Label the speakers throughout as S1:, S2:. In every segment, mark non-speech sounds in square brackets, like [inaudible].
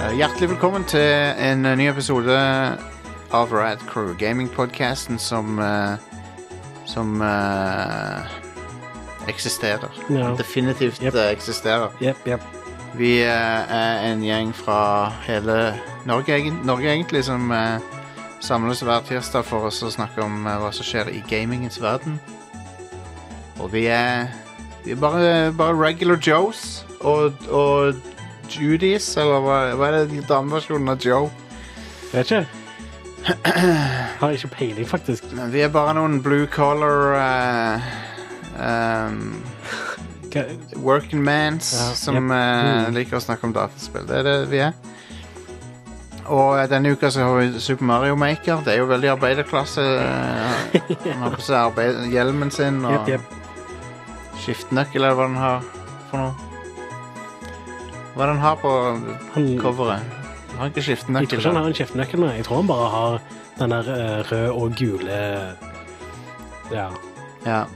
S1: Eh, Hjertelig velkommen til en eh, ny episode av Rad Crew, gamingpodcasten som eh, Som eh, eksisterer.
S2: Ja.
S1: Definitivt
S2: Yep.
S1: eh, eksisterer.
S2: Jepp, jepp.
S1: Vi eh, er en gjeng fra hele Norge, egen- Norge egentlig, som eh, samles hver tirsdag for oss å snakke om eh, hva som skjer i gamingens verden. Og vi er, vi er bare, bare regular Joes og, og Judies, eller hva, hva er det dameversjonen av Joe? [clears throat]
S2: Vet ikke. Har ikke peiling, faktisk.
S1: Men Vi er bare noen blue collar eh, ehm,
S2: Hva,
S1: working mans
S2: Ja, Mm.
S1: som eh, liker å snakke om dataspill. Det er det vi er. Og eh, denne uka så har vi Super Mario Maker. Det er jo veldig arbeiderklasse.
S2: [laughs]
S1: eh, Han har på seg arbeid hjelmen sin og
S2: jepp, jepp.
S1: skiftenøkkel eller hva den har for noe. Hva den har på
S2: Han, jeg
S1: coveret. Han har ikke
S2: tror Mm. ikke sånn, han
S1: skiftenøkkel.
S2: har en kjeftenøkkel nå. Jeg tror han bare har den der eh, rød og gule Ja.
S1: Ja.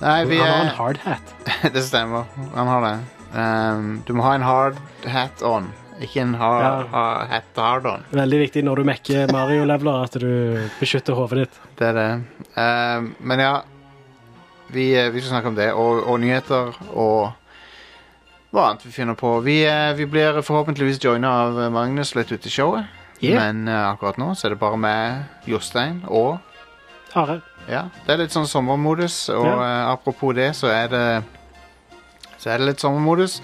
S1: Nei,
S2: Han
S1: vi eh,
S2: har en
S1: er
S2: hard hat.
S1: [laughs] Det stemmer. Han har det. Ehm, du må ha en hard hat on, ikke en hard,
S2: Ja.
S1: ha- hat hard on.
S2: Veldig viktig når du mekker Mario-leveler, at du beskytter hodet ditt.
S1: Det er det. Ehm, men ja vi, eh, vi skal snakke om det, og, og nyheter og hva annet vi finner på. Vi, eh, vi blir forhåpentligvis joina av eh, Magnus litt ute i showet, men eh, akkurat nå så er det bare meg, Jostein og
S2: Are.
S1: Ja, det er litt sånn sommermodus, og eh, apropos det, så er det Så er det litt sommermodus.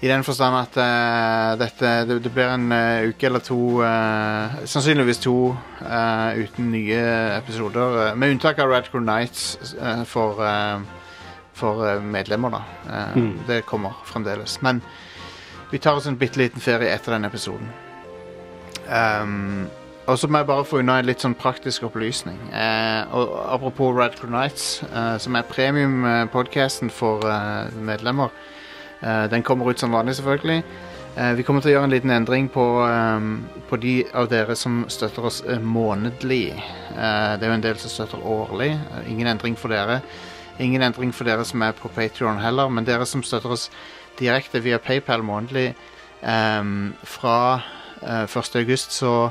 S1: I den forstand at eh, dette, det, det blir en eh, uke eller to eh, Sannsynligvis to eh, uten nye episoder. eh, med unntak av Radcrow Nights eh, for, eh, for eh, medlemmer, da. Eh,
S2: Mm.
S1: Det kommer fremdeles. Men vi tar oss en bitte liten ferie etter den episoden. Ehm, og så må jeg bare få unna en litt sånn praktisk opplysning. Eh, og apropos Radical Nights, eh, som er premium-podcasten for eh, medlemmer. Eh, den kommer ut som vanlig, selvfølgelig. Eh, vi kommer til å gjøre en liten endring på, eh, på de av dere som støtter oss eh, månedlig. Eh, det er jo en del som støtter årlig. Eh, ingen endring for dere. Ingen endring for dere som er på Patreon heller, men dere som støtter oss direkte via PayPal månedlig ehm, fra eh, 1. august, så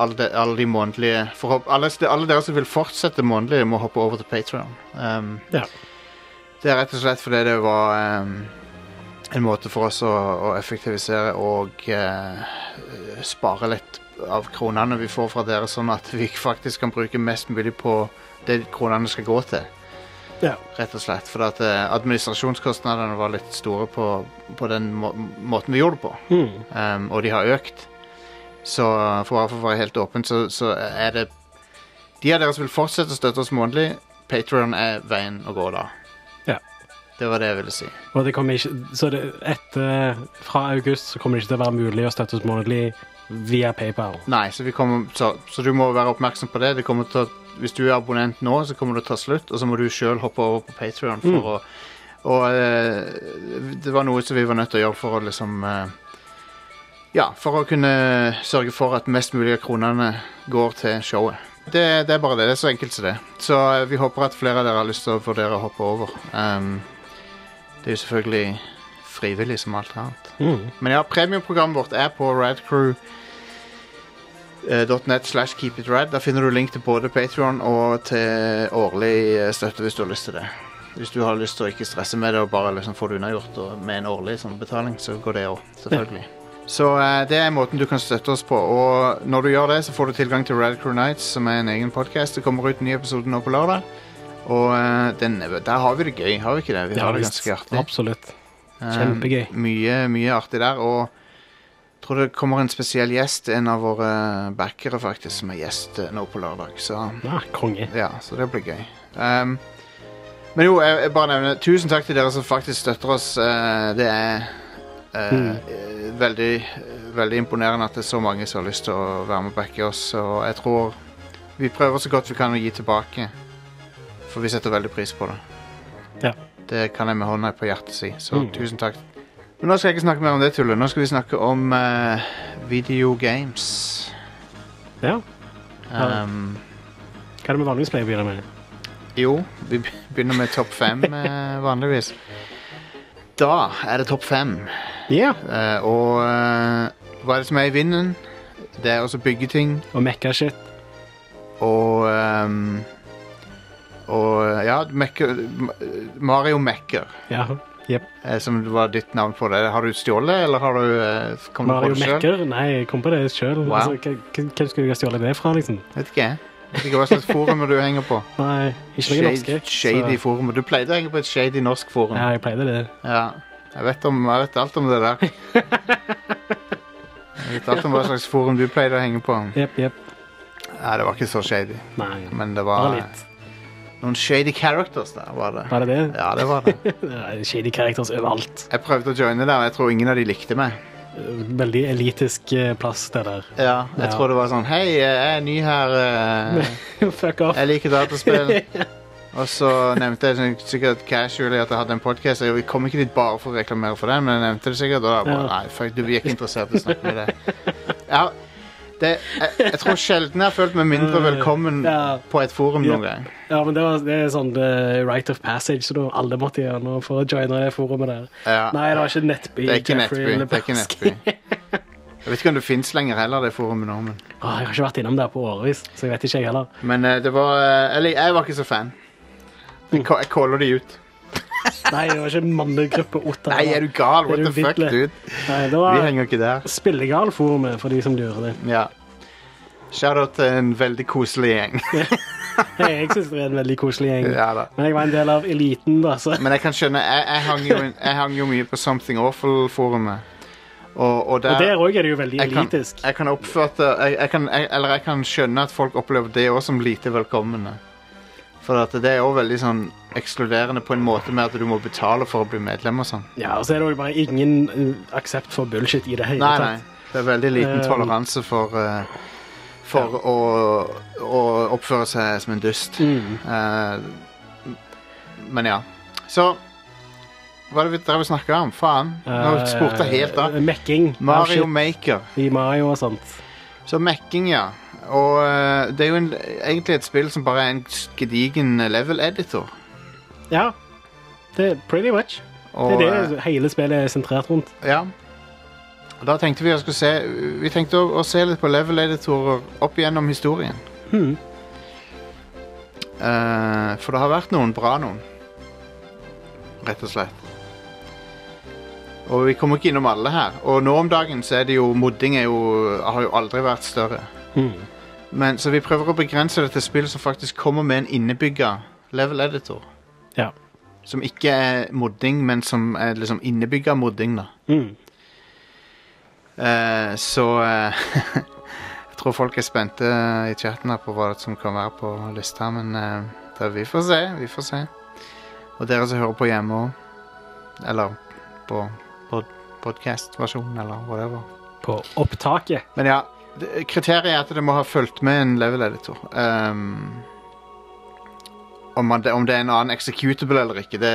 S1: alle de, alle de månedlige forhåp- alle, alle dere som vil fortsette månedlig, må hoppe over til Patreon. Ehm,
S2: Ja.
S1: det er rett og slett fordi det var ehm, en måte for oss å, å effektivisere og eh, spare litt av kronene vi får fra dere, sånn at vi faktisk kan bruke mest mulig på det kronene skal gå til
S2: ja.
S1: rett og slett. For at eh, administrasjonskostnadene var litt store på, på den må måten vi gjorde det på.
S2: Mm.
S1: Um, og de har økt. Så eh, for bare for å være helt åpen, så, så er det De av dere som vil fortsette å støtte oss månedlig, Patreon er veien å gå da.
S2: Ja.
S1: Det var det jeg ville si.
S2: Og det kommer ikke, så det, etter, eh, fra august så kommer det ikke til å være mulig å støtte oss månedlig via PayPal.
S1: Nei, så, vi kommer, så, så du må være oppmerksom på det. det kommer til å, hvis du er abonnent nå, så kommer det til å ta slutt, og så må du sjøl hoppe over på Patreon for å Og eh, det var noe som vi var nødt til å gjøre for å liksom eh, Ja, for å kunne sørge for at mest mulig av kronene går til showet. Det, det er bare det. Det er så enkelt som det. Så eh, vi håper at flere av dere har lyst til å vurdere å hoppe over. Ehm, det er jo selvfølgelig frivillig som alt annet.
S2: Mm.
S1: Men ja, premiumprogrammet vårt er på radcrew.net slash keepitrad. Der finner du link til både Patreon og til årlig eh, støtte hvis du har lyst til det. Hvis du har lyst til å ikke stresse med det og bare liksom få det unnagjort og med en årlig sånn betaling, så går det òg, selvfølgelig. Så eh, det er måten du kan støtte oss på. Og når du gjør det, så får du tilgang til Radcrew Nights, som er en egen podkast. Det kommer ut en ny episode nå på lørdag. Og eh, den, der har vi det gøy, har vi ikke det? Vi har det
S2: visst.
S1: ganske artig.
S2: Absolutt.
S1: Um,
S2: Kjempegøy.
S1: mye, mye artig der, og tror det kommer en spesiell gjest, en av våre backere faktisk, som er gjest eh, nå på lørdag. Så
S2: Ja, konge.
S1: ja, så det blir gøy. Um, men jo, jeg, jeg bare nevner Tusen takk til dere som faktisk støtter oss. Eh, det er eh, eh,
S2: Mm.
S1: veldig, veldig imponerende at det er så mange som har lyst til å være med og backe oss. Og jeg tror vi prøver så godt vi kan å gi tilbake. For vi setter veldig pris på det.
S2: Ja.
S1: Det kan jeg med hånda på hjertet si. Så
S2: Mm.
S1: tusen takk. Men nå skal jeg ikke snakke mer om det tullet. Nå skal vi snakke om eh, video games.
S2: Ja. Ja.
S1: Um,
S2: Hva er det vi vanligvis pleier å begynne med?
S1: Jo, vi be- begynner med topp fem eh, vanligvis. Da er det topp fem.
S2: Ja.
S1: Eh, og eh, Hva er det som er i vinden? Det er også byggeting
S2: Og mekka-shit.
S1: og ehm, Og ja, mekker, Mario Mekker,
S2: Ja. Jep.
S1: eh, som var ditt navn på det. Har du stjålet, eller har du eh, kommet
S2: Mario
S1: på det selv?
S2: Mekker? Nei, jeg kom på det sjøl.
S1: Wow.
S2: Altså, hva- hva- hvem skulle jeg ha stjålet det fra, liksom?
S1: Vet ikke. jeg. Vet ikke hva slags forum du henger på.
S2: Nei, [laughs] ikke noe norsk. eh,
S1: Shade, shady forum. Du pleide å henge på et shady norsk forum.
S2: Ja, jeg pleide det.
S1: Ja. Jeg vet, om, jeg vet alt om det [laughs] der. Jeg vet alt om hva slags forum du pleide å henge på.
S2: Jepp, jepp.
S1: Nei, det var ikke så shady,
S2: Nei.
S1: men det
S2: Bare
S1: var
S2: litt.
S1: noen shady characters der, var det.
S2: Bare det?
S1: Ja, det var det.
S2: Nei, Shady characters overalt.
S1: Jeg prøvde å joine der, og jeg tror ingen av de likte meg.
S2: Veldig elitisk eh, plass, det der. [laughs]
S1: Ja, jeg
S2: Ja.
S1: tror det var sånn Hei, jeg er ny her. eh,
S2: Fuck off.
S1: Jeg liker dataspill. Og så nevnte jeg sånn sikkert casually at jeg hadde en podkast. Jeg kom ikke dit bare for å reklamere for den, men jeg nevnte det sikkert. Og da bare,
S2: Ja.
S1: nei, fuck, du vi er ikke interessert i å snakke med deg. Ja, det, jeg, jeg tror sjelden jeg har følt meg mindre velkommen
S2: Ja.
S1: på et forum noen gang.
S2: Ja, men det, var, det er sånn eh, right of passage, så da alle måtte gjennom for å joine det forumet der.
S1: Ja.
S2: Nei, det var ikke Nettby.
S1: Det er ikke Nettby. Det
S2: Jeffrey
S1: er ikke
S2: Lebowski.
S1: Nettby. Jeg vet ikke om det fins lenger heller, det forumet nå, men
S2: Åh, jeg har ikke vært innom der på årevis, så jeg vet ikke jeg heller.
S1: Men eh, det var eh, Eller jeg var ikke så fan. Jeg ka- jeg caller de ut.
S2: Nei, det var ikke mannegruppe Otta.
S1: Nei, er du gal? What
S2: Er
S1: the
S2: du
S1: fuck,
S2: vitle?
S1: dude?
S2: Nei, det
S1: Vi
S2: var
S1: henger ikke der.
S2: Spillegalforumet, for de som lurer det.
S1: Ja. Shout-out til en veldig koselig
S2: [laughs]
S1: gjeng.
S2: Nei, jeg synes det er en veldig koselig gjeng.
S1: ja da.
S2: Men jeg var en del av eliten, da, så
S1: Men jeg kan skjønne Jeg, jeg, hang, jo, jeg hang jo mye på Something Awful-forumet. Og, og der,
S2: Og der òg er det jo veldig
S1: jeg kan,
S2: elitisk.
S1: jeg kan oppfatte jeg, jeg kan, jeg, Eller jeg kan skjønne at folk opplever det òg som lite velkomne. For at det er òg veldig sånn ekskluderende på en måte med at du må betale for å bli medlem og sånn.
S2: Ja, og så er det jo bare ingen eh, aksept for bullshit i det hele
S1: Nei, nei.
S2: tatt.
S1: Det er veldig liten
S2: Eh,
S1: toleranse for eh, For å, å oppføre seg som en dust.
S2: Mm.
S1: Eh, men ja. Så Hva er det vi drev og snakka om? Faen. Nå spurte jeg helt av.
S2: Eh, Mekking.
S1: Mario
S2: Mario
S1: Maker.
S2: I Mario og sånt.
S1: Så mekking, ja. Og eh, det er jo en, egentlig et spill som bare er en gedigen level editor.
S2: Ja. Det er pretty much.
S1: Og,
S2: det altså. er det hele spillet er sentrert rundt.
S1: eh, ja. Og Da tenkte vi å skulle se Vi tenkte å, å se litt på level editorer opp gjennom historien.
S2: Hmm.
S1: Eh, for det har vært noen bra noen. Rett og slett. Og vi kommer ikke innom alle her. Og nå om dagen så er det jo modding er jo, har jo aldri vært større.
S2: Hmm.
S1: Men, så vi prøver å begrense det til spill som faktisk kommer med en innebygga level editor.
S2: Ja.
S1: Som ikke er modding, men som er liksom innebygga modding, da.
S2: Hmm.
S1: Eh, så eh, [laughs] Jeg tror folk er spente i chatten her på hva som kan være på lista, men eh, det, vi får se. Vi får se. Og dere som hører på hjemme òg. Eller på pod podcast-versjonen, eller whatever.
S2: På opptaket.
S1: Men ja, det- kriteriet er at det må ha fulgt med en level editor. Ehm, om, man, om det er en annen executable eller ikke, det,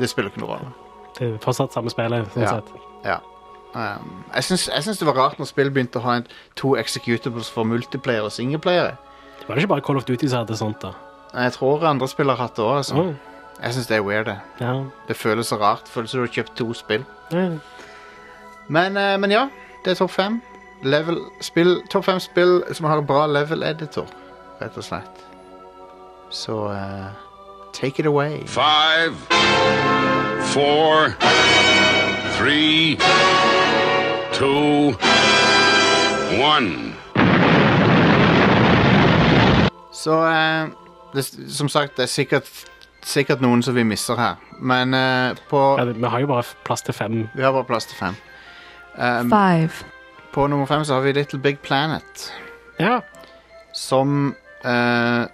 S1: det spiller ikke noen rolle.
S2: Det er fortsatt samme spillet, sånn
S1: Ja.
S2: sett.
S1: Ehm, jeg, syns, jeg syns det var rart når spill begynte å ha en, to executables for multiplayer og singleplayer.
S2: Det var ikke bare Call of Duty som hadde sånt, da.
S1: Jeg tror andre spill har hatt det òg. Altså.
S2: Åh,
S1: Jeg syns det er weird. Det
S2: ja.
S1: Det føles så rart. Føles som du har kjøpt to spill.
S2: Eh,
S1: Men, eh, men ja, det er topp fem. Level, spill, topp fem spill som har en bra level editor, rett og slett. Så eh, take it away.
S3: Five, four, three, two, one.
S1: Så eh, det, s- som sagt, det er sikkert, sikkert noen som vi misser her. Men eh, på
S2: Ja, det- vi har jo bare f- plass til fem.
S1: Vi har bare plass til fem. Um,
S4: Five.
S1: på nummer fem så har vi Little Big Planet.
S2: Ja.
S1: Som eh,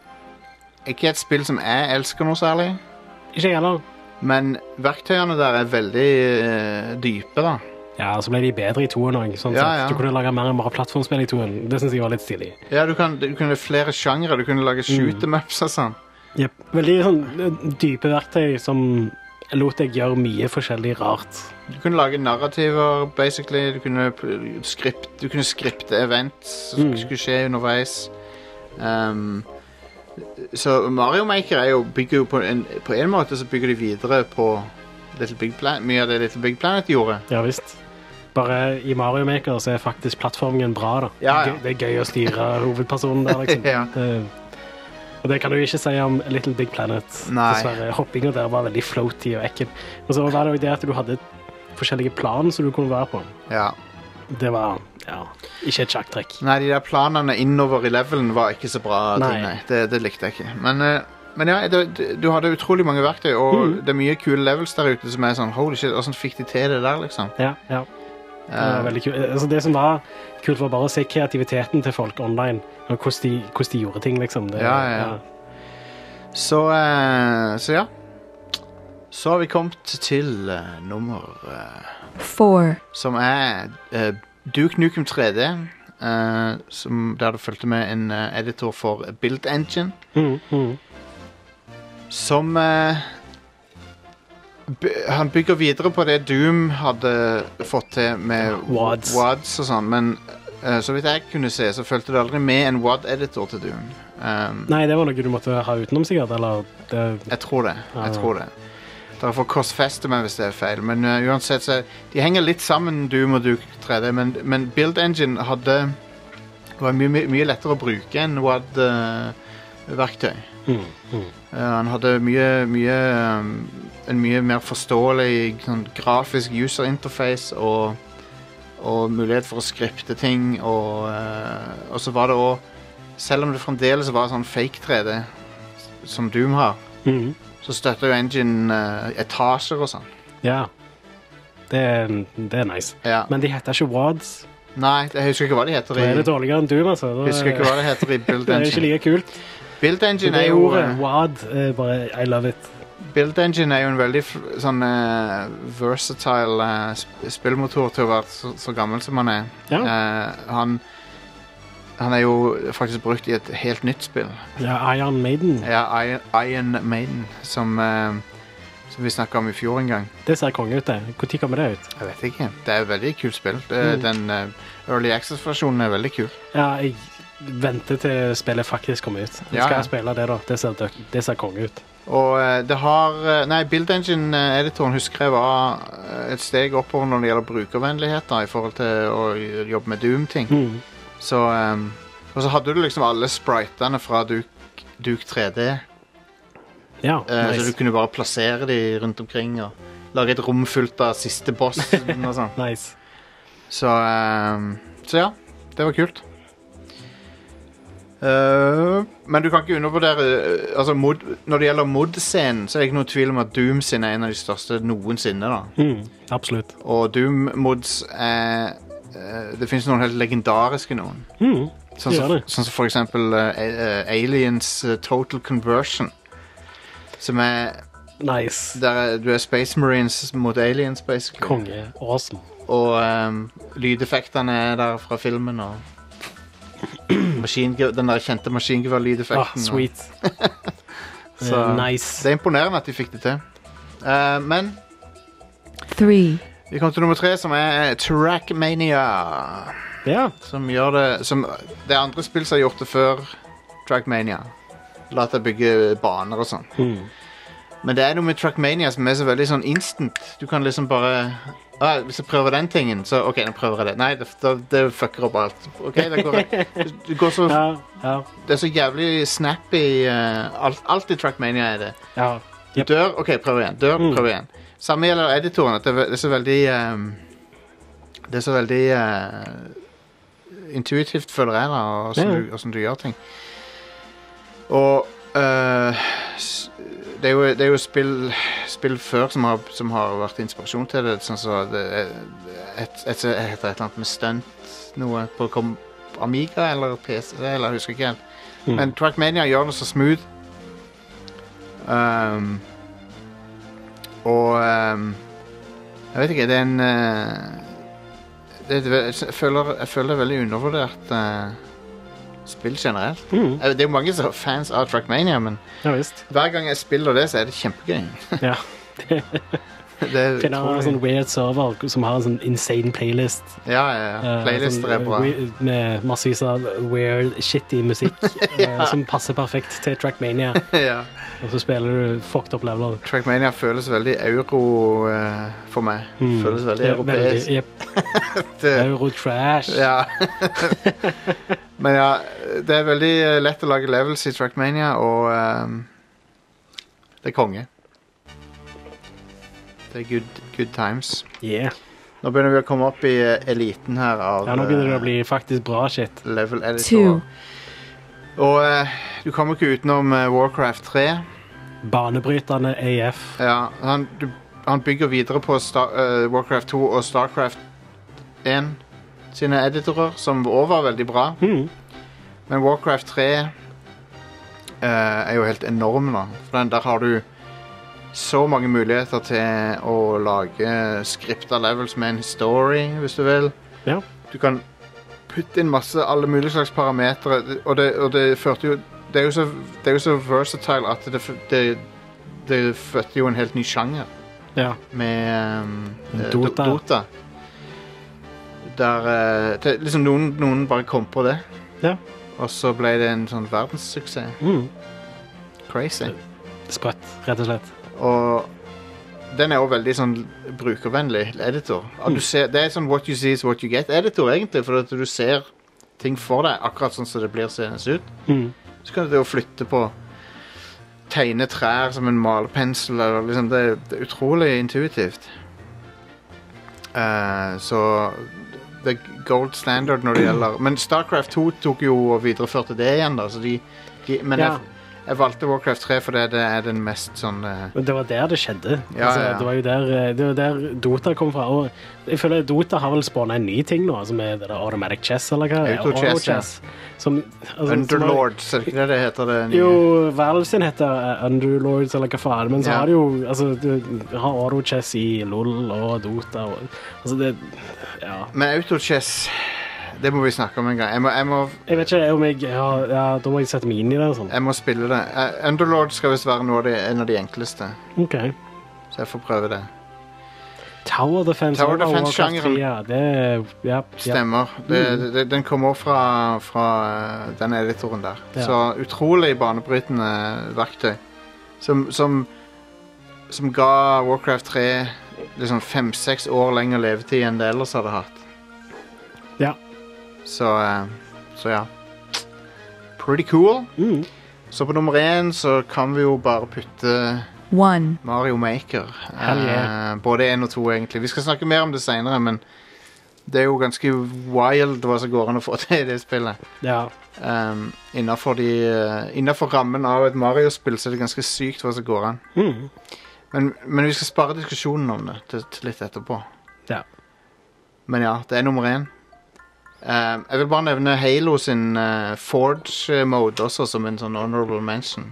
S1: Ikke et spill som jeg elsker noe særlig.
S2: Ikke jeg heller.
S1: Men verktøyene der er veldig eh, dype, da.
S2: Ja, så ble de bedre i toen òg. Sånn
S1: Ja,
S2: sett.
S1: ja.
S2: Du kunne lage mer enn bare plattformspill i toen. Det syns jeg var litt stilig.
S1: Ja, du, kan, du kunne flere sjangre. Du kunne lage shoot-em-ups og sånn.
S2: Veldig sånn eh, dype verktøy som lot deg gjøre mye forskjellig rart.
S1: Du kunne lage narrativer, basically. Du kunne, pl- skript, du kunne skripte events som
S2: Mm.
S1: skulle skje underveis. Ehm, så Mario Maker er jo, bygger jo på en, på en måte så bygger de videre på Little Big Planet, mye av det Little Big Planet gjorde.
S2: Ja visst. Bare i Mario Maker så er faktisk plattformingen bra, da.
S1: Ja, ja.
S2: Det er gøy- Det er gøy å styre
S1: [laughs]
S2: hovedpersonen der, liksom.
S1: Ja.
S2: det, og det kan du ikke si om Little Big Planet.
S1: Nei.
S2: Dessverre. Hoppinga der var veldig floaty og ekkel. Og så var det jo det at du hadde forskjellige plan som du kunne være på.
S1: Ja.
S2: Det var ja, ikke et sjakktrekk.
S1: Nei, de der planene innover i levelen var ikke så bra. Nei.
S2: Nei.
S1: Ting, nei. Det, det likte jeg ikke. Men, eh, men ja, det, det- du hadde utrolig mange verktøy, og
S2: Mm.
S1: det er mye kule levels der ute som er sånn Holy shit, åssen fikk de til det der, liksom? Eh,
S2: Ja, ja. Det, var veldig kult. Altså, det som var kult, var bare å se kreativiteten til folk online. Og hvordan de, hvordan de gjorde ting, liksom. Det,
S1: Ja, ja, ja. Så, eh, så ja. Så har vi kommet til eh, nummer eh,
S4: four,
S1: som er eh, Duke Nukem 3D. eh, som, der det fulgte med en eh, editor for Build Engine.
S2: Mm, mm.
S1: Som eh, by- Han bygger videre på det Doom hadde fått til med
S2: Wads.
S1: wads og sånn, men eh, så vidt jeg kunne se, så fulgte det aldri med en WAD-editor til Doom. Um,
S2: Nei, det var noe du måtte ha utenom, sikkert. Eller det,
S1: jeg tror det.
S2: Ja.
S1: jeg tror det. Dere får korsfeste meg hvis det er feil, men eh, uansett så De henger litt sammen, Doom og Duke 3D, men, men Build Engine hadde var mye, mye- mye lettere å bruke enn eh, WAD-verktøy.
S2: mm, mm.
S1: Eh, han hadde mye, mye um, En mye mer forståelig sånn, grafisk user interface og, og mulighet for å skripte ting. Og, eh, og så var det òg Selv om det fremdeles var sånn fake 3D som Doom har,
S2: Mm.
S1: så støtter jo Engine eh, etasjer og sånn.
S2: Ja. Det, er- det er nice.
S1: Ja.
S2: Men de heter ikke Wads.
S1: Nei, jeg husker ikke hva de heter
S2: Da
S1: i
S2: er det dårligere enn Doom, altså. Da,
S1: Husker ikke hva det heter i Build
S2: [laughs] det er ikke
S1: Engine.
S2: like kult.
S1: Build
S2: Så
S1: Engine
S2: det
S1: er jo
S2: ordet
S1: eh,
S2: Wad er bare I love it.
S1: Build Engine er jo en veldig fl- sånn eh, versatile eh, sp- spillmotor til å være så, så gammel som han er.
S2: Ja,
S1: Eh, han han er jo faktisk brukt i et helt nytt spill.
S2: ja Iron Maiden.
S1: Ja, I- Iron Maiden, som, eh, som vi snakka om i fjor en gang.
S2: Det ser konge ut, det. Når kommer det ut?
S1: Jeg vet ikke. Det er et veldig kult spill. Det,
S2: Mm.
S1: Den eh, Early Access-versjonen er veldig kul.
S2: Ja, jeg venter til spillet faktisk kommer ut.
S1: Ja,
S2: Skal
S1: ja.
S2: jeg spille det, da? Det ser, dø- det ser konge ut.
S1: Og eh, det har eh, Nei, Build Engine-editoren husker jeg var eh, et steg oppover når det gjelder brukervennlighet da, i forhold til å jobbe med Doom-ting.
S2: Mm.
S1: Så, ehm, og så hadde du liksom alle spritene fra Duke, Duke 3D.
S2: Ja,
S1: Eh, Så du
S2: nice.
S1: kunne bare plassere de rundt omkring og lage et rom fullt av siste bossen og sånn.
S2: nice.
S1: Så, ehm, så ja, det var kult. Eh, men du kan ikke undervurdere eh, altså mod, Når det gjelder mod-scenen, så er det ikke noe tvil om at Doom sin er en av de største noensinne. da
S2: Mm. Absolutt.
S1: Og Doom-mods er eh, Det finnes noen helt legendariske noen.
S2: Mm.
S1: Sånn
S2: Det
S1: som,
S2: gjør det.
S1: sånn som for eksempel eh, eh, Aliens eh, Total Conversion. Som er
S2: Nice.
S1: der er, du er Space Marines mot aliens, basically.
S2: Konge. Awesome.
S1: Og ehm, lydeffektene er der fra filmen,
S2: [clears throat]
S1: og maskinge- den der kjente
S2: Ah,
S1: maskingeværlydeffekten. og-
S2: sweet.
S1: Så-
S2: Eh, nice.
S1: Det er imponerende at de fikk det til. Eh, men
S4: three,
S1: vi kommer til nummer tre, som er Trackmania.
S2: Ja.
S1: Som gjør det som, Det er andre spill som har gjort det før Trackmania. La deg bygge baner og sånn.
S2: Mm.
S1: Men det er noe med Trackmania som er så veldig sånn instant. Du kan liksom bare ah, Hvis jeg prøver den tingen, så OK, nå prøver jeg det. Nei, det, det, det fucker opp alt. OK, det går, det går så,
S2: [laughs] Ja, ja,
S1: Det er så jævlig snappy. eh, alt, alt i Trackmania er det.
S2: ja.
S1: Du
S2: Yep.
S1: dør, OK, prøv igjen. Dør,
S2: Mm.
S1: prøv igjen. Samme gjelder editoren. At det, er ve- det er så veldig ehm, Det er så veldig eh, intuitivt, føler jeg, da, åssen
S2: Ja.
S1: du, hvordan du gjør ting. Og eh, s- det, er jo, det er jo spill, spill før som har, som har vært inspirasjon til det. Sånn som det er et, et, jeg heter et eller annet med stunt noe på kom, Amiga eller PC, eller jeg husker ikke helt.
S2: Mm.
S1: Men Trackmania gjør det så smooth. Ehm, og ehm, Jeg vet ikke, det er en eh, det, er et ve- jeg, føler, jeg føler det er veldig undervurdert eh, spill generelt.
S2: Mm.
S1: Eh, Det er jo mange som er fans av Trackmania, men
S2: Ja visst.
S1: hver gang jeg spiller det, så er det kjempegøy.
S2: Ja.
S1: [laughs] Det er
S2: Finne en sånn
S1: utrolig.
S2: weird server som har en sånn insane playlist.
S1: Ja, ja, ja.
S2: eh,
S1: Playlister er
S2: sånn,
S1: bra. [laughs]
S2: we- Med massevis av weird, shitty musikk eh, som passer perfekt til
S1: [laughs]
S2: Trackmania.
S1: ja.
S2: Og så spiller du fucked up leveler.
S1: Trackmania føles veldig euro eh, for meg. Føles veldig
S2: Ja,
S1: europeisk.
S2: Mm.
S1: eh,
S2: veldig, jep. Euro-trash.
S1: Ja. [laughs] Men ja, det er veldig eh, lett å lage levels i Trackmania, og ehm, det er konge. Det er good, good times.
S2: Yeah.
S1: Nå begynner vi å komme opp i eh, eliten her av
S2: Ja, nå begynner det
S1: eh,
S2: å bli faktisk bra shit.
S1: level editor.
S4: Two.
S1: Og eh, du kommer ikke utenom eh, Warcraft 3.
S2: Banebrytende AF.
S1: Ja, han, du, han bygger videre på Star, eh, Warcraft 2 og Starcraft 1 sine editorer, som også var veldig bra.
S2: Mm.
S1: Men Warcraft 3 eh, er jo helt enorm nå. For den, der har du så mange muligheter til å lage skripta levels med en story, hvis du vil.
S2: Ja.
S1: Du kan putte inn masse alle mulige slags parametere, og det, og det førte jo det er, jo så, det er jo så versatile at det, f- det, det fødte jo en helt ny sjanger
S2: Ja.
S1: med um, eh,
S2: Dota.
S1: Do- Dota. Der eh, det, liksom noen, noen bare kom på det.
S2: Ja.
S1: Og så ble det en sånn verdenssuksess.
S2: Mm.
S1: Crazy.
S2: Sprøtt, rett og slett.
S1: Og den er òg veldig sånn brukervennlig editor. At du
S2: Mm.
S1: ser, det er sånn what you see is what you get-editor, egentlig. For at du ser ting for deg akkurat sånn som det blir seende ut.
S2: Mm.
S1: Så kan du jo flytte på Tegne trær som en malepensel. Eller liksom, det, det er utrolig intuitivt. Eh, så det er gold standard når det gjelder Men Starcraft 2 tok jo og videreførte det igjen, da. Så de, de, men
S2: Ja.
S1: jeg, jeg valgte Warcraft 3 fordi det er den mest sånn eh,
S2: Men det var der det skjedde.
S1: Ja,
S2: altså,
S1: ja, ja.
S2: Det var jo der, eh, det var der Dota kom fra. Og jeg føler Dota har vel spawna en ny ting nå, som er det der automatic chess, eller hva?
S1: Auto-chess,
S2: Auto-chess, Som, altså, som har-
S1: Underlords, er det ikke det det heter? Det nye?
S2: Jo, Valve sin heter eh, Underlords, eller hva faen. Men så
S1: Ja.
S2: har de jo altså, du har autochess i LOL og Dota og Altså, det Ja.
S1: Men autochess, det må vi snakke om en gang. Jeg må, jeg må,
S2: Jeg vet ikke om jeg ja, ja, Da må jeg sette meg inn i det. og Sånn.
S1: jeg må spille det. Eh, Underlords skal visst være noe av de, en av de enkleste,
S2: OK.
S1: så jeg får prøve det.
S2: Tower Defense.
S1: Tower
S2: og Warcraft
S1: Defense-sjangeren.
S2: 3, Ja, det er- ja, ja. Mm.
S1: Stemmer. Det, det, den kommer fra, fra eh, den editoren der.
S2: Ja.
S1: Så utrolig banebrytende verktøy. Som, som, som ga Warcraft 3 liksom fem-seks år lenger levetid enn det ellers hadde hatt.
S2: Ja.
S1: Så, eh, så ja. Pretty cool.
S2: Mm.
S1: Så på nummer én så kan vi jo bare putte
S4: One.
S1: Mario Maker.
S2: Hell yeah.
S1: Eh, både én og to, egentlig. Vi skal snakke mer om det seinere, men det er jo ganske wild hva som går an å få [laughs] til i det spillet.
S2: ja.
S1: Um, innenfor, de, eh, innenfor rammen av et Mario-spill så er det ganske sykt hva som går an.
S2: Mm.
S1: Men, men vi skal spare diskusjonen om det til, til litt etterpå.
S2: Ja.
S1: Men ja, det er nummer én. Um, jeg vil bare nevne Halo sin eh, Forge-mode også som en sånn honorable mention,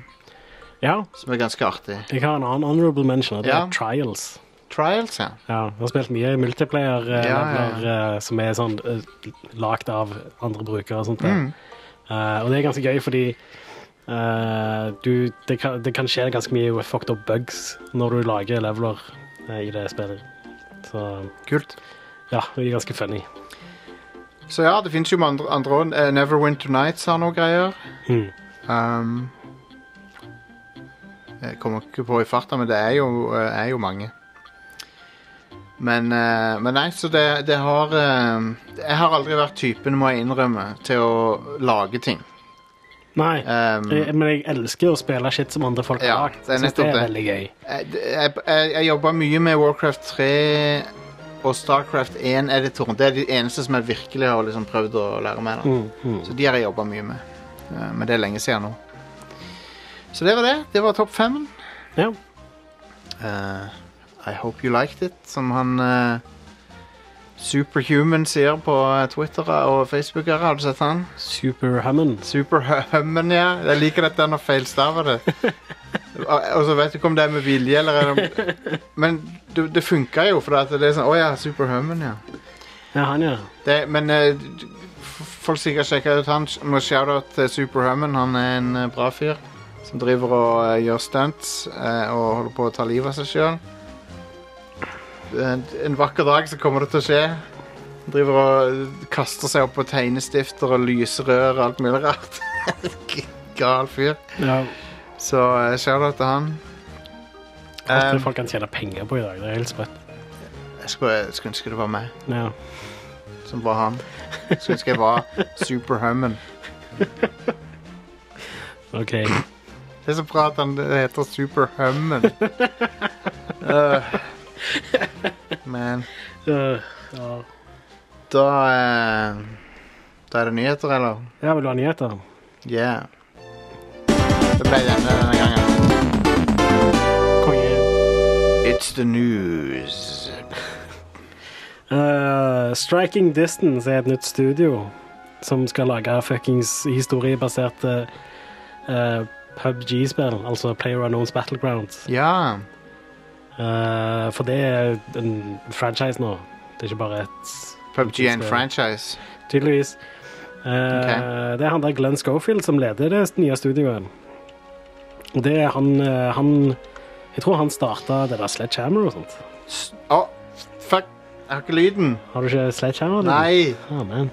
S2: ja.
S1: som er ganske artig.
S2: Jeg har en annen honorable mention, og det
S1: Ja.
S2: er Trials.
S1: Trials, ja.
S2: Ja, jeg har spilt mye multiplayer eh,
S1: Ja, ja, ja.
S2: leveler, eh, som er sånn eh, lagd av andre brukere og sånt.
S1: Mm.
S2: der. Eh, og det er ganske gøy, fordi eh, du, det, kan, det kan skje ganske mye fucked up bugs når du lager leveler eh, i det spillet. Så
S1: Kult.
S2: ja, det er ganske funny.
S1: Så ja, det finnes jo med andre, andre også. Eh, Neverwinter Nights har noe greier.
S2: Mm.
S1: Um, jeg kommer ikke på i farta, men det er jo, eh, er jo mange. Men, eh, men nei, så det, det har eh, Jeg har aldri vært typen, må jeg innrømme, til å lage ting.
S2: Nei,
S1: Um,
S2: jeg, men jeg elsker å spille shit som andre folk
S1: Ja,
S2: har lagd.
S1: det er
S2: Syns
S1: nettopp
S2: det er
S1: det.
S2: veldig gøy.
S1: jeg, jeg, jeg, jeg jobba mye med Warcraft 3 og Starcraft 1-editoren. Det er de eneste som jeg virkelig har liksom prøvd å lære meg. Da.
S2: Hmm.
S1: Så de har jeg jobba mye med. Eh, Men det er lenge siden nå. Så det var det. Det var topp fem.
S2: Ja.
S1: Eh, I hope you liked it, som han eh, Superhuman sier på eh, Twitter og Facebook. her. Har du sett han?
S2: Super Hammond.
S1: Superhuman, ja. Jeg liker dette når feilstaver det. Og og så vet du ikke om det er med vilje eller er det Men det, det funka jo, for at det er sånn Å ja, Superhuman, ja.
S2: Ja, han, ja.
S1: Det, men eh, d- f- folk sikkert sjekker ut han. Må shout-out til Superhuman. Han er en eh, bra fyr som driver og eh, gjør stunts eh, og holder på å ta livet av seg sjøl. eh, en vakker dag så kommer det til å skje. Han Driver og eh, kaster seg opp på tegnestifter og lyserør og alt mulig rart. [laughs] G- Gal fyr.
S2: Ja,
S1: Så uh, shout-out til han.
S2: alt det
S1: Eh,
S2: folk kan tjene penger på i dag. Det er helt sprøtt.
S1: jeg skulle, jeg skulle ønske det var meg
S2: Ja.
S1: som var han. Jeg skulle ønske jeg var Superhuman.
S2: OK.
S1: Det er så bra at han heter Superhuman. Uh, men
S2: Eh, ja.
S1: da eh, Da er det nyheter, eller?
S2: ja, vil du ha nyheter?
S1: Yeah. Det ble denne denne gangen.
S2: Konge.
S1: It's the news.
S2: Eh, Striking Distance er et nytt studio som skal lage fuckings historiebaserte eh, PubG-spill, altså Player Unknowns Battlegrounds.
S1: Ja.
S2: Eh, for det er en franchise nå. Det er ikke bare et
S1: PubG er en
S2: Spill.
S1: franchise.
S2: Tydeligvis. Eh,
S1: Ok.
S2: Det er han der Glenn Schofield som leder det nye studioet. Og det er han, eh, han Jeg tror han starta det der Sledgehammer og sånt.
S1: S- Å, fuck. Jeg har ikke lyden.
S2: Har du ikke Sledgehammer? eller?
S1: Nei.
S2: Ah, man.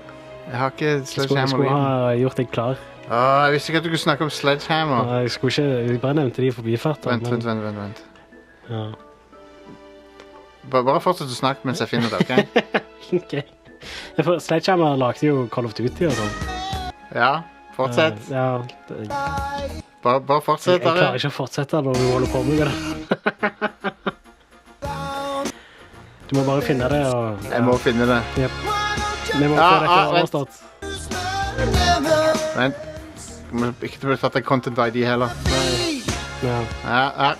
S1: Jeg har ikke
S2: Jeg skulle, jeg skulle
S1: sledgehammer-lyden.
S2: ha gjort deg klar.
S1: Å, jeg visste ikke at du kunne snakke om sledgehammer.
S2: Jeg skulle ikke Jeg bare nevnte de i forbifarten.
S1: Vent,
S2: men-
S1: vent, vent. vent, vent.
S2: Ja. [laughs]
S1: Ba- Bare fortsett å snakke mens jeg finner det. ok?
S2: Ok. Ja, for Sledgehammer lagde jo Call of Duty og sånn.
S1: Ja, fortsett.
S2: Eh, Ja, det-
S1: Bare, bare
S2: Jeg,
S1: fortsett.
S2: jeg klarer
S1: Are.
S2: ikke å fortsette når du holder på med det. [laughs] Du må bare finne det og
S1: Jeg må finne det.
S2: Vi må få
S1: Ah,
S2: dette
S1: ah, vent.
S2: overstått.
S1: Vent. Må Ikke bli tatt av Content ID heller.
S2: Ja.
S1: Ja, ja.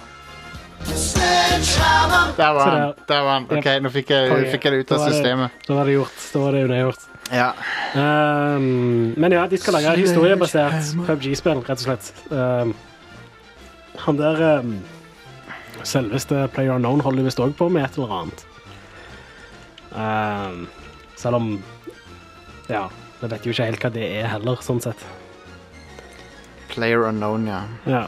S1: Der var
S2: Se
S1: han.
S2: der.
S1: Der var han. OK, nå fikk jeg,
S2: Konge.
S1: fikk jeg det ut
S2: Da
S1: av
S2: var det-
S1: systemet.
S2: Da var det gjort. Da var det unnagjort.
S1: Ja.
S2: Um, men ja, de skal lage historiebasert PubG-spill, rett og slett. Um, han der um, selveste Player Unknown holder visst òg på med et eller annet. Um, selv om Ja, vi vet jo ikke helt hva det er heller, sånn sett.
S1: Player unknown, ja.
S2: Ja.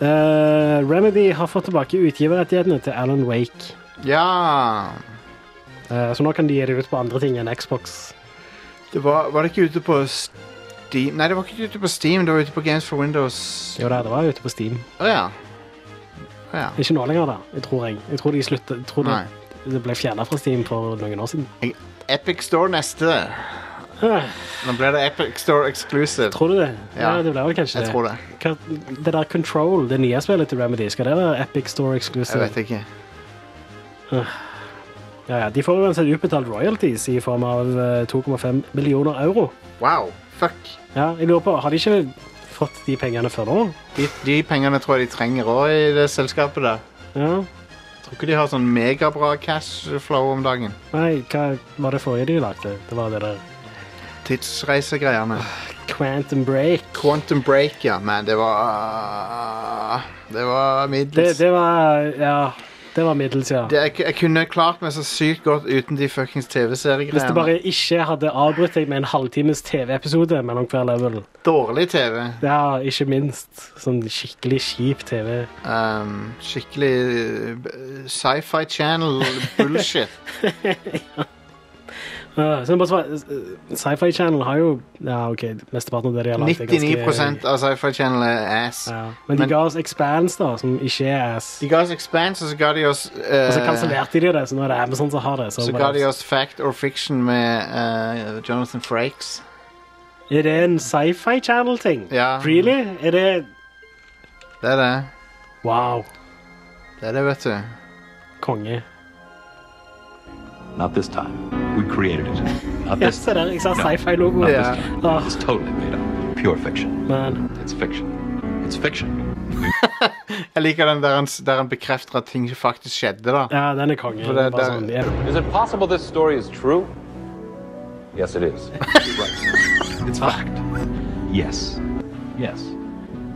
S2: Eh, Remedy har fått tilbake utgiverrettighetene til Alan Wake.
S1: Ja
S2: Eh, så nå kan de gi det ut på andre ting enn Xbox.
S1: det var, var det ikke ute på Steam Nei, det var ikke ute på Steam, det var ute på Games for Windows. Å
S2: Jo da, det var ute på Steam.
S1: ja. Å ja.
S2: Ikke nå lenger, da. Jeg tror, jeg. Jeg tror, de sluttet, jeg tror det,
S1: Nei.
S2: det ble fjerna fra Steam for noen år siden.
S1: Epic Store neste.
S2: Eh,
S1: Nå ble det Epic Store exclusive.
S2: Tror du det? Ja,
S1: Ja,
S2: det ble vel kanskje
S1: Jeg tror det.
S2: Hva, det der Control, det nye spillet til Remedy, skal det være Epic Store
S1: Jeg
S2: Exclusive?
S1: vet ikke.
S2: Ja, ja. De får uansett utbetalt royalties i form av eh, 2,5 millioner euro.
S1: Wow. Fuck.
S2: Ja, jeg lurer på, Har de ikke fått de pengene før nå?
S1: De, de pengene tror jeg de trenger òg i det selskapet der.
S2: Ja.
S1: Tror ikke de har sånn megabra cash flow om dagen.
S2: Nei, hva var det forrige de lagde? Det var det der
S1: Tidsreisegreiene.
S2: Quantum Break.
S1: Quantum Break, ja. Men det var Det var middels.
S2: Det, det var Ja. Det var middels, ja.
S1: Det- jeg, jeg kunne klart meg så sykt godt uten de fuckings
S2: Hvis det
S1: TV-seriegreiene.
S2: bare ikke hadde avbrutt deg med en halvtimes TV-episode mellom hver level.
S1: Dårlig TV.
S2: Det er ikke minst sånn skikkelig kjip TV.
S1: Um, skikkelig eh, sci-fi channel bullshit.
S2: [laughs] Uh, så det er bare sånn, uh, Sci-Fi Channel har jo Ja, OK, mesteparten av det de har lagd, er ganske-
S1: 99 av sci-fi channel er ass.
S2: ja. Men de
S1: Men-
S2: ga oss Expanse, da, som ikke er ass.
S1: De ga oss Expanse, og så ga de oss eh,
S2: Og så kansellerte de det, så nå er det Amazon som har det.
S1: Så ga de oss Fact or Fiction med eh, Jonathan Frakes.
S2: Er det en Sci-Fi Channel-ting?
S1: Ja.
S2: Really? Er det
S1: Det er det.
S2: Wow.
S1: Det er det, vet du.
S2: Konge.
S5: Not this time. We created it. Not
S2: Ja,
S5: this
S2: se
S5: time.
S2: der. Jeg sa
S5: No.
S2: sci-fi logo.
S5: Not
S1: Yeah.
S5: this time.
S2: Ah.
S5: It's totally made up. Pure fiction.
S2: Men
S5: It's fiction. It's fiction.
S1: Jeg liker den der han, der han bekrefter at ting faktisk skjedde, da.
S2: ja, den er konge.
S1: For
S2: Det er
S1: det-
S2: bare
S1: det-
S2: sånn, ja.
S6: Is it possible this story is true? Yes, it is.
S5: It's fact. Yes. Yes.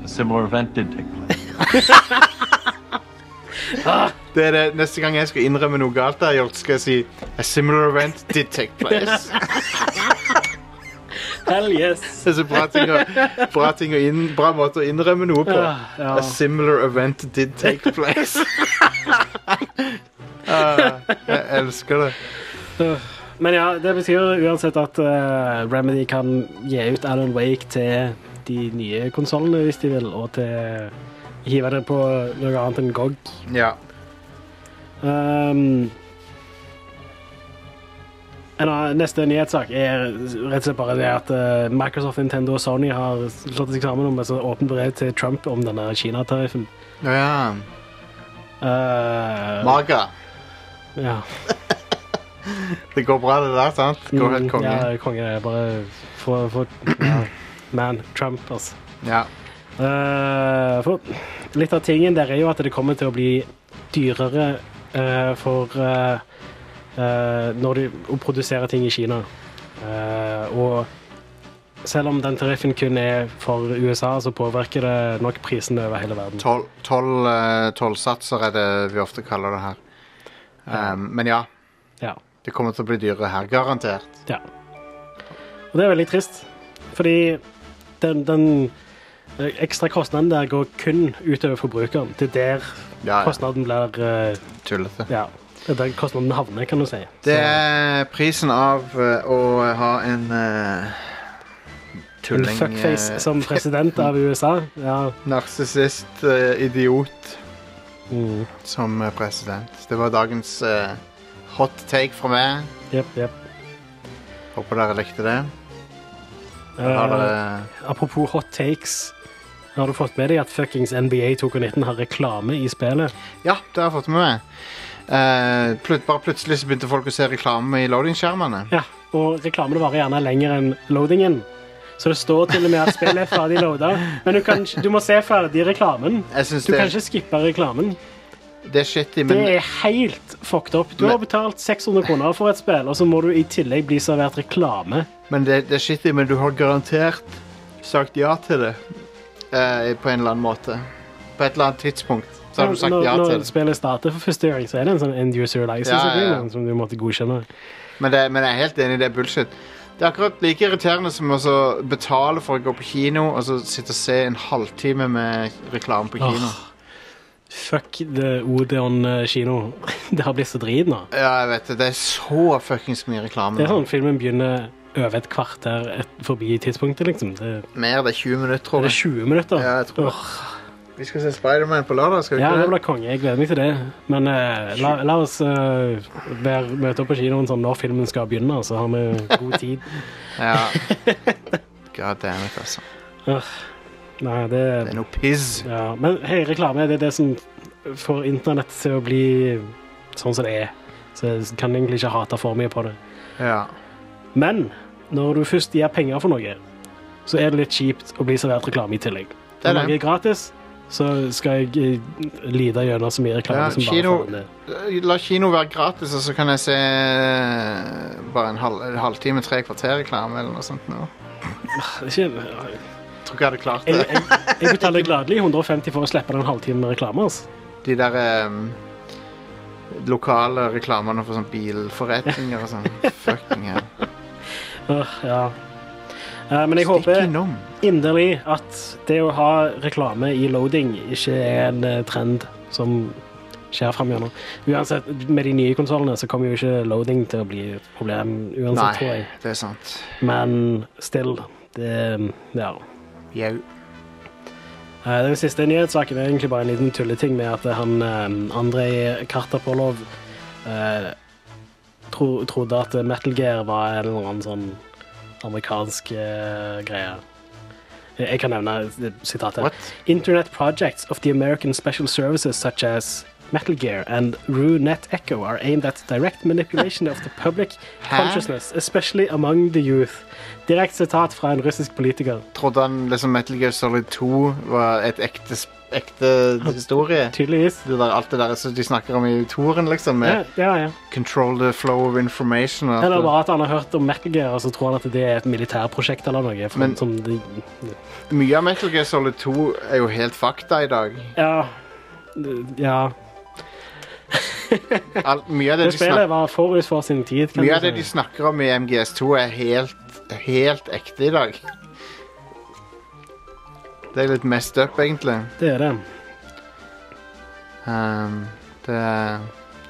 S5: A similar event did take place.
S1: Det er det Neste gang jeg skal innrømme noe galt, jeg har gjort, skal jeg si A similar event did take place.
S2: [laughs] Hell yes.
S1: Det er så bra ting å, bra ting å inn, bra måte å innrømme noe på.
S2: Ah, ja. [laughs]
S1: A similar event did take place. Ah, Jeg elsker det.
S2: Men ja, det betyr uansett at eh, Remedy kan gi ut Alan Wake til de nye konsollene hvis de vil, og til hive det på noe annet enn GOG.
S1: Ja.
S2: Um, en annen, neste nyhetssak er rett og slett bare det at eh, Microsoft, Nintendo og Sony har slått seg sammen om et sånt åpent brev til Trump om denne Kina-tariffen.
S1: Å ja.
S2: Eh,
S1: Maga.
S2: ja.
S1: Det går bra, det der, sant? Går helt konge.
S2: Mm, Ja, konge. det er Bare få få- ja. Man, Trump, altså.
S1: Ja.
S2: Eh, for litt av tingen der er jo at det kommer til å bli dyrere eh, for eh, eh, når du, å produsere ting i Kina. Eh, og selv om den tariffen kun er for USA, så påvirker det nok prisene over hele verden.
S1: Tolv tol, eh, tollsatser er det vi ofte kaller det her. Um, men ja,
S2: Ja.
S1: det kommer til å bli dyrere her. Garantert.
S2: Ja. Og det er veldig trist, fordi den, den ekstra kostnaden der går kun utover forbrukeren. Det er der
S1: Ja, ja.
S2: kostnaden blir eh,
S1: Tullete.
S2: Ja, det er der kostnaden havner, kan du si.
S1: Det er prisen av eh, å ha en eh,
S2: En
S1: tulling
S2: fuckface som president av USA. Ja.
S1: Narsissist, eh, idiot
S2: Mm.
S1: som eh, president. Det var dagens eh, hot take fra meg.
S2: Jepp, jepp.
S1: Håper dere likte det. Har
S2: Eh,
S1: dere
S2: apropos hot takes. Har du fått med deg at fuckings NBA 2K19 har reklame i spillet?
S1: Ja, det har jeg fått med meg. Eh, plut, bare plutselig så begynte folk å se reklame i loading-skjermene.
S2: Ja, og reklamene varer gjerne lenger enn loadingen. Så det står til og med at spillet er ferdig loada, men du, kan, du må se ferdig reklamen.
S1: Jeg synes
S2: Du
S1: det,
S2: kan ikke skippe reklamen.
S1: det er shitty,
S2: Det
S1: men
S2: er helt fucked up. Du har
S1: Men-
S2: betalt 600 kroner for et spill, og så må du i tillegg bli servert reklame.
S1: Men det, det er shitty, men du har garantert sagt ja til det. eh, på en eller annen måte. På et eller annet tidspunkt så har du sagt
S2: når,
S1: ja til
S2: når
S1: det.
S2: spillet starter for første gang, så er det en sånn end user license
S1: Ja, ja, ja.
S2: agreement som du måtte godkjenne.
S1: Men, det. men jeg er helt enig, det er bullshit. Det er akkurat like irriterende som å så betale for å gå på kino og så sitte og se en halvtime med reklame på kino.
S2: Åh. Fuck the Odeon eh, kino. [laughs] Det har blitt så drit nå.
S1: Ja, jeg vet det. Det er så fuckings mye reklame.
S2: Det er
S1: nå.
S2: sånn filmen begynner over et kvarter et, forbi tidspunktet, liksom. Det,
S1: Mer, det er 20 minutter, tror
S2: det er
S1: jeg.
S2: 20 minutter.
S1: Ja, jeg tror det.
S2: Åh.
S1: Vi skal se Spiderman på lørdag, skal vi
S2: Ja, det
S1: ikke det?
S2: blir konge. Jeg gleder meg til det. Men eh, la, la oss eh, være, møte opp på kinoen sånn når filmen skal begynne, så har vi god tid.
S1: Ja. God damn it, altså.
S2: Nei, det
S1: Det er noe piss.
S2: ja. Men hei, reklame det er det som får internett til å bli sånn som det er. Så jeg kan egentlig ikke hate for mye på det.
S1: Ja.
S2: Men når du først gir penger for noe, så er det litt kjipt å bli servert reklame i tillegg.
S1: Det er
S2: Når noe
S1: det.
S2: er gratis, så skal jeg eh, lide gjennom så mye reklame
S1: Ja,
S2: som bare
S1: kino-
S2: faen det.
S1: Eh, La kino være gratis, og så kan jeg se eh, bare en, halv, en halvtime, tre kvarter reklame eller noe sånt. Nå.
S2: Ikke,
S1: Tror ikke jeg hadde klart
S2: Jeg,
S1: det.
S2: jeg, jeg betaler gladelig 150 for å slippe den halvtimen med reklame. Altså.
S1: De der em, lokale reklamene for sånn bilforretninger og sånn. [laughs] Fucking hell.
S2: Åh, ja. Eh, men jeg
S1: Stikk
S2: håper
S1: innom.
S2: inderlig at det å ha reklame i loading ikke er en eh, trend som skjer framover. Uansett, med de nye konsollene så kommer jo ikke loading til å bli et problem uansett, Altså, tror
S1: Nei,
S2: jeg.
S1: det er sant.
S2: Men still, det eh, Ja.
S1: Jau.
S2: Eh, Den siste nyhetssaken er egentlig bare en liten tulleting med at han eh, Andrej Kartapolov eh, tro, trodde at Metal Gear var en eller annen sånn amerikansk eh, greie. Jeg jeg kan nevne eh, sitatet.
S1: What?
S2: Internet projects of the American Special Services such as Metal Gear and RuNet Echo are aimed at direct manipulation of the public
S1: Hæ?
S2: consciousness, especially among the youth. Direkte sitat fra en russisk politiker.
S1: Trodde han liksom Metal Gear Solid 2 var et ekte, sp- ekte historie?
S2: Tydeligvis.
S1: Det der, alt det der som de snakker om i toren, liksom. Med
S2: Ja, ja, ja.
S1: control the flow of information. og alt
S2: Eller
S1: det der.
S2: bare at han har hørt om Metal Gear, og så tror han at det er et militærprosjekt eller noe. For
S1: Men-
S2: som de,
S1: Mye av Metal Gear Solid 2 er jo helt fakta i dag.
S2: ja, ja.
S1: Alt, mye, av det
S2: Det
S1: de
S2: spillet
S1: snak,
S2: var forut for sin tid. Kan
S1: mye av
S2: du
S1: det de
S2: si.
S1: snakker om i MGS2, er helt, helt ekte i dag. Det er litt messed up, egentlig.
S2: Det er det.
S1: Ehm, Um, det er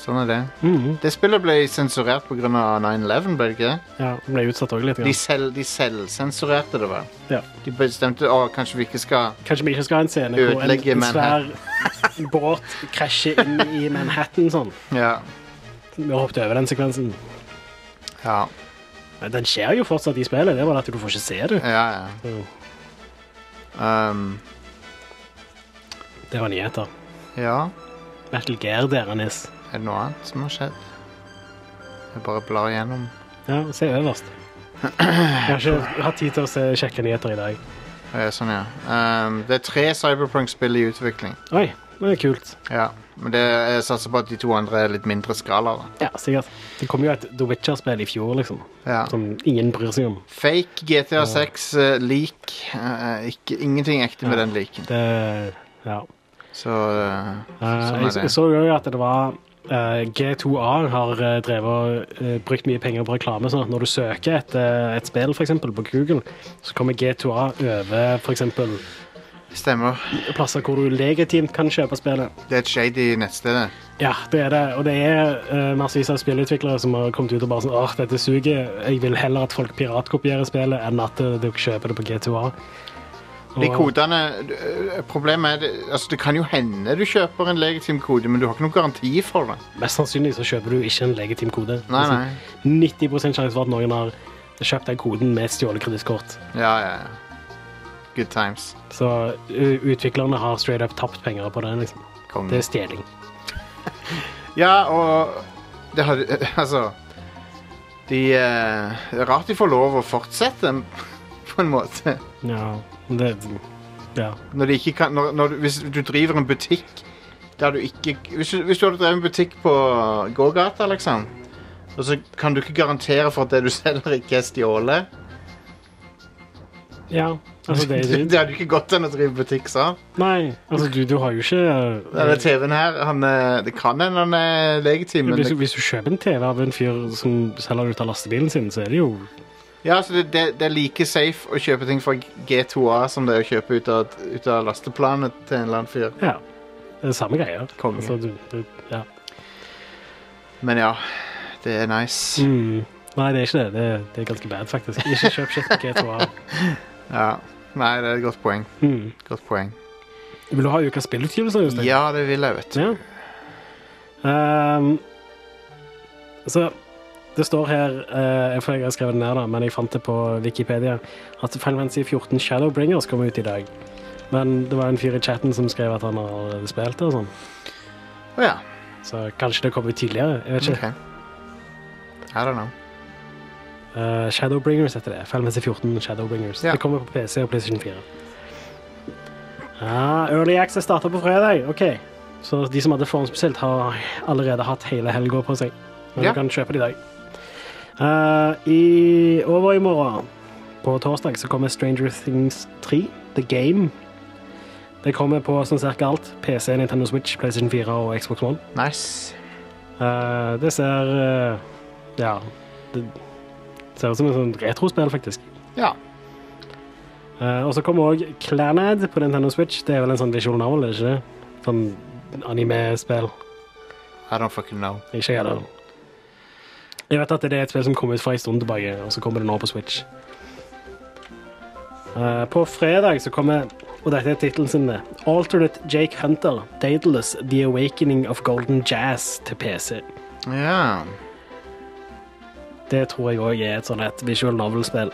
S1: Sånn er det.
S2: Mhm.
S1: Det spillet ble sensurert pga. 9-11, ble det ikke? det?
S2: Ja, den ble utsatt òg litt.
S1: De
S2: Grann.
S1: selv- de selvsensurerte det, vel?
S2: Ja.
S1: De bestemte å, kanskje vi ikke skal
S2: Kanskje vi ikke skal ha en scene hvor en,
S1: Ødelegge
S2: en svær båt krasjer inn i Manhattan sånn.
S1: Ja.
S2: Vi har hoppet over den sekvensen.
S1: Ja,
S2: Men Den skjer jo fortsatt i spillet, det er bare at du får ikke se det.
S1: ja. ja. Um,
S2: Det var nyheter.
S1: ja.
S2: Metal Gear der, Anis.
S1: Er det noe annet som har skjedd? Jeg bare blar gjennom.
S2: Ja, se øverst. Jeg har ikke hatt tid til å se, sjekke nyheter i dag.
S1: Ja, sånn, ja. Um, det er tre Cyberpunk-spill i utvikling.
S2: Oi, det er kult.
S1: Ja, Men det, jeg satser på at de to andre er litt mindre skala. da.
S2: Ja, sikkert. Det kom jo et The Witcher-spill i fjor, liksom.
S1: Ja.
S2: Som ingen bryr seg om.
S1: Fake GTA 6 uh, leak. Uh, ikke, ingenting ekte med den leaken.
S2: Det, ja.
S1: Så uh,
S2: Eh,
S1: sånn
S2: jeg,
S1: er det.
S2: jeg så jo at det var eh, G2A har eh, drevet og eh, brukt mye penger på reklame. sånn at Når du søker et, eh, et spill for eksempel, på Google, så kommer G2A over for eksempel,
S1: Stemmer.
S2: plasser hvor du legitimt kan kjøpe spillet.
S1: Det er et shady nettsted. det.
S2: Ja, det er det. Og det er eh, massevis av spillutviklere som har kommet ut og bare sånn Åh, dette suger. Jeg vil heller at folk piratkopierer spillet enn at eh, dere kjøper det på G2A.
S1: De
S2: Og-
S1: kodene øh, Problemet er det, altså, det kan jo hende du kjøper en legitim kode, men du har ikke noen garanti for det.
S2: Mest sannsynlig så kjøper du ikke en legitim kode.
S1: Nei,
S2: Altså, 90 sjanse for at noen har kjøpt den koden med et stjålet kredittkort.
S1: Ja, ja, ja. Good times.
S2: Så u- utviklerne har straight up tapt penger på den. liksom. Det
S1: Konge.
S2: er stjeling.
S1: Ja, og det hadde [laughs] Altså De eh, Det er rart de får lov å fortsette, [laughs] på en måte.
S2: Ja, det, ja.
S1: Når de ikke kan når, når du, Hvis du driver en butikk der du ikke Hvis du, hvis du hadde drevet en butikk på gågata, liksom, og så kan du ikke garantere for at det du [laughs] selger, ikke er stjålet
S2: ja altså
S1: [laughs]
S2: det,
S1: Det,
S2: det,
S1: hadde jo ikke gått an å drive butikk sånn.
S2: Nei, altså du, du har jo ikke
S1: Denne TV-en her, han, eh, det kan hende han er legitim, men
S2: hvis, du-
S1: det,
S2: hvis du kjøper en TV av en fyr som selger den ut av lastebilen sin, så er det jo
S1: ja, så det, det, det er like safe å kjøpe ting fra G2A som det er å kjøpe ut av, ut av lasteplanet til en eller annen fyr.
S2: ja, det er samme greia.
S1: Konge.
S2: Altså, du, du, ja.
S1: Men ja, det er nice.
S2: mm. Nei, det er ikke det. Det, det er ganske bad, faktisk. Ikke kjøp shit på
S1: [laughs]
S2: G2A.
S1: Ja. Nei, det er et godt poeng.
S2: Mm.
S1: Godt poeng.
S2: Vil du ha ukas spillutgivelse, Jostein?
S1: Ja, det vil jeg, vet du.
S2: Ja. Ehm, så det står her eh, Jeg får jeg har skrevet det ned, da, men jeg fant det på Wikipedia. At Final Fantasy 14 Shadowbringers kommer ut i dag. Men det var en fyr i chatten som skrev at han har spilt det og sånn.
S1: Å ja.
S2: Så kanskje det kommer ut tidligere. Jeg vet ikke.
S1: OK. I don't know.
S2: Eh, Shadowbringers heter det. Final Fantasy 14 Shadowbringers.
S1: Ja.
S2: Det kommer på PC og PlayStation 4. Ah, Early Access starter på fredag. Ok. Så de som hadde forhåndsbestilt, har allerede hatt hele helga på seg. Men
S1: Ja.
S2: du kan kjøpe det i dag. Eh, i, over i morgen, på torsdag, så kommer Stranger Things 3, The Game. Det kommer på sånn cirka alt. PC, Nintendo Switch, PlayStation 4 og Xbox One.
S1: Nice.
S2: Eh, det ser eh, Ja. Det ser ut som et sånt retrospill, faktisk.
S1: Ja.
S2: Eh, og så kommer òg Clanad på Nintendo Switch. Det er vel en sånn visual novel, er det ikke det? Sånn anime-spill.
S1: I don't fucking know.
S2: Ikke jeg heller. Jeg vet at det er et spill som kom ut for en stund tilbake, og så kommer det nå på Switch. Eh, på fredag så kommer og dette er tittelen sin, det. Alternate Jake Hunter, Daedalus, The Awakening of Golden Jazz til PC.
S1: Ja.
S2: Det tror jeg òg er et sånn et visual novel-spill.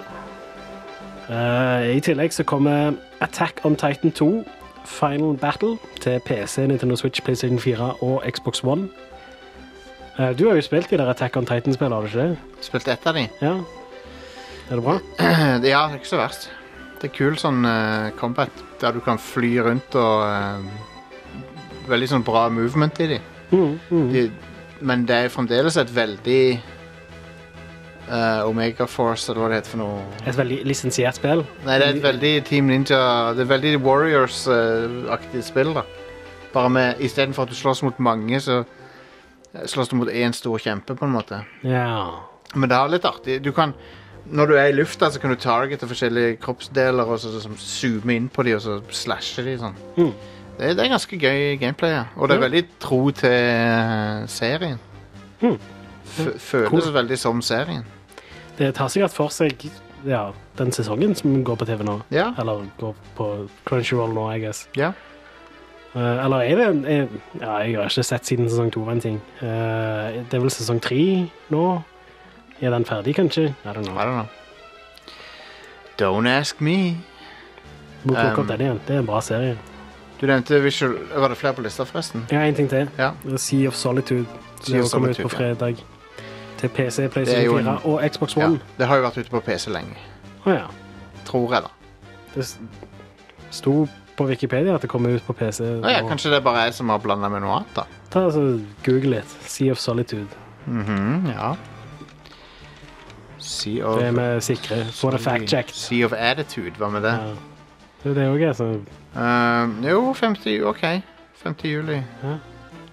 S2: Eh, I tillegg så kommer Attack on Titan 2, Final Battle, til PC, Nintendo Switch, PlayStation 4 og Xbox One. Eh, du har jo spilt de der Attack on Titan-spillene, har du ikke det?
S1: Spilte ett av de.
S2: Ja. Er det bra?
S1: Eh, Ja, det er ikke så verst. Det er kul sånn eh, combat der du kan fly rundt og eh, Veldig sånn bra movement i de.
S2: Mm, mm.
S1: de men det er fremdeles et veldig eh, Omega Force, eller hva det heter for noe
S2: Et veldig lisensiert spill.
S1: Nei, det er
S2: Mm.
S1: et veldig Team Ninja Det er veldig Warriors-aktig spill, da. Bare med Istedenfor at du slåss mot mange, så eh, slåss du mot én stor kjempe, på en måte.
S2: Ja.
S1: Men det er litt artig. Du kan, når du er i lufta, så kan du targete forskjellige kroppsdeler og så, så, så zoome inn på de og så slashe de sånn.
S2: Mm.
S1: Det, det er ganske gøy gameplay, ja. Og det er
S2: Ja.
S1: veldig tro til eh, serien. F føles
S2: Mm. Cool.
S1: veldig som serien.
S2: Det tar sikkert for seg ja, den sesongen som går på TV nå.
S1: Ja.
S2: Eller går på Crunchyroll nå, I guess.
S1: Ja.
S2: Eh, eller er det en er, Ja, jeg har ikke sett siden sesong to, var en ting. Eh, det er vel sesong tre nå? Er den ferdig, kanskje? I don't
S1: I
S2: know.
S1: don't know. Don't ask me.
S2: Må plukke
S1: Um,
S2: opp den igjen. Det er en bra serie.
S1: Du nevnte visual Var det flere på lista, forresten?
S2: Jeg har en ting til.
S1: Ja.
S2: Sea of Solitude.
S1: Sea
S2: Det
S1: of
S2: kommer ut
S1: Solitude,
S2: på
S1: ja.
S2: fredag. Til PC,
S1: Det er jo
S2: PlayStation 4
S1: en-
S2: og Xbox
S1: ja.
S2: One.
S1: Det har jo vært ute på PC lenge.
S2: Å ja.
S1: Tror jeg, da.
S2: Det s- sto på Wikipedia at det kommer ut på PC.
S1: Å ja,
S2: og-
S1: kanskje det er bare jeg som har blanda med noe annet, da.
S2: Ta altså, Google litt. Sea of Solitude.
S1: Mhm, ja. Sea of
S2: Det er vi sikre. Få det fact-checked.
S1: Sea of Attitude, hva med det?
S2: Ja. Det er det òg, altså.
S1: Ehm, jo, 50 ju- OK. 50 juli.
S2: Det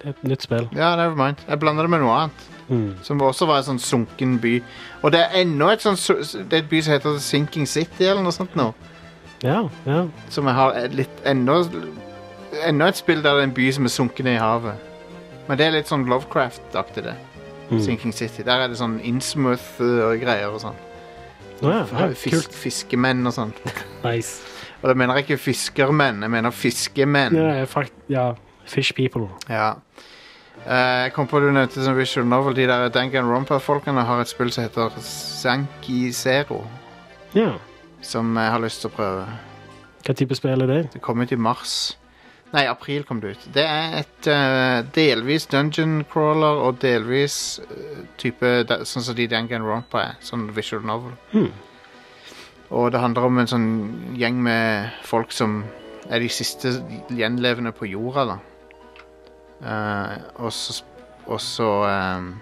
S2: er et nytt spill.
S1: Ja, never mind. Jeg blander det med noe annet.
S2: Mm.
S1: Som også var en sånn sunken by. Og det er ennå et sånt su- Det er et by som heter Sinking City eller noe sånt nå.
S2: Ja, ja.
S1: Som jeg har et litt ennå Ennå et spill der det er en by som er sunken i havet. Men det er litt sånn Lovecraft-aktig, det.
S2: Mm.
S1: Sinking City. Der er det sånn Innsmouth-greier og sånn.
S2: Å ja, ja,
S1: Fisk,
S2: kult.
S1: fiskemenn og sånn.
S2: Nice.
S1: Og da mener jeg ikke fiskermenn, jeg mener fiskemenn.
S2: Ja, jeg fakt ja. Fish People.
S1: Ja. Eh, Jeg kom på du nevnte som visual novel. De der Danganronpa-folkene har et spill som heter Sanki Zero.
S2: Ja.
S1: Som jeg har lyst til å prøve.
S2: Hva type spill er det?
S1: Det kom ut i mars. Nei, april kom det ut. Det er et eh, delvis dungeon crawler og delvis eh, type da- sånn som de Danganronpa er. Sånn visual novel.
S2: Hmm.
S1: Og det handler om en sånn gjeng med folk som er de siste gjenlevende på jorda, da. Eh, og så, sp- og så ehm,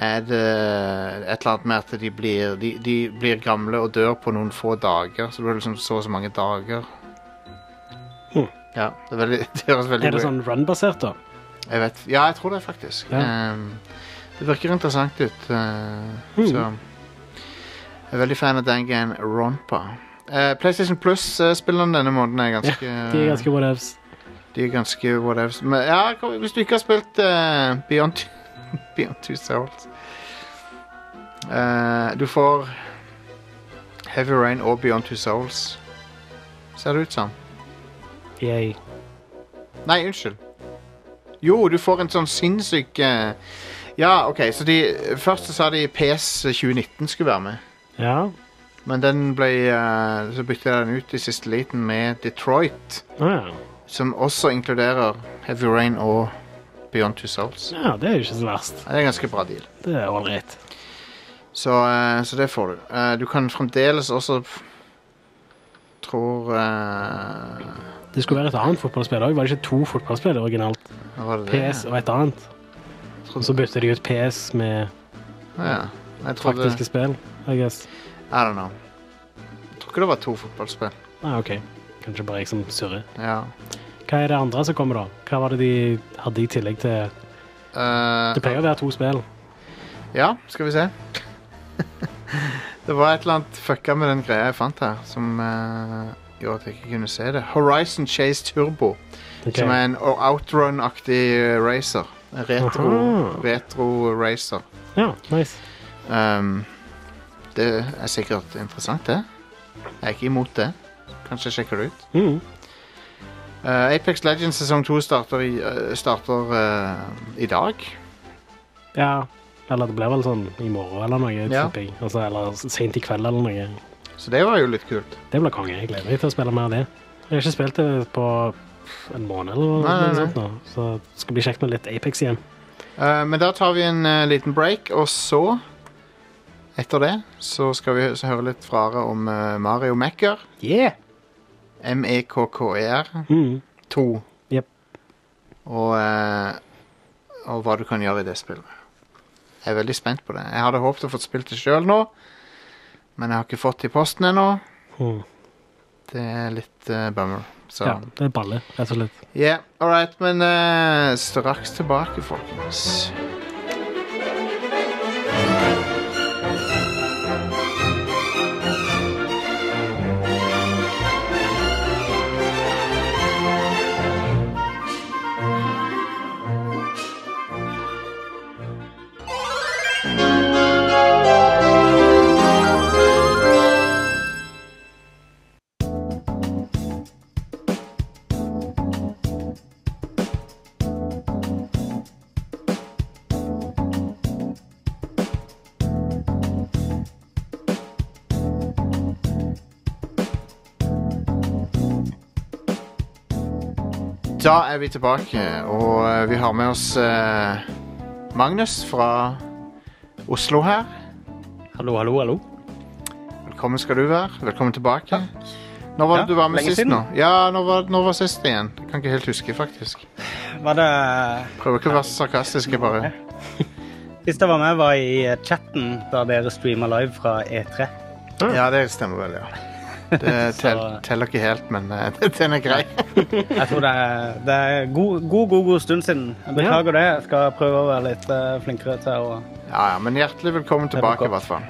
S1: er det et eller annet med at de blir, de, de blir gamle og dør på noen få dager. Så det er liksom så og så mange dager.
S2: Hmm.
S1: Ja, det, er veldig, [laughs] det høres veldig
S2: Er det sånn run-basert, da?
S1: jeg vet, ja, jeg tror det faktisk.
S2: Ja.
S1: Ehm, det virker interessant ut. eh,
S2: Mhm.
S1: Så jeg er veldig fan av Dangan Rompa. Eh, PlayStation Plus-spillerne denne måneden er ganske
S2: De er ganske whatevs.
S1: de er ganske whatevs. Men ja, kom- hvis du ikke har spilt eh, Beyond, Two- [laughs] Beyond Two Souls eh, Du får Heavy Rain og Beyond Two Souls, ser det ut som.
S2: Yay.
S1: Nei, unnskyld. Jo, du får en sånn sinnssyk eh, Ja, OK, så de Først så sa de PS 2019 skulle være med.
S2: Ja.
S1: Men den ble eh, Så bytta jeg den ut i siste liten med Detroit.
S2: Å ja.
S1: Som også inkluderer Heavy Rain og Beyond Two Souls.
S2: ja. Det er jo ikke så verst.
S1: Ja, Det er en ganske bra deal.
S2: Det er ålreit.
S1: Så, eh, så det får du. Eh, du kan fremdeles også f- Tror eh,
S2: Det skulle være et annet fotballspill òg. Var det ikke to fotballspill originalt?
S1: hva var det det?
S2: PS og et annet. Og så bytter de ut PS med
S1: Ja, jeg trodde
S2: praktiske spill, I guess.
S1: I don't know. Jeg tror ikke det var to fotballspill.
S2: Ah, OK. Kanskje bare jeg som surrer.
S1: Ja.
S2: Hva er det andre som kommer, da? Hva var det de hadde i tillegg til
S1: Eh,
S2: Det pleier å være to spill.
S1: ja, skal vi se. det var et eller annet fucka med den greia jeg fant her, som eh, gjorde at jeg ikke kunne se det. Horizon Chase Turbo,
S2: Ok.
S1: som er en o- outrun-aktig eh, racer. En Retro,
S2: Aha.
S1: retro racer.
S2: Ja, nice.
S1: Um, det er sikkert interessant, det. Jeg er ikke imot det. Kanskje jeg sjekker det ut.
S2: Mm.
S1: Eh, Apex Legends sesong 2 starter, i, eh, starter eh, i dag.
S2: Ja. Eller det blir vel sånn i morgen eller noe.
S1: Ja.
S2: tipper jeg. Altså, eller sent i kveld eller noe.
S1: Så det var jo litt kult.
S2: Det blir konge. Jeg gleder meg til å spille mer av det. Jeg har ikke spilt det på en måned eller noe,
S1: Nei, nei, nei.
S2: sånt nå, så det skal bli kjekt med litt Apex igjen.
S1: Eh, men da tar vi en eh, liten break, og så Etter det så skal vi hø- så høre litt fra Are om eh, Mario Mekker. E
S2: Yeah!
S1: M-E-K-K-E-R
S2: Mm.
S1: 2.
S2: Jep.
S1: Og, eh, og hva du kan gjøre i det spillet. Jeg er veldig spent på det. Jeg hadde håpet å få spilt det sjøl nå, men jeg har ikke fått det i posten ennå.
S2: Mm.
S1: Det er litt eh, bummer. Så
S2: Ja, det er balle, rett og slett.
S1: Yeah, all right, men eh, straks tilbake, folkens. Da er vi tilbake, og eh, vi har med oss eh, Magnus fra Oslo her.
S2: Hallo, hallo, hallo.
S1: Velkommen skal du være. Velkommen tilbake. Når var det
S7: Ja,
S1: du var med
S7: lenge
S1: sist
S7: siden.
S1: nå? Ja, når var, når var sist igjen? Jeg kan ikke helt huske, faktisk.
S7: Var det
S1: Prøver ikke å være sarkastisk, jeg bare.
S7: Sist jeg var med, var i eh, chatten da dere streama live fra E E3.
S1: Ja, det stemmer vel, ja. Det
S7: [laughs]
S1: tel, teller ikke helt, men eh, [laughs] den er grei.
S7: Jeg tror det er, det er god, god, god, god stund siden. Jeg beklager det. Jeg skal prøve å være litt eh, flinkere til å
S1: Ja, ja, men hjertelig velkommen tilbake, i hvert fall.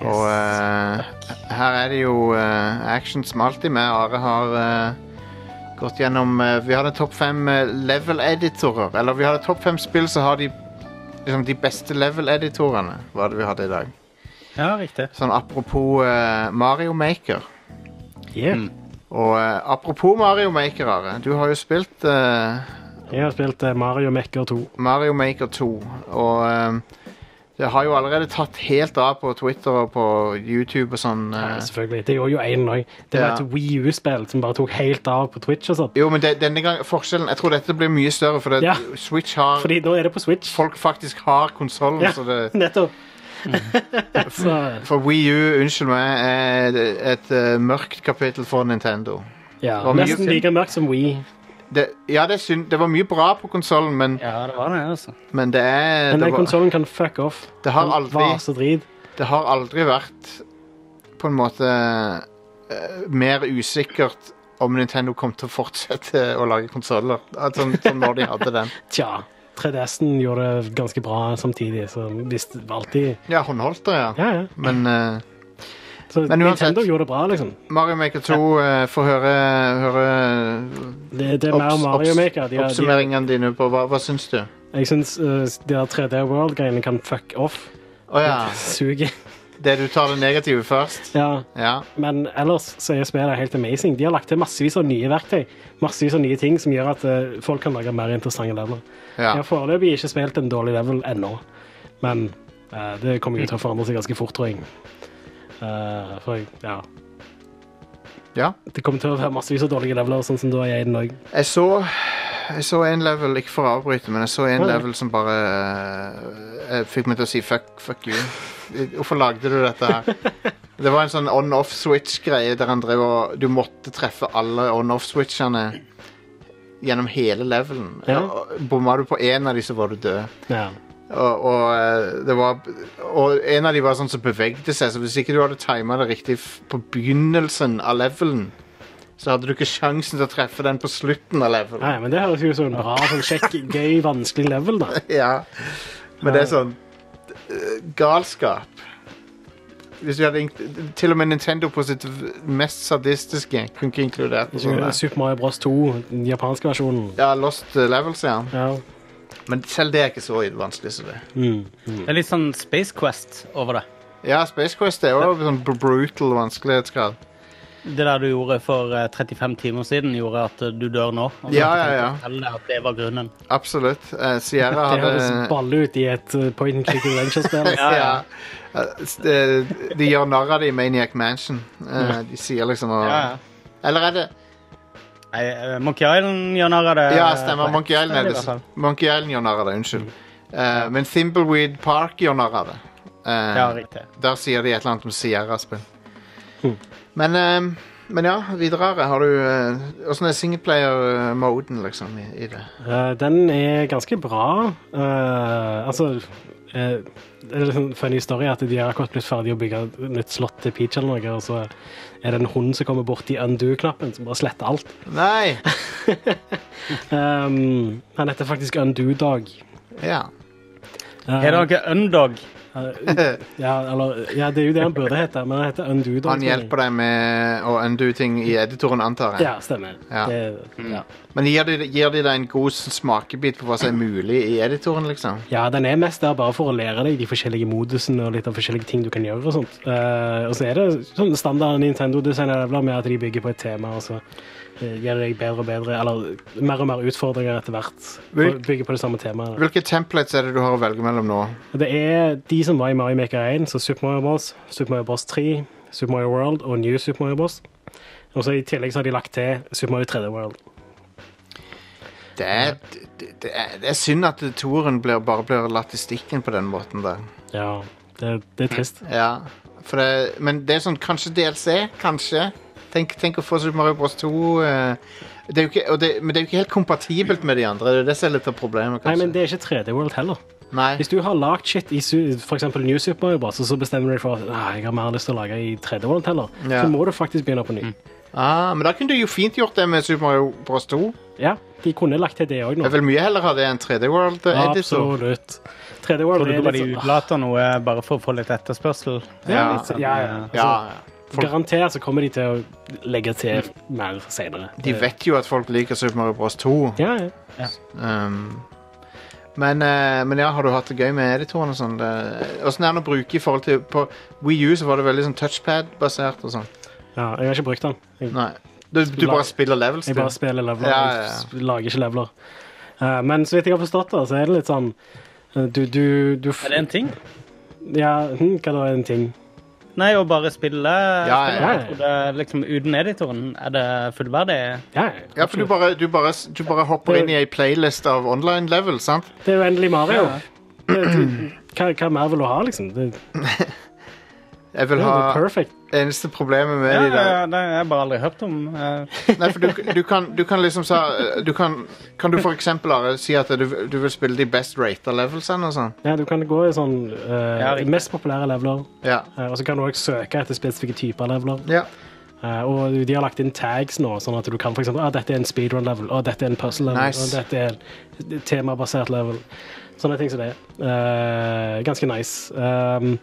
S1: Og eh, her er det jo eh, action som alltid med. Are har eh, gått gjennom eh, Vi hadde topp fem eh, level-editorer. Eller vi hadde topp fem spill som har de, liksom, de beste level-editorene. Var det vi hadde i dag.
S7: Ja, riktig.
S1: Sånn apropos eh, Mario Maker.
S2: Yeah.
S1: Og eh, apropos Mario Maker, Are. Du har jo spilt eh,
S2: Jeg har spilt eh, Mario Maker 2.
S1: Mario Maker 2. Og ehm, det har jo allerede tatt helt av på Twitter og på YouTube og sånn. eh.
S2: Ja, altså. selvfølgelig. Det gjorde jo én òg. Det
S1: Ja.
S2: var et Wii U-spill som bare tok helt av på Twitch og sånn.
S1: jo, men det, denne gang, forskjellen Jeg tror dette blir mye større, for det,
S2: Ja.
S1: Switch har
S2: Fordi nå er det på Switch.
S1: Folk faktisk har konsollen,
S2: Ja,
S1: så [laughs] det
S2: nettopp.
S1: [laughs]
S2: Så
S1: For Wii U, unnskyld meg, er et, et eh, mørkt kapittel for Nintendo.
S2: ja,
S1: Hva mye
S2: nesten
S1: film?
S2: like mørkt som Wii.
S1: Det, ja, det er synd. Det var mye bra på konsollen, men,
S7: Ja, det var det, altså.
S1: men det er
S2: Men
S1: det,
S2: den
S1: var,
S2: konsollen kan fuck off.
S1: det har
S2: Den
S1: aldri
S2: Vase drit.
S1: Det har aldri vært på en måte eh, mer usikkert om Nintendo kom til å fortsette [laughs] å lage konsoller. Sånn, sånn når de hadde den.
S2: Tja. 3DS-en gjorde det ganske bra samtidig, så visst alltid
S1: Ja, håndholdt det, ja.
S2: Ja, ja.
S1: Men eh,
S2: Så
S1: Men uansett-
S2: Nintendo gjorde det bra, liksom.
S1: Mario Maker 2 eh, får høre, høre
S2: Det, det er mer
S1: obs-
S2: Mario
S1: obs-
S2: Maker. De, har- de,
S1: oppsummeringene dine på Hva, hva syns du? Å
S2: jeg syns eh, de der 3D World-greiene kan fuck off.
S1: ja.
S2: [laughs] Suger.
S1: Det du tar det negative først?
S2: Ja.
S1: Ja.
S2: Men ellers så er spillet helt amazing. De har lagt til massevis av nye verktøy. Massevis av nye ting som gjør at eh, folk kan lage mer interessante leveler.
S1: ja.
S2: Jeg har foreløpig ikke spilt en dårlig level ennå, men eh, det kommer jo til å forandre seg ganske fort, tror jeg. Eh, for jeg, ja.
S1: ja.
S2: Det kommer til å være massevis av dårlige leveler, sånn som da jeg er i den òg.
S1: Jeg så Jeg så en level, ikke for å avbryte, men jeg så en
S2: Ja.
S1: level som bare eh, fikk meg til å si fuck, fuck you. Hvorfor lagde du dette her? Det var en sånn on-off-switch-greie der han drev og Du måtte treffe alle on-off-switchene gjennom hele levelen.
S2: Ja.
S1: Og Bomma du på én av de, så var du død.
S2: Ja.
S1: Og, og, eh, det var, og en av de var sånn som bevegde seg, så hvis ikke du hadde tima det riktig f- på begynnelsen av levelen, så hadde du ikke sjansen til å treffe den på slutten av levelen.
S2: Nei, men det høres jo ut som en bra, sånn kjekk, [laughs] gøy, vanskelig level, da.
S1: Ja. Men det er sånn eh, galskap. Hvis vi hadde ink- Til og med Nintendo på sitt v- mest sadistiske kunne ikke inkludert noe sånt. der.
S2: Super Mario Bros 2, den japanske versjonen.
S1: Ja, Lost eh, Levels, ja.
S2: Ja.
S1: Men selv det er ikke så vanskelig som det.
S2: Mm.
S7: Det er litt sånn Space Quest over det.
S1: Ja, Space Quest er jo sånn br- brutal vanskelighetsgrad.
S7: Det der du gjorde for eh, 35 timer siden, gjorde at eh, du dør nå. Og
S1: Ja,
S7: du
S1: ja, ja.
S7: forteller deg at det var grunnen.
S1: Absolutt. Eh, [laughs] Sierra
S2: Det
S1: hadde
S2: høres balle ut i et eh, point and click [laughs] adventure-spill.
S1: ja, Eh, s- eh, De gjør narr av det i Maniac Mansion. Eh, De sier liksom og...
S7: Ja, ja.
S1: Eller er det
S7: Nei, eh, Monkey Island gjør narr av det.
S1: Ja,
S7: eh,
S1: stemmer.
S7: på
S1: Monkey
S7: ett
S1: Island er
S7: sted i hvert fall. Mm.
S1: det. Monkey Island gjør narr av det. Unnskyld. Eh, men Thimbleweed Park gjør narr av det. Eh,
S7: Ja, riktig. Hm.
S1: der sier de et eller annet om Sierra-spill. Men, eh, men ja, videre har du eh, Åssen er singleplayer-moden, liksom, i, i
S7: [laughs]
S1: det?
S2: Eh, den er ganske bra. Eh, altså eh, Det er litt sånn funny story at de har akkurat blitt ferdig å bygge et nytt slott til Peach eller noe, og så er det en hund som kommer borti undo-knappen, som bare sletter alt.
S1: Nei!
S2: Um, han heter faktisk Undo-Dog.
S1: Ja.
S2: Eh,
S7: Er det noe Undog?
S2: ja, eller, ja, det er jo det han burde hete, men han heter Undo-Dog.
S1: Han hjelper deg med å undo ting i editoren, antar jeg.
S2: Ja, stemmer.
S1: Ja.
S2: Det, ja.
S1: Men gir de, gir de deg en god smakebit på hva som er mulig i editoren, liksom?
S2: Ja, den er mest der bare for å lære deg de forskjellige modusene og litt av forskjellige ting du kan gjøre og sånt. Eh, og så er det sånn standard Nintendo-design-leveler med at de bygger på et tema, og så eh, gir det deg bedre og bedre, eller mer og mer utfordringer etter hvert.
S1: Vil-
S2: Og Bygger på det samme temaet.
S1: Hvilke templates er det du har å velge mellom nå?
S2: Det er de som var i Mario Maker 1, så Super Mario Bros, Super Mario Bros 3, Super Mario World og New Super Mario Bros. Og så i tillegg så har de lagt til Super Mario 3D World.
S1: Det er, det, det er, det er synd at toeren blir, bare blir latt i stikken på den måten der.
S2: Ja, det, det er trist.
S1: Ja, for det, men det er sånn kanskje DLC, kanskje. Tenk, tenk å få Super Mario Bros. 2 eh, det er jo ikke, og det, Men det er jo ikke helt kompatibelt med de andre. Det er jo det som er litt av problemet,
S2: Nei,
S1: kanskje.
S2: men det er ikke 3D World heller.
S1: Nei.
S2: Hvis du har lagd shit i su- for eksempel New Super Mario Bros., og så bestemmer du deg for at «Nei, jeg har mer lyst til å lage i 3D World heller,
S1: Ja.
S2: så må du faktisk begynne på ny.
S7: Mm.
S1: Ah, men da kunne du jo fint gjort det med Super Mario Bros. 2.
S2: Ja, de kunne lagt til det òg nå.
S1: Jeg vil mye heller ha det enn 3D World eh, Editor.
S2: Absolutt. 3D World
S7: Tror du
S2: er
S7: ikke bare
S2: litt
S7: de
S2: sånn ah,
S7: utlater noe bare for å få litt etterspørsel? eh,
S1: Ja.
S2: litt sånn, ja, ja.
S1: Ja,
S2: Altså,
S1: ja.
S2: Garantert så kommer de til å legge til mer senere.
S1: de vet jo at folk liker Super Mario Bros. 2.
S2: Ja, ja.
S1: Um, men, eh, men ja, har du hatt det gøy med editoren og sånn? Det- Åssen er den å bruke i forhold til På Wii U så var det veldig sånn touchpad-basert og sånn.
S2: ja. Jeg har ikke brukt den. Jeg,
S1: Nei. Du, du bare spiller levels, du.
S2: jeg bare spiller leveler.
S1: Ja, ja, ja.
S2: Jeg lager ikke leveler. Eh, men så vidt jeg har forstått det, så er det litt sånn eh, du, du, du f-
S7: Er det en ting?
S2: Ja, hm, hva da er en ting?
S7: Nei, å bare spille
S1: Ja, ja,
S2: ja.
S7: Jeg tror det, er liksom, Uten editoren, er det fullverdig?
S2: Ja,
S1: Ja, for du bare, du bare, du bare hopper inn i ei playlist av online levels, sant?
S2: Det er jo endelig Mario. Det- du- Hva, hva mer vil du ha, liksom? Det,
S1: Jeg vil
S2: det er jo
S1: ha
S2: perfect.
S1: Eneste problemet med
S7: Ja,
S1: de
S7: ja,
S1: der
S7: ja, det har jeg bare aldri hørt om. Eh,
S1: Nei, for du, du, kan, du kan liksom sa du kan, kan du for eksempel Are, si at du, du vil spille de best rata levelsene og sånn?
S2: Ja, du kan gå i sånn eh,
S7: Ja, riktig.
S2: mest populære leveler,
S1: Ja.
S2: eh, og så kan du også søke etter spesifikke typer leveler.
S1: ja.
S2: Eh, og de har lagt inn tags nå, sånn at du kan f.eks. Ah, dette er en speedrun-level, og dette er en puzzle-level,
S1: Nice.
S2: og dette er en temabasert level. Sånne ting som det. Eh, ganske nice. Um,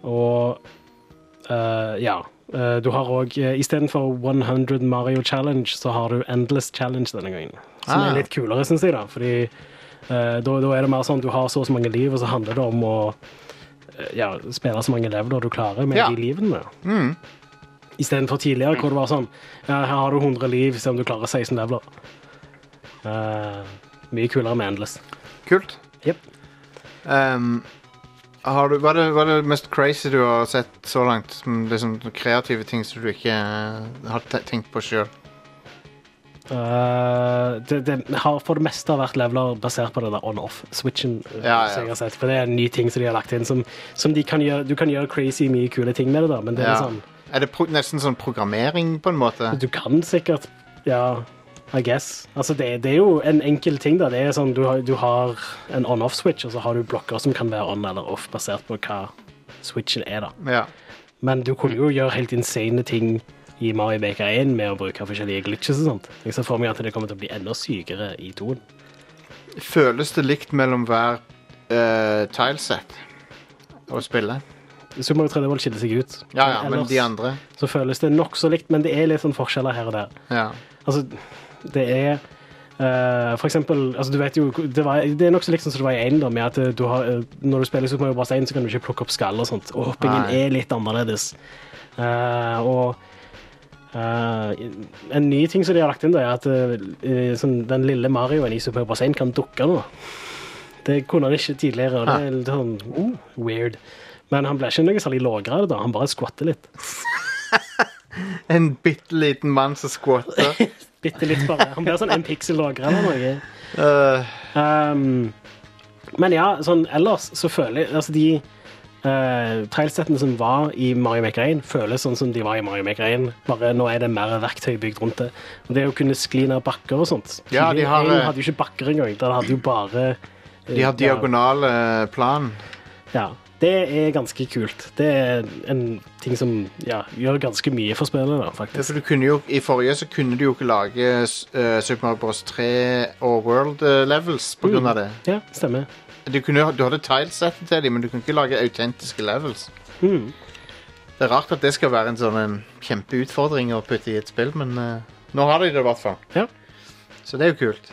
S2: og eh, ja. Eh, du har òg uh, istedenfor 100 Mario Challenge, så har du Endless Challenge denne gangen. Som
S1: Ah.
S2: er litt kulere, syns jeg, da. Fordi eh, da da er det mer sånn du har så og så mange liv, og så handler det om å eh, ja, spille så mange leveler du klarer med
S1: Ja. Mm.
S2: de livene. Istedenfor tidligere, hvor det var sånn ja, Her har du 100 liv, se om du klarer 16 leveler. Eh, mye kulere med Endless.
S1: Kult.
S2: Jep.
S1: Ehm, har du, hva, er det, hva er det mest crazy du har sett så langt? Som liksom kreative ting som du ikke eh, har te tenkt på sjøl?
S2: Eh, det, det har for det meste vært leveler basert på den der on-off-switchen. eh,
S1: Ja, ja.
S2: som jeg har sett, For det er en ny ting som de har lagt inn, som, som de kan gjøre, du kan gjøre crazy mye kule ting med det, da, men det er
S1: Ja.
S2: sånn
S1: Er det pro nesten sånn programmering, på en måte?
S2: Du kan sikkert Ja, I guess. Altså, det, det er jo en enkel ting, da. Det er sånn, du har, du har en on-off-switch, og så har du blokker som kan være on eller off, basert på hva switchen er, da.
S1: Ja.
S2: Men du kunne jo gjøre helt insane ting i Mario Maker 1 med å bruke forskjellige glitches og sånt. Jeg ser for meg at det kommer til å bli enda sykere i toen.
S1: Føles det likt mellom hver uh, tileset å spille?
S2: Så må jo 3D World skille seg ut.
S1: Ja ja, men
S2: Ellers
S1: de andre
S2: Så føles det nokså likt, men det er litt sånn forskjeller her og der.
S1: Ja.
S2: Altså, det er eh, for eksempel, altså du vet jo, det, var, det er nok så likt som det var i 1 da, med at eh, du har, eh, når du spiller Super Mario Bros. 1, så kan du ikke plukke opp skall og sånt, og hoppingen
S1: Nei.
S2: er litt annerledes. Eh, og eh, en ny ting som de har lagt inn da, er at eh, sånn, den lille Marioen i Super Mario Bros. 1 kan dukke nå. Det kunne han ikke tidligere, og det er litt sånn oh, weird. Men han ble ikke noe særlig lågere av det da, han bare skvatter litt.
S1: En bitte liten mann som
S2: [laughs]
S1: squatter.
S2: Bitte litt bare. Han blir sånn en pixel lågere eller noe.
S1: Eh,
S2: Um, men ja, sånn ellers så føler jeg Altså, de uh, trailsettene som var i Mario Maker 1, føles sånn som de var i Mario Maker 1, bare nå er det mer verktøy bygd rundt det. Og det å kunne skli ned bakker og sånt
S1: Ja, de har,
S2: Tidligere
S1: eh,
S2: hadde jo ikke bakker engang. Den hadde jo bare eh,
S1: de har
S2: ja,
S1: diagonale plan.
S2: Ja. Det er ganske kult. Det er en ting som ja, gjør ganske mye for spillet, da,
S1: Ja,
S2: faktisk.
S1: for du kunne jo, I forrige så kunne du jo ikke lage eh, Super Mario Bros. 3 og World eh, Levels
S2: Mm.
S1: på grunn av det.
S2: Ja, stemmer.
S1: Du, kunne, du hadde tilesettet til dem, men du kunne ikke lage autentiske levels. Hmm.
S2: Mm.
S1: Det er rart at det skal være en sånn en kjempeutfordring å putte i et spill, men eh, nå har de det i hvert fall.
S2: Ja.
S1: Så det er jo kult.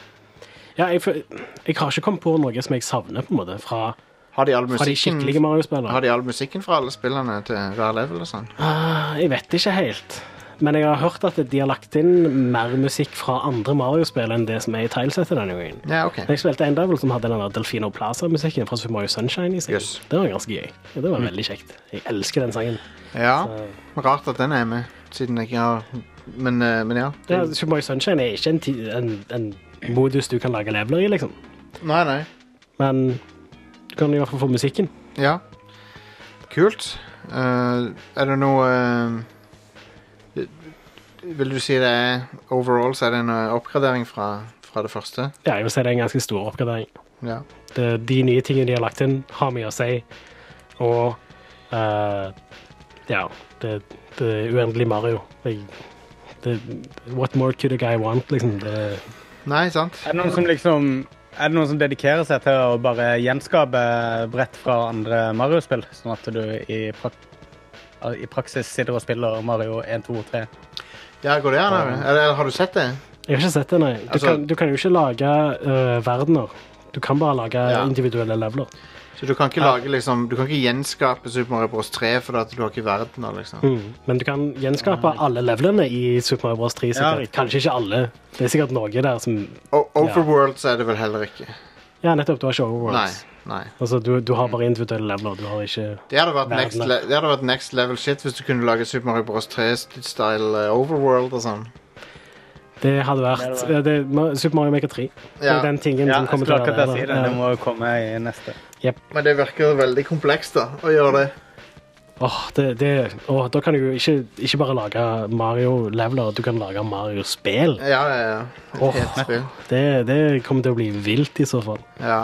S2: ja jeg, føl- jeg har ikke kommet på noe som jeg savner, på en måte, fra,
S1: Har de all
S2: fra de
S1: musikken,
S2: skikkelige Mario-spillene.
S1: har de all musikken fra alle spillene til hver level og sånn?
S2: Ah, Jeg vet ikke helt. Men jeg har hørt at de har lagt inn mer musikk fra andre Mario-spill enn det som er i tilesettet denne gangen.
S1: Ja, [laughs] OK.
S2: Jeg spilte en level som hadde den der Delfino Plaza-musikken fra Super Mario Sunshine i seg.
S1: Yes. Mm.
S2: Det var ganske gøy. Ja, Det var veldig kjekt. Jeg elsker den sangen.
S1: Ja, rart at den er med, siden jeg har Men, eh, men ja.
S2: Det, er- Super Mario Sunshine er ikke en, ti- en, en modus du kan lage leveler i, liksom.
S1: Nei, nei.
S2: Men du kan i hvert fall få musikken.
S1: Ja. Kult. Eh, er det noe eh, Vil du si det er overall så er det en eh, oppgradering fra, fra det første?
S2: Ja, jeg vil si det er en ganske stor oppgradering.
S1: Ja.
S2: Det, eh, de nye tingene de har lagt inn, har mye å si. Og eh, ja, det, det er uendelig Mario. Jeg, det, what more could a guy want, liksom? Det,
S1: Nei, sant?
S7: Er det noen som liksom er det noen som dedikerer seg til å bare gjenskape brett fra andre Mario-spill, sånn at du i, prak i praksis sitter og spiller Mario 1, 2 og 3?
S1: Ja, går det an? eller? Eller har du sett det?
S2: jeg har ikke sett det, nei. Du,
S1: Altså-
S2: kan, du kan jo ikke lage eh, verdener. Du kan bare lage
S1: Ja.
S2: individuelle leveler.
S1: Så du kan ikke lage liksom Du kan ikke gjenskape Super Mario Bros 3 fordi at du har ikke verdener, liksom.
S2: Mm. Men du kan gjenskape alle levelene i Super Mario Bros. 3.
S7: Ja,
S2: Sikkert.
S7: riktig.
S2: Kanskje ikke alle. Det er sikkert noe der som
S1: Og Overworld så er det vel heller ikke.
S2: Ja, nettopp. Du har ikke
S1: Nei.
S2: Overworlds.
S1: nei.
S2: Altså, du, du har bare individuelle leveler. Du har ikke
S1: Det hadde, vært next
S2: Verdener.
S1: le det hadde vært next level shit hvis du kunne lage Super Mario Bros 3-style Overworld og sånn.
S2: Det hadde vært eh, det, Ma- Super Mario Maker 3. Det
S1: Ja.
S2: er den tingen
S7: Ja,
S2: som
S7: jeg
S2: kommer til
S7: skulle
S2: å
S7: akkurat
S2: være
S7: til å si det.
S2: der.
S7: Det må jo komme i neste.
S1: Men det virker veldig komplekst da, å gjøre det.
S2: Åh, det, det, åh, da kan du jo ikke, ikke bare lage Mario-leveler, du kan lage Mario-spill.
S1: Ja, ja, ja. Et
S2: Åh.
S1: helt spill.
S2: Det, det kommer til å bli vilt i så fall.
S1: Ja.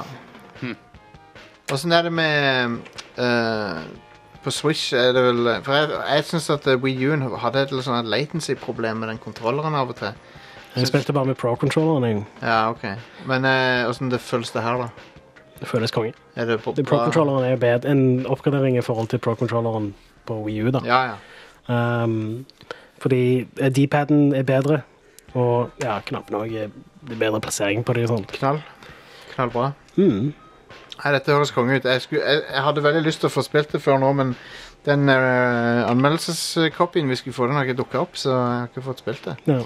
S1: Åssen er det med eh, På Switch er det vel For jeg, jeg syns at eh, Wii U-en hadde et litt sånn latency-problem med den kontrolleren av og til.
S2: Jeg spilte bare med pro-controlleren. jeg.
S1: Ja, ok. Men åssen det føles det her, da?
S2: Det føles konge.
S1: Er det på,
S2: Det- Pro-controlleren er jo bedre en oppgradering i forhold til pro-controlleren på Wii U. da.
S1: Ja, ja.
S2: Um, fordi eh, D-paden er bedre, og ja, knappene òg er det er bedre plassering på dem. og sånt.
S1: Knall. Knallbra.
S2: Mm.
S1: Nei, dette høres konge ut. Jeg, skulle, jeg, jeg hadde veldig lyst til å få spilt det før nå, men den uh, anmeldelseskopien vi skulle få, den har ikke dukka opp, så jeg har ikke fått spilt det.
S2: Ja.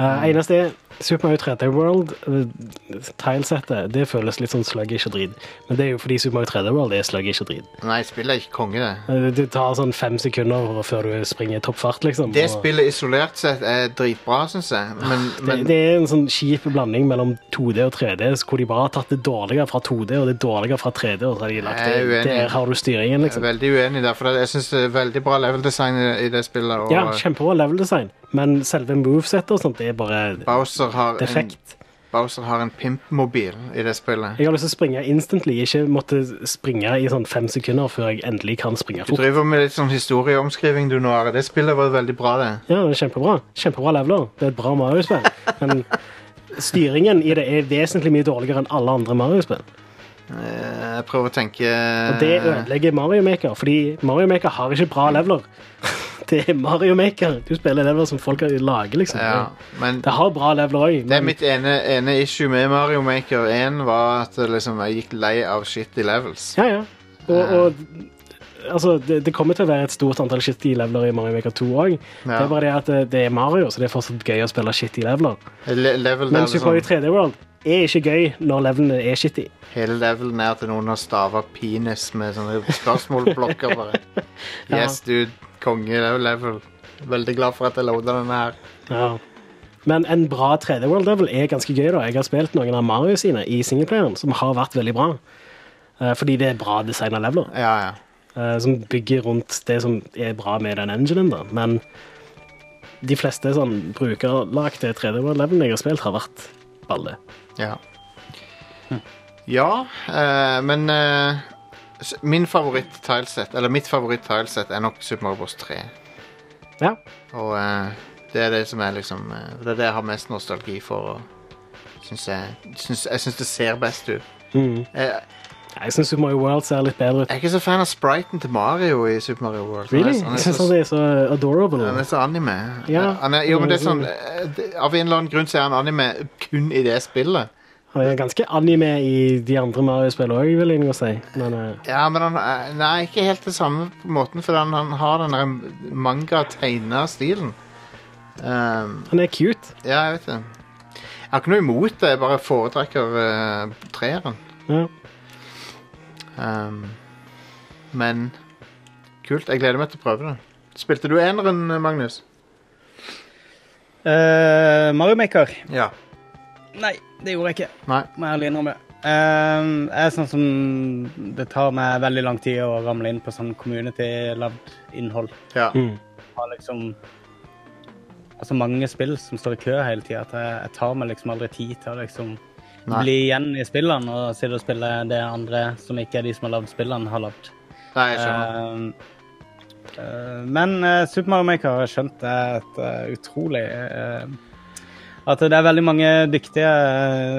S2: Eh, eneste er Super Mario 3D World, eh, tilesettet, det føles litt sånn sluggish og drit. Men det er jo fordi Super Mario 3D World er sluggish og drit.
S1: Nei, spillet er ikke konge, det.
S2: Eh, Det tar sånn fem sekunder før du springer i toppfart, liksom.
S1: Det
S2: og Ah,
S1: spillet isolert sett er dritbra, syns jeg. Men,
S2: det,
S1: men
S2: det er en sånn kjip blanding mellom 2D og 3D, hvor de bare har tatt det dårlige fra 2D og det dårlige fra 3D, og så har de lagt
S1: Jeg er
S2: det
S1: uenig.
S2: Der har du styringen,
S1: jeg er
S2: liksom.
S1: veldig uenig der, for det- jeg syns det er veldig bra leveldesign i, i det spillet. Og
S2: Ja, kjempebra level design, men selve movesettet og sånt, det er bare
S1: Bowser har en,
S2: defekt.
S1: Bowser har en pimpmobil i det spillet.
S2: Jeg har lyst til å springe instantly, ikke måtte springe i sånn fem sekunder før jeg endelig kan springe
S1: Du
S2: fort.
S1: driver med litt sånn historieomskriving, du, nå, Are. Det spillet var veldig bra, det.
S2: Ja, det er kjempebra. Kjempebra leveler. Det er et bra Mario-spill. Men styringen i det er vesentlig mye dårligere enn alle andre Mario-spill.
S1: Eh, Jeg prøver å tenke
S2: Og det
S1: Eh.
S2: ødelegger Mario Maker, fordi Mario Maker har ikke bra leveler. [laughs] Det er Mario Maker. Du spiller leveler som folk lager, liksom.
S1: Ja, men
S2: Det har bra leveler òg,
S1: det er
S2: men
S1: mitt ene, ene issue med Mario Maker 1 var at det liksom, jeg gikk lei av shit i levels.
S2: Ja, ja. Og, og altså, det, det kommer til å være et stort antall shitty leveler i Mario Maker 2 òg. Det
S1: Ja.
S2: er bare det at eh, det, det er Mario, så det er fortsatt gøy å spille shitty leveler.
S1: Le level der
S2: Men Super Mario
S1: liksom,
S2: 3D World er ikke gøy når levelene er shitty.
S1: hele levelen er at noen har stava penis med sånne spørsmålblokker bare.
S2: [laughs] Ja.
S1: Yes, dude. Konge det er jo level. Veldig glad for at jeg loada denne her.
S2: Ja. Men en bra 3D World level er ganske gøy. da. Jeg har spilt noen av Mario sine i singleplayeren, som har vært veldig bra. Eh, Fordi det er bra designa leveler,
S1: Ja, ja.
S2: eh, som bygger rundt det som er bra med den enginen. da. Men de fleste sånn, brukerlagte 3D World levelene jeg har spilt, har vært balle.
S1: Ja,
S2: Hm.
S1: ja eh, men eh, s- min favoritt-tileset, eller mitt favoritt-tileset, er nok Super Mario Bros. 3.
S2: Ja.
S1: Og eh, det er det som er liksom eh, Det er det jeg har mest nostalgi for. Og synes jeg syns, jeg syns det ser best ut.
S2: Mm.
S1: Jeg,
S2: Jeg syns Super Mario World ser litt bedre ut.
S1: jeg er ikke så fan av spriten til Mario i Super Mario World. Han er-
S2: Really?
S1: han er
S2: Jeg syns
S1: så-
S2: han er så adorable.
S1: Han er så anime. Eh,
S2: Ja.
S1: Han er, jo, men det er sånn eh, det- Av en eller annen grunn så er han anime kun i det spillet.
S2: Han er ganske anime i de andre Mario-spillene òg, vil jeg nå si. Men eh,
S1: Ja, men han eh, Nei, ikke helt det samme på måten, for han, han har den der manga-tegna-stilen. Ehm,
S2: han er cute.
S1: ja, jeg vet det. Jeg har ikke noe imot det, jeg bare foretrekker uh, treeren.
S2: Ja.
S1: Ehm, men kult. Jeg gleder meg til å prøve det. Spilte du eneren, Magnus?
S7: Eh, Mario Maker.
S1: Ja.
S7: Nei, det gjorde jeg ikke.
S1: Nei.
S7: Må jeg ærlig innrømme. Ehm, jeg er sånn som Det tar meg veldig lang tid å ramle inn på sånn community-lagd innhold.
S1: Ja.
S2: Mm.
S7: Jeg Har liksom Altså mange spill som står i kø hele tida, at jeg, jeg tar meg liksom aldri tid til å liksom
S1: Nei.
S7: bli igjen i spillene og sitte og spille det andre som ikke er de som har lagd spillene, har lagd.
S1: Nei, jeg skjønner.
S7: Eh, eh, men eh, Super Mario Maker har jeg skjønt er et eh, utrolig eh, At det er veldig mange dyktige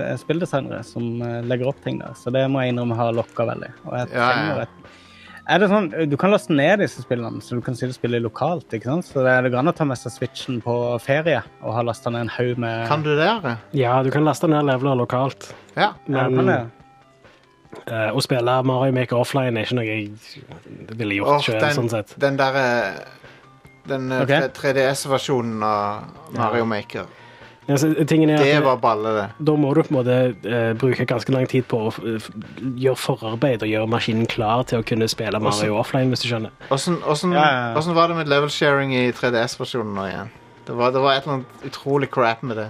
S7: eh, spilldesignere som eh, legger opp ting der, så det må jeg innrømme har lokka veldig. Og jeg
S1: Ja, ja, ja.
S7: trenger et er det sånn, Du kan laste ned disse spillene, så du kan si du spiller lokalt. ikke sant? Så det går an å ta med seg Switchen på ferie og ha lasta ned en haug med
S1: Kan du det? Are?
S2: Ja, du kan laste ned leveler lokalt.
S1: Ja.
S7: Ja,
S2: Men
S7: kan det?
S2: eh, å spille Mario Maker offline er ikke noe jeg
S1: Åh,
S2: ville gjort sjøl,
S1: den,
S2: sånn sett.
S1: den derre Den eh,
S7: Ok.
S1: 3DS-versjonen av Mario Maker.
S2: Ja, så, eh, tingen er at
S1: Det var balle, det.
S2: Da må du på en måte eh, bruke ganske lang tid på å eh, f- gjøre forarbeid og gjøre maskinen klar til å kunne spille Mario offline, hvis du skjønner.
S1: Åssen åssen-
S7: Ja, ja, ja.
S1: åssen var det med level sharing i 3DS-versjonen nå igjen? Det var, det var et eller annet utrolig crap med det.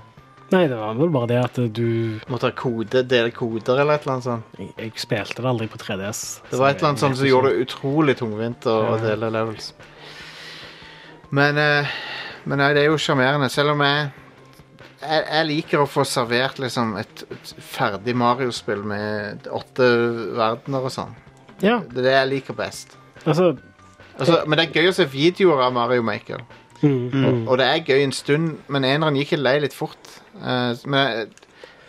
S2: Nei, det var vel bare det at du
S1: Måtte ha kode, dele koder eller et eller annet sånt.
S2: Jeg, jeg spilte det aldri på 3DS.
S1: Det var et eller annet sånt som gjorde det utrolig tungvint å, å
S2: Ja.
S1: dele levels. Men, eh, men nei, det er jo sjarmerende. Selv om jeg, jeg Jeg liker å få servert liksom et, et ferdig Mario-spill med åtte verdener og sånn.
S2: Ja,
S1: Det er det jeg liker best.
S2: altså
S1: Altså, men det er gøy å se videoer av Mario Maker.
S2: mm,
S1: Og, og det er gøy en stund, men eneren gikk jeg lei litt fort. Eh, men jeg-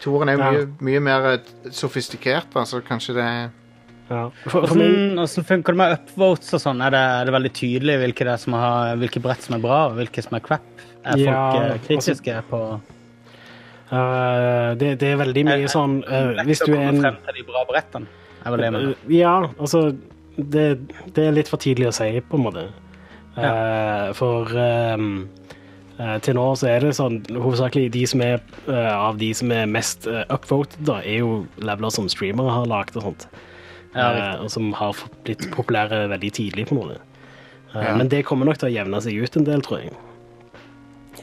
S1: toeren er jo
S2: Ja.
S1: mye, mye mer eh, sofistikert, da, så kanskje det er
S2: mm, ja. For, for min,
S7: Hvordan, hvordan sånn, funker det med upvotes og sånn? Er, det- er det veldig tydelig hvilke, det er som har, hvilke brett som er bra, og hvilke som er crap? Er
S2: Ja,
S7: folk eh,
S2: altså-
S7: kritiske på
S2: eh, det, det er veldig mye sånn eh, Hvis du er
S7: Å komme
S2: en
S7: frem til de bra brettene, er vel det jeg mener.
S2: Ja, altså det, det er litt for tidlig å si, på en måte. Eh, for ehm, eh, til nå så er det sånn hovedsakelig de som er eh, av de som er mest eh, upvoted, da, er jo leveler som streamere har lagd og sånt.
S7: Ja,
S2: Eh,
S7: riktig.
S2: og som har f- blitt populære veldig tidlig, på en måte. Eh,
S1: Ja.
S2: Men det kommer nok til å jevne seg ut en del, tror jeg.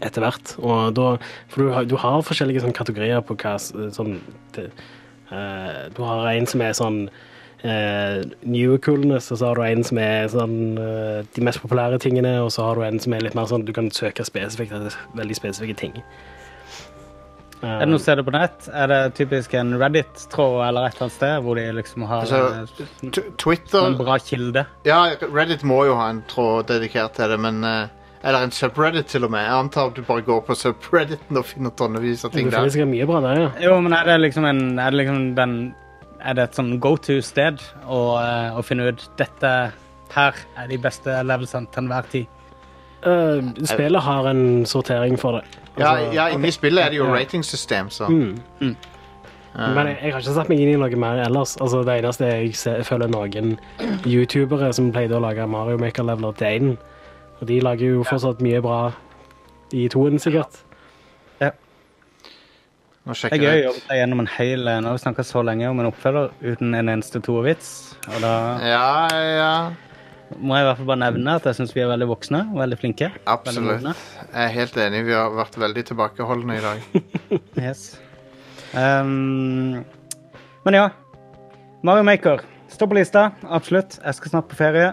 S2: Etter hvert. Og da, for du har, du har forskjellige sånn, kategorier på hva s- sånn det, eh, Du har en som er sånn eh, new coolness, og så har du en som er sånn eh, de mest populære tingene, og så har du en som er litt mer sånn du kan søke spesifikt etter veldig spesifikke ting. Eh,
S7: Er det noe sted på nett? Er det typisk en Reddit-tråd eller et eller annet sted hvor de liksom har
S1: Altså,
S7: eh,
S1: T
S7: en
S1: Twitter
S7: bra kilde?
S1: Ja, Reddit må jo ha en tråd dedikert til det, men eh, Eller en subreddit, til og med. Jeg antar at du bare går på subredditen og finner tonnevis av
S2: Det
S1: ting der.
S2: finnes sikkert mye bra der, ja.
S7: Jo, men er det liksom en Er det liksom den Er det et sånn go to-sted å, eh, å finne ut dette her er de beste levelsene til enhver tid?
S2: Eh, spillet har en sortering for det.
S1: Ja,
S2: Altså-
S1: ja inni spillet er det jo
S2: Ja. Mm.
S1: ratingsystem, så Ah.
S2: Men jeg, jeg har ikke satt meg inn i noe mer ellers. Altså, det eneste jeg, ser, jeg føler noen youtubere som pleide å lage Mario Maker Leveler til én, og de lager jo fortsatt mye bra i toen, sikkert.
S1: nå
S7: Det
S1: sjekker
S7: er gøy å
S1: jeg.
S7: jobbe seg gjennom en hel Nå har vi snakket så lenge om en oppfølger uten en eneste toervits. Og da
S1: Ja, ja.
S7: må jeg i hvert fall bare nevne at jeg syns vi er veldig voksne og veldig flinke. Veldig
S1: Absolutt.
S7: modne.
S1: Jeg er helt enig. Vi har vært veldig tilbakeholdne i dag.
S7: Yes. Ehm, men ja. Mario Maker står på lista. Absolutt. Jeg skal snart på ferie.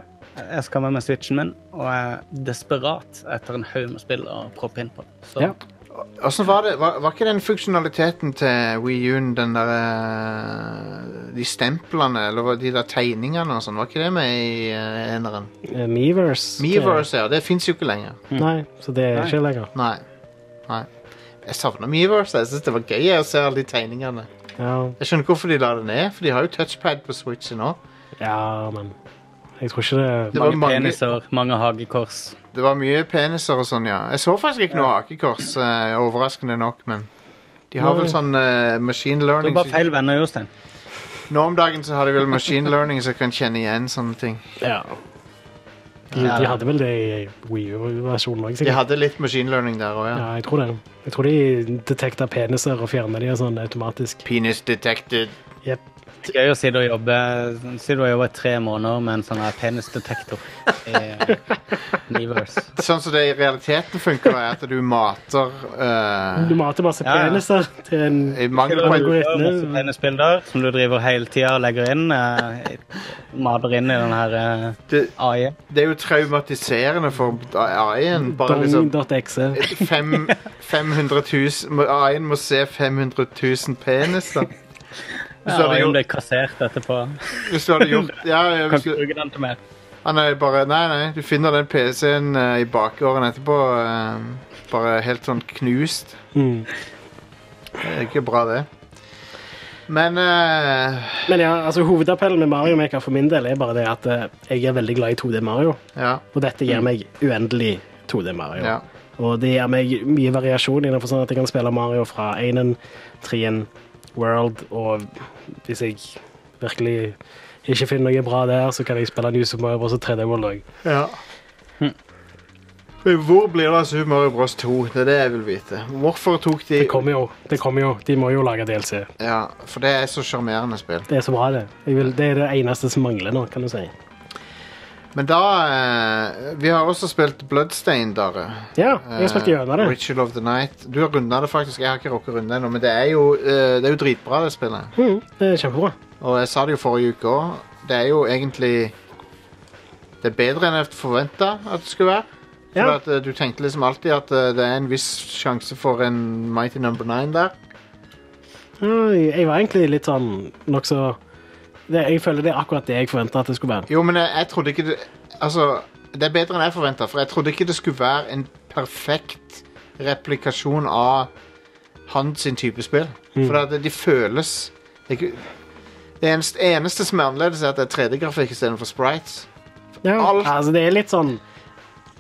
S7: Jeg skal med meg switchen min og jeg er desperat etter en haug med spill å proppe inn på. Så
S2: Ja.
S1: Hvordan var det? Var, var ikke den funksjonaliteten til Wii U-en, den der eh, De stemplene, eller var de der tegningene og sånn, var ikke det med i eh, eneren?
S2: Eh, Miiverse.
S1: Miiverse, ja. Det fins jo ikke lenger.
S2: Det- Nei, så det er ikke lenger.
S1: Nei. Nei. Jeg savner Miiverse. Jeg syns det var gøy jeg, å se alle de tegningene.
S2: Ja,
S1: Jeg skjønner ikke hvorfor de la det ned, for de har jo touchpad på Switchen òg.
S2: ja, men jeg tror ikke det
S1: Det var
S7: mange,
S1: mange,
S7: peniser, mange hagekors.
S1: det var mye peniser og sånn, ja. Jeg så faktisk ikke noe hakekors, eh, overraskende nok, men de har
S2: Nei.
S1: vel sånn eh, machine
S7: Du er
S1: learning
S7: bare feil venner, Jostein.
S1: Nå om dagen så har de vel machine learning som kan kjenne igjen sånne ting.
S2: Ja. De, de hadde vel det i Wii U-versjonen òg,
S1: De
S2: sikkert.
S1: hadde litt machine learning der òg, ja.
S2: Ja, jeg tror det. Jeg tror de detekta peniser og fjerna de og sånn automatisk.
S1: Penis detected.
S2: Jep.
S7: Det er Gøy å si du jobber si du har jobbet i tre måneder med en sånn her penisdetektor eh, i Universe.
S1: Sånn som det i realiteten funker, er at du mater eh,
S2: Du mater masse
S7: Ja, ja.
S2: peniser til en
S1: I mangel på en
S2: Algoritme.
S7: Masse penisbilder som du driver hele tida og legger inn. eh, maler inn i den her
S1: det,
S7: eh, AI.
S1: det er jo traumatiserende for AI-en. Bare liksom
S2: dong.exe.
S1: fem, 500 000 må- AI-en må se 500 000 peniser. Hvis du
S7: Ja,
S1: hadde
S7: om
S1: gjort,
S7: det er kassert etterpå.
S1: hvis du hadde gjort ja, ja,
S7: Kan
S1: hvis
S7: ikke
S1: du,
S7: bruke den til mer.
S1: Han er bare Nei, nei, du finner den PC-en eh, i bakgården etterpå. eh, bare helt sånn knust.
S2: Mm.
S1: Det er ikke bra, det. Men eh,
S2: Men ja, altså Hovedappellen med Mario Maker for min del er bare det at eh, jeg er veldig glad i 2D Mario.
S1: ja,
S2: Og dette gir meg uendelig 2D Mario.
S1: Mm. ja.
S2: Og det gir meg mye variasjon innenfor sånn at jeg kan spille Mario fra 1-en, 3-en, World, og hvis jeg virkelig ikke finner noe bra der, så kan jeg spille New Super Mario Bros. og 3D World òg.
S1: ja. Men Hvor blir det av Super Mario Bros 2? Det er det jeg vil vite. Hvorfor tok de
S2: Det kommer jo. det kommer jo. De må jo lage DLC.
S1: Ja, For det er så sjarmerende spill.
S2: Det er så bra, det. Jeg vil, det er det eneste som mangler nå, kan du si.
S1: Men da eh, Vi har også spilt Bloodstained, Dare.
S2: Ja, jeg har
S1: Eh,
S2: spilt gjennom det.
S1: Ritual of the Night. Du har runda det faktisk. Jeg har ikke rukket å runde det ennå, men det er, jo, eh, det er jo dritbra, det spillet.
S2: Mm, det er kjempebra.
S1: Og jeg sa det jo forrige uke òg. Det er jo egentlig Det er bedre enn jeg forventa at det skulle være. For
S2: Ja.
S1: at, eh, du tenkte liksom alltid at eh, det er en viss sjanse for en Mighty Number Nine der.
S2: Ja, Jeg jeg var egentlig litt sånn nokså det- Jeg føler det er akkurat det jeg forventa at det skulle være.
S1: Jo, men jeg, jeg trodde ikke det Altså, det er bedre enn jeg forventa, for jeg trodde ikke det skulle være en perfekt replikasjon av hans sin type spill. For at de føles Det, er ikke- det eneste, eneste som er annerledes, er at det er 3D-grafikk istedenfor sprites. Alt-
S2: Altså, det er litt sånn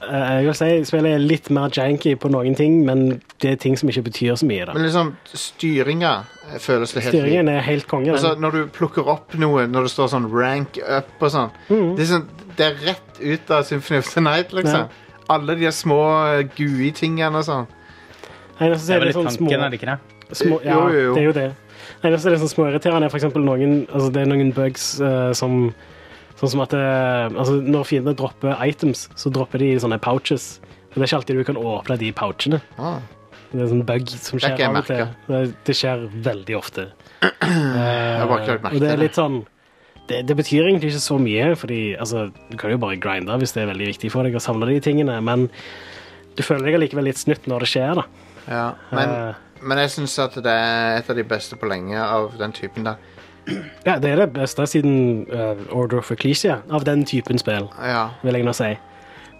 S2: eh, Jeg vil si Spillet er litt mer janky på noen ting, men det er ting som ikke betyr så mye. da.
S1: Men liksom, styringa eh, føles det helt lik.
S2: Styringen er helt konge.
S1: Altså,
S2: den.
S1: når du plukker opp noe, når det står sånn rank up og sånn det, er sånn det er rett ut av Symphony of the Night, liksom. Alle de små eh, GUI-tingene og sånn.
S2: Nei, altså,
S7: Det
S2: det
S7: er vel
S2: er
S7: litt
S2: sånn små,
S7: tanken, er det ikke det?
S2: små Ja,
S1: Jo, jo, jo.
S2: det er jo det. Nei, altså, det er sånn småirriterende er for eksempel noen altså, Det er noen bugs eh, som Sånn som at eh, altså, Når fiendene dropper items, så dropper de i sånne pouches. Og det er ikke alltid du kan åpne de pouchene.
S1: Ah.
S2: Det er en sånn bug som
S1: Det er
S2: skjer
S1: ikke jeg
S2: av og til. Det, det skjer veldig ofte.
S1: [clears throat]
S2: jeg
S1: har bare ikke lagt merke
S2: Og det
S1: til
S2: er
S1: det.
S2: litt sånn det, det betyr egentlig ikke så mye, fordi altså, du kan jo bare grinde hvis det er veldig viktig for deg å samle de tingene, men du føler deg allikevel litt snytt når det skjer, da.
S1: Ja. Men,
S2: Eh,
S1: men jeg syns at det er et av de beste på lenge av den typen der.
S2: ja, det er det beste siden eh, Order of Ecclesia, av den typen spill,
S1: Ja.
S2: vil jeg nå si.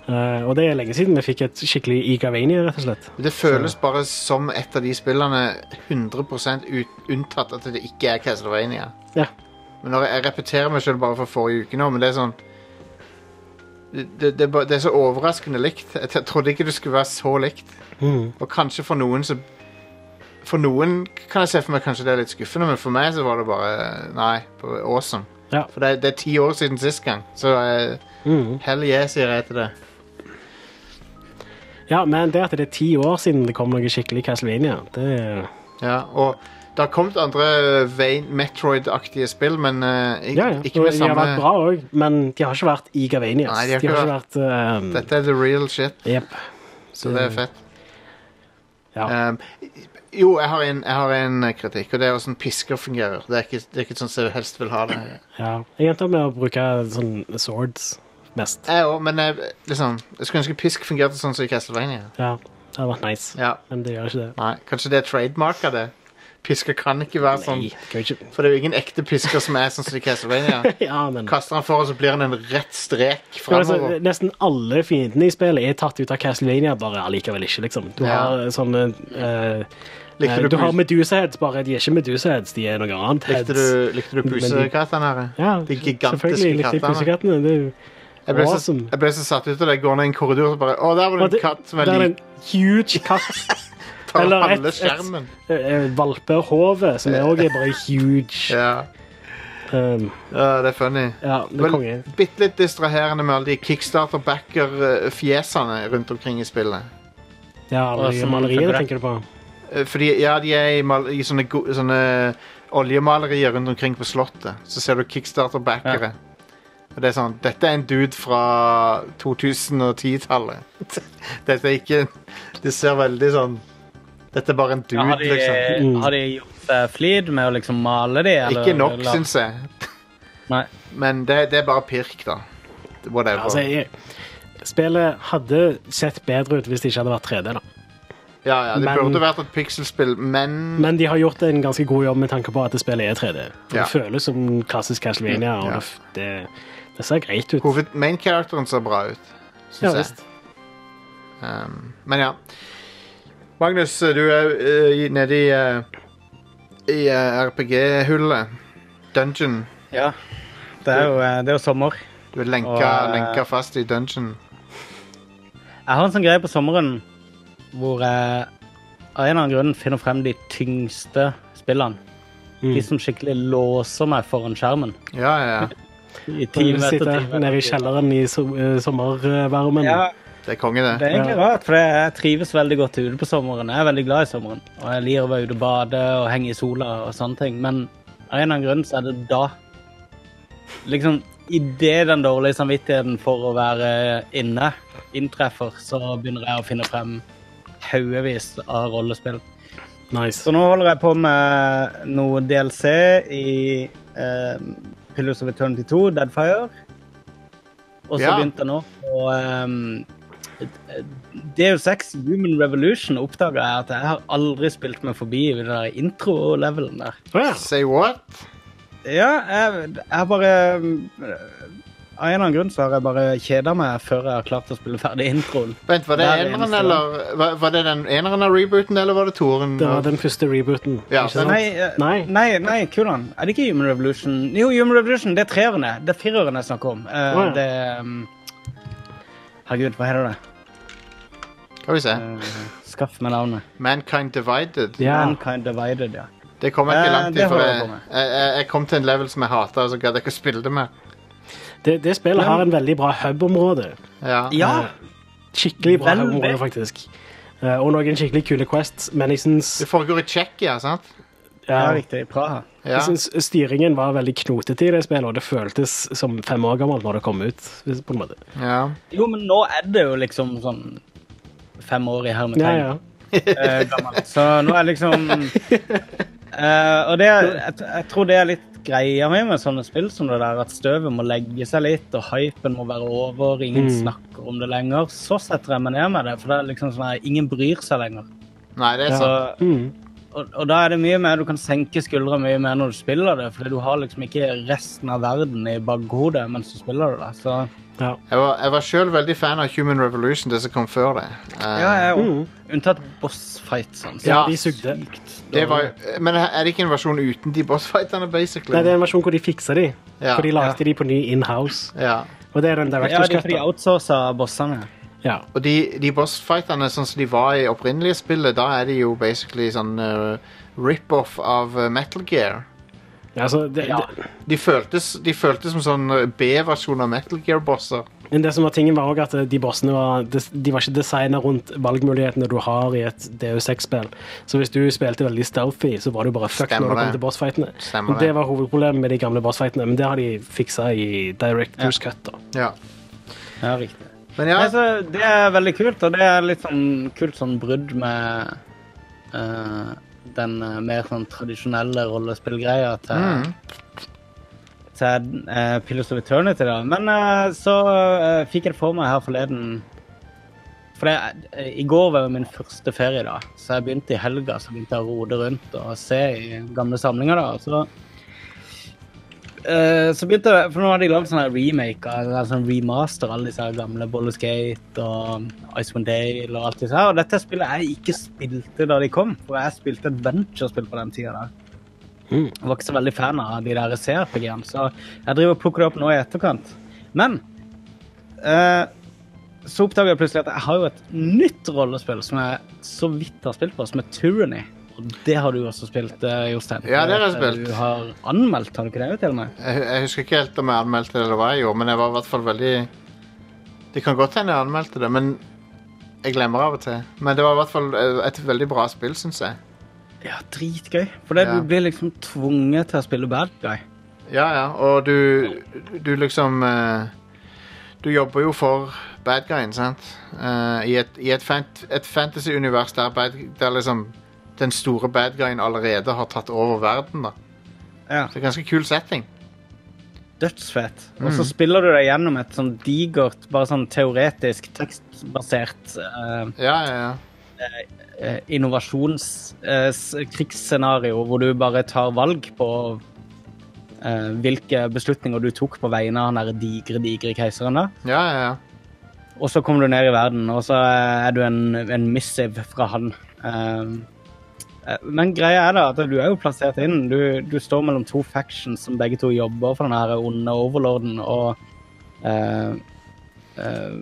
S2: Eh, og det er lenge siden vi fikk et skikkelig Igavania, rett og slett.
S1: Det føles bare som et av de spillene 100 ut, unntatt at det ikke er Castlevania.
S2: Ja.
S1: Men når jeg, jeg repeterer meg selv bare fra forrige uke nå, men det er sånn det, det, det, er bare- det er så overraskende likt. Jeg, t- trodde ikke det skulle være så likt.
S2: Mm.
S1: Og kanskje for noen så For noen kan jeg se for meg kanskje det er litt skuffende, men for meg så var det bare Nei, bare awesome.
S2: Ja.
S1: For det, er- det er ti år siden sist gang, så eh,
S2: Mhm.
S1: hell yeah, sier jeg til det.
S2: ja, men det at det er ti år siden det kom noe skikkelig Castlevania, det er
S1: Ja, og det har kommet andre Vein- Metroid-aktige spill, men eh, ik-
S2: Ja, ja.
S1: ikke med
S2: og De har vært
S1: samme
S2: bra òg, men de har ikke vært i Gavanias.
S1: Nei,
S2: de har ikke vært,
S1: Dette er the real shit,
S2: eh, jep.
S1: så det er fett.
S2: Ja.
S1: Um, jo, jeg har, en, jeg har en kritikk, og det er hvordan pisker fungerer. Det er ikke, det er ikke sånn som jeg helst vil ha det.
S2: Ja. Jeg endte opp med å bruke sånn swords mest.
S1: Jeg òg, men jeg, liksom, jeg skulle ønske pisk fungerte sånn som i Castlevania.
S2: Ja, det hadde vært nice,
S1: Ja,
S2: men det gjør ikke det.
S1: nei, Kanskje det er trademarka, det. Pisker kan ikke være sånn.
S2: Nei, det kan jo ikke
S1: For det er jo ingen ekte pisker som er sånn som i
S2: [laughs]
S1: Castlevania.
S2: Ja, men
S1: Kaster han for, og så blir han en rett strek
S2: Ja, altså,
S1: framover.
S2: Nesten alle fiendene i spillet er tatt ut av Castlevania, bare allikevel ikke, liksom. Du
S1: Ja.
S2: har sånne eh, eh,
S1: Likte
S2: Du
S1: du,
S2: har
S1: pus-
S2: Medusa-heads, bare de er ikke Medusa-heads, de er noe annet.
S1: likte du, likte du
S2: Men de-
S1: pusekattene her?
S2: Ja,
S1: De gigantiske
S2: selvfølgelig likte jeg
S1: kattene.
S2: pusekattene. Det er jo
S1: Jeg ble, så,
S2: awesome.
S1: jeg ble så satt ut av det. Jeg går ned i en korridor og så bare Å, der var det
S2: Og
S1: en
S2: det-
S1: katt som er
S2: der er
S1: lik.
S2: en huge katt.
S1: [laughs] Tar
S2: eller et-
S1: halve
S2: et-
S1: skjermen.
S2: Eh, Valpehove, som er også er bare huge.
S1: Ja.
S2: Um,
S1: ja, det er funny.
S2: ja, det er
S1: Vel-
S2: konge.
S1: Bitte litt distraherende med alle de kickstarter-backer-fjesene rundt omkring i spillet.
S2: Ja,
S7: Og
S2: alle de
S7: som-
S2: maleriene
S7: det-
S2: tenker du på.
S1: Eh, Fordi, ja, de er i, mal i sånne, go sånne oljemalerier rundt omkring på slottet. Så ser du kickstarter-backere. Og det er sånn Dette er en dude fra 2010-tallet. [laughs] Dette er ikke Det ser veldig sånn Dette er bare en dude,
S7: Ja, har, de,
S1: liksom.
S2: Mm.
S7: har de gjort eh, flid med å liksom male de? eller-
S1: Ikke nok,
S7: eller-
S1: syns jeg.
S7: Nei.
S1: Men det, det er bare pirk, da. Whatever.
S2: Altså, jeg, spillet hadde sett bedre ut hvis det ikke hadde vært 3D, da.
S1: ja, ja, det
S2: men-
S1: burde vært et pixelspill, men
S2: Men de har gjort en ganske god jobb med tanke på at det spillet er 3D. For
S1: Ja.
S2: Det føles som klassisk Castlevania, og
S1: Ja.
S2: det f- det, det ser greit ut.
S1: Hoved, main characteren ser bra ut,
S2: Ja,
S1: syns jeg.
S2: visst.
S1: Um, men ja. Magnus, du er uh, nede i, eh, i eh, RPG-hullet. Dungeon.
S7: Ja. Det er jo, eh, det er jo sommer.
S1: Du er lenka,
S7: Og, eh,
S1: lenka fast i dungeon.
S7: Jeg har en sånn greie på sommeren hvor jeg av en eller annen grunn finner frem de tyngste spillene.
S2: Mm.
S7: De som skikkelig låser meg foran skjermen.
S1: Ja, ja, ja.
S7: I time etter
S2: Sitte
S7: time.
S2: nede i
S7: etter time.
S2: kjelleren i so eh, sommervarmen.
S7: Ja,
S1: Det er konge,
S7: det
S1: det.
S7: er egentlig
S2: Ja.
S7: rart, for jeg trives veldig godt ute på sommeren. Jeg er veldig glad i sommeren, og jeg liker å være ute og bade og henge i sola og sånne ting, men av en eller annen grunn så er det da Liksom, idet den dårlige samvittigheten for å være inne inntreffer, så begynner jeg å finne frem haugevis av rollespill.
S2: Nice.
S7: Så nå holder jeg på med noe DLC i eh, Pillars of Eternity 2, Deadfire. Og så
S1: Ja.
S7: begynte jeg nå på eh, Deus Ex Human Revolution oppdaga jeg at jeg har aldri spilt meg forbi i den der intro-levelen der.
S2: Å ja.
S1: Say what?
S7: Ja, jeg, jeg bare eh, Av en eller annen grunn så har jeg bare kjeda meg før jeg har klart å spille ferdig introen.
S1: Vent, var det
S7: Hver
S1: eneren,
S7: eneste
S1: eller var, var det den eneren av rebooten, eller var det toeren?
S2: Det var den første rebooten.
S1: Ja,
S2: ikke
S1: den-
S2: sant?
S7: Nei, eh,
S2: Nei.
S7: nei, nei kulan. Er det ikke Human Revolution? Jo, Human Revolution, det er treerne. Det er firerne jeg snakker om. Eh,
S2: Å, ja.
S7: Det um, Herregud, hva heter det?
S1: Skal vi se.
S7: Eh, skaff meg navnet.
S1: Mankind Divided.
S2: Ja.
S7: Mankind Divided, ja.
S1: Det kom jeg ikke
S7: Eh,
S1: langt i,
S7: det
S1: for
S7: holder
S1: jeg,
S7: jeg på med.
S1: jeg, jeg, jeg kom til en level som jeg hata, og så gadd jeg ikke å spille det mer.
S2: Det, det spillet har en veldig bra hub-område.
S1: Ja.
S7: Ja,
S2: Skikkelig bra
S7: Veldig.
S2: hub-område, faktisk. Eh, Og noen skikkelig kule quests, men jeg syns
S1: Det foregår i Tsjekkia, sant?
S7: ja
S2: ja,
S7: riktig. Praha.
S1: Ja.
S2: Jeg synes styringen var veldig knotete i det spillet, og det føltes som fem år gammelt når det kom ut. hvis- på en måte.
S1: ja.
S7: Jo, men nå er det jo liksom sånn fem år i hermetegn.
S2: Ja, ja.
S7: eh, gammel. Så nå er liksom eh, Og det, er- jeg, jeg tror det er litt greia mi med sånne spill som det der, at støvet må legge seg litt, og hypen må være over, ingen
S2: Mm.
S7: snakker om det lenger. Så setter jeg meg ned med det, for det er liksom sånn at ingen bryr seg lenger.
S1: Nei, det er
S7: Så,
S1: sant.
S2: Mm.
S7: og, og da er det mye mer du kan senke skuldra mye mer når du spiller det, fordi du har liksom ikke resten av verden i bakhodet mens du spiller det. da. Så
S2: ja.
S1: Jeg var, jeg var sjøl veldig fan av Human Revolution, det som kom før det. Eh,
S7: ja, jeg er jo
S2: Mm.
S7: unntatt boss fights, sånn.
S2: ja,
S1: Ja.
S2: de sugde.
S1: det var, jo- men er det ikke en versjon uten de bossfightene, basically?
S2: Nei, det er en versjon hvor de fiksa de.
S1: Ja.
S2: For de lagde de på ny in-house.
S1: ja.
S2: Og det er den
S7: Ja,
S2: director's
S7: de,
S2: cut.
S7: for de
S2: da.
S7: outsourcer bossene.
S2: Ja.
S1: Og de, de bossfightene sånn som de var i opprinnelige spillet, da er de jo basically sånn eh, rip-off av eh, Metal Gear.
S2: Altså, det,
S7: Ja.
S2: det,
S1: De føltes, de føltes som sånn eh, B-versjon av Metal Gear-bosser.
S2: men det som var tingen, var òg at de bossene var, de, de var ikke designa rundt valgmulighetene du har i et DU6-spill. Så hvis du spilte veldig stealthy, så var du bare fucked
S1: Stemmer
S2: når det
S1: det.
S2: kom til bossfightene.
S1: Stemmer
S2: Men
S1: det.
S2: det var hovedproblemet med de gamle bossfightene, men det har de fiksa i director's cut.
S1: [laughs]
S2: da.
S1: Ja.
S7: Ja, riktig.
S1: Men ja,
S7: Nei, så det er veldig kult, og det er litt sånn kult sånn brudd med eh, den eh, mer sånn tradisjonelle rollespillgreia til, til eh, Pillars of Eternity, da. Men eh, så eh, fikk jeg det for meg her forleden For det, eh, i går var jo min første ferie, da, så jeg begynte i helga så begynte jeg å rode rundt og se i gamle samlinger, da. og så Eh, så begynte jeg, for nå hadde jeg lagd sånne remaker, eller sånn remaster, alle disse her gamle Boller Skate og Icewind Dale og alt disse her. Og dette spillet jeg ikke spilte da de kom, for jeg spilte et venturespill på den tida da.
S2: Mm.
S7: Jeg var ikke så veldig fan av de der CRPG-ene, så jeg driver og plukker det opp nå i etterkant. Men eh, så oppdager jeg plutselig at jeg har jo et nytt rollespill som jeg så vidt har spilt på, som er Tyranny. Og det har du også spilt, eh, Jostein.
S1: Ja, det har jeg spilt.
S7: Du har anmeldt, har du ikke det? til meg?
S1: jeg, jeg husker ikke helt om jeg anmeldte det eller hva jeg gjorde, men jeg var i hvert fall veldig Det kan godt hende jeg anmeldte det, men jeg glemmer av og til. Men det var i hvert fall eh, et veldig bra spill, syns jeg.
S7: Ja, dritgøy. For det,
S1: Ja.
S7: du blir liksom tvunget til å spille bad guy.
S1: Ja, ja, og du, du liksom eh, Du jobber jo for bad guyen, sant? Eh, I et, i et, fant et fantasy-univers der, bad, der liksom den store bad guyen allerede har tatt over verden. da
S7: Ja.
S1: Så det er ganske kul setting.
S7: Dødsfett. Og så spiller du deg gjennom et sånn digert, bare sånn teoretisk, tekstbasert eh,
S1: Ja, ja, ja.
S7: eh, innovasjonskrigsscenario hvor du bare tar valg på eh, hvilke beslutninger du tok på vegne av han der digre, digre keiseren. da.
S1: ja, ja, ja.
S7: Og så kommer du ned i verden, og så er du en, en missive fra han. Ehm, eh, men greia er da at du er jo plassert inn. Du, du står mellom to factions som begge to jobber for den her onde overlorden, og eh, eh,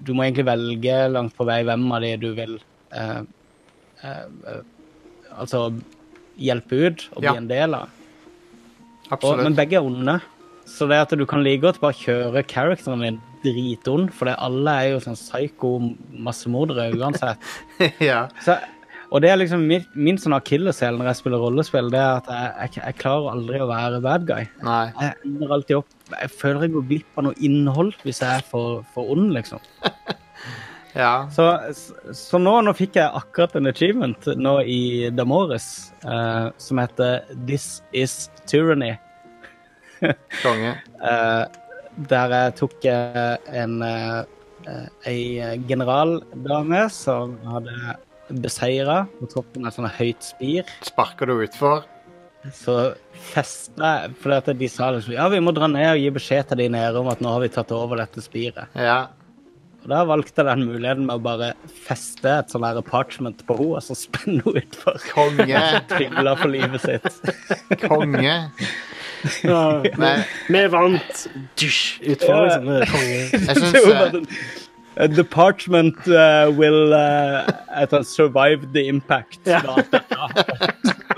S7: du må egentlig velge langt på vei hvem av de du vil eh, eh, eh, altså hjelpe ut og bli
S1: Ja.
S7: en del av. Og, men
S1: Absolutt.
S7: begge er onde. Så det at du kan like godt bare kjøre characteren din dritond, for det alle er jo sånn psyko massemordere uansett.
S1: [laughs] ja.
S7: Så, og det er liksom min, min sånn akilleshæl når jeg spiller rollespill, det er at jeg, jeg, jeg klarer aldri å være bad guy.
S1: Nei.
S7: Jeg ender alltid opp Jeg føler jeg går glipp av noe innhold hvis jeg er for, for ond, liksom.
S1: Ja.
S7: Så, så nå, nå fikk jeg akkurat en achievement nå i Damores eh, som heter This is tyranny.
S1: Konge.
S7: Eh, der jeg tok eh, en eh, eh, ei generaldame som hadde beseira på toppen av et sånt høyt spir.
S1: Sparker du utfor?
S7: Så festa jeg fordi at de sa liksom ja, vi må dra ned og gi beskjed til de nede om at nå har vi tatt over dette spiret.
S1: Ja.
S7: Og da valgte jeg den muligheten med å bare feste et sånn her parchment på henne og så spenne henne utfor.
S1: Konge.
S7: [laughs]
S2: [laughs]
S7: Trygla for livet sitt.
S1: Konge.
S2: Ja,
S1: Men
S2: [laughs] vi vant! Dysj! Utfor, liksom. Det er konge.
S1: jeg
S2: [laughs]
S1: syns
S7: [laughs] Det
S1: eh,
S7: var bare sånn, uh, The parchment uh, will uh, at han survive the impact. Sånn
S2: Ja.
S7: Da, da.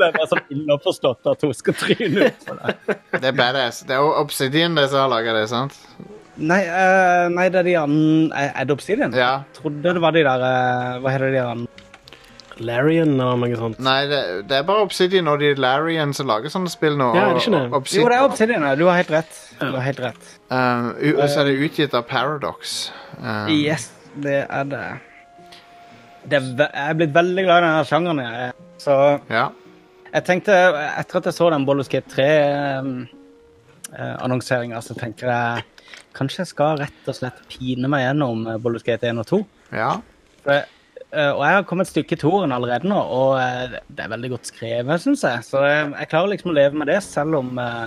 S7: Det var sånn underforstått at hun skal tryne ut for det.
S1: det er badass. Det er Obsidian det som har laga det, sant?
S7: Nei, eh, nei, det er de andre Er det Obsidian?
S1: Ja.
S7: Jeg trodde det var de der eh, Hva heter de andre?
S2: Larian eller noe sånt.
S1: Nei, det, det er bare Obsidian og de Larian som lager sånne spill nå.
S2: Ja, er det ikke det?
S1: og- og Obsid-
S7: Jo, det er Obsidian. ja. Du har helt rett. Du har helt rett.
S1: Um, u- og så er det utgitt av Paradox. Um,
S7: Yes, det er det. det er ve jeg er blitt veldig glad i denne sjangeren. jeg. Så
S1: Ja.
S7: Jeg tenkte, etter at jeg så den Baldur's Gate 3-annonseringa, eh, så tenker jeg kanskje jeg skal rett og slett pine meg gjennom eh, Baldur's Gate 1 og 2.
S1: ja.
S7: For, jeg- eh, og jeg har kommet et stykke i toeren allerede nå, og eh, det er veldig godt skrevet, syns jeg. Så jeg, jeg klarer liksom å leve med det, selv om eh,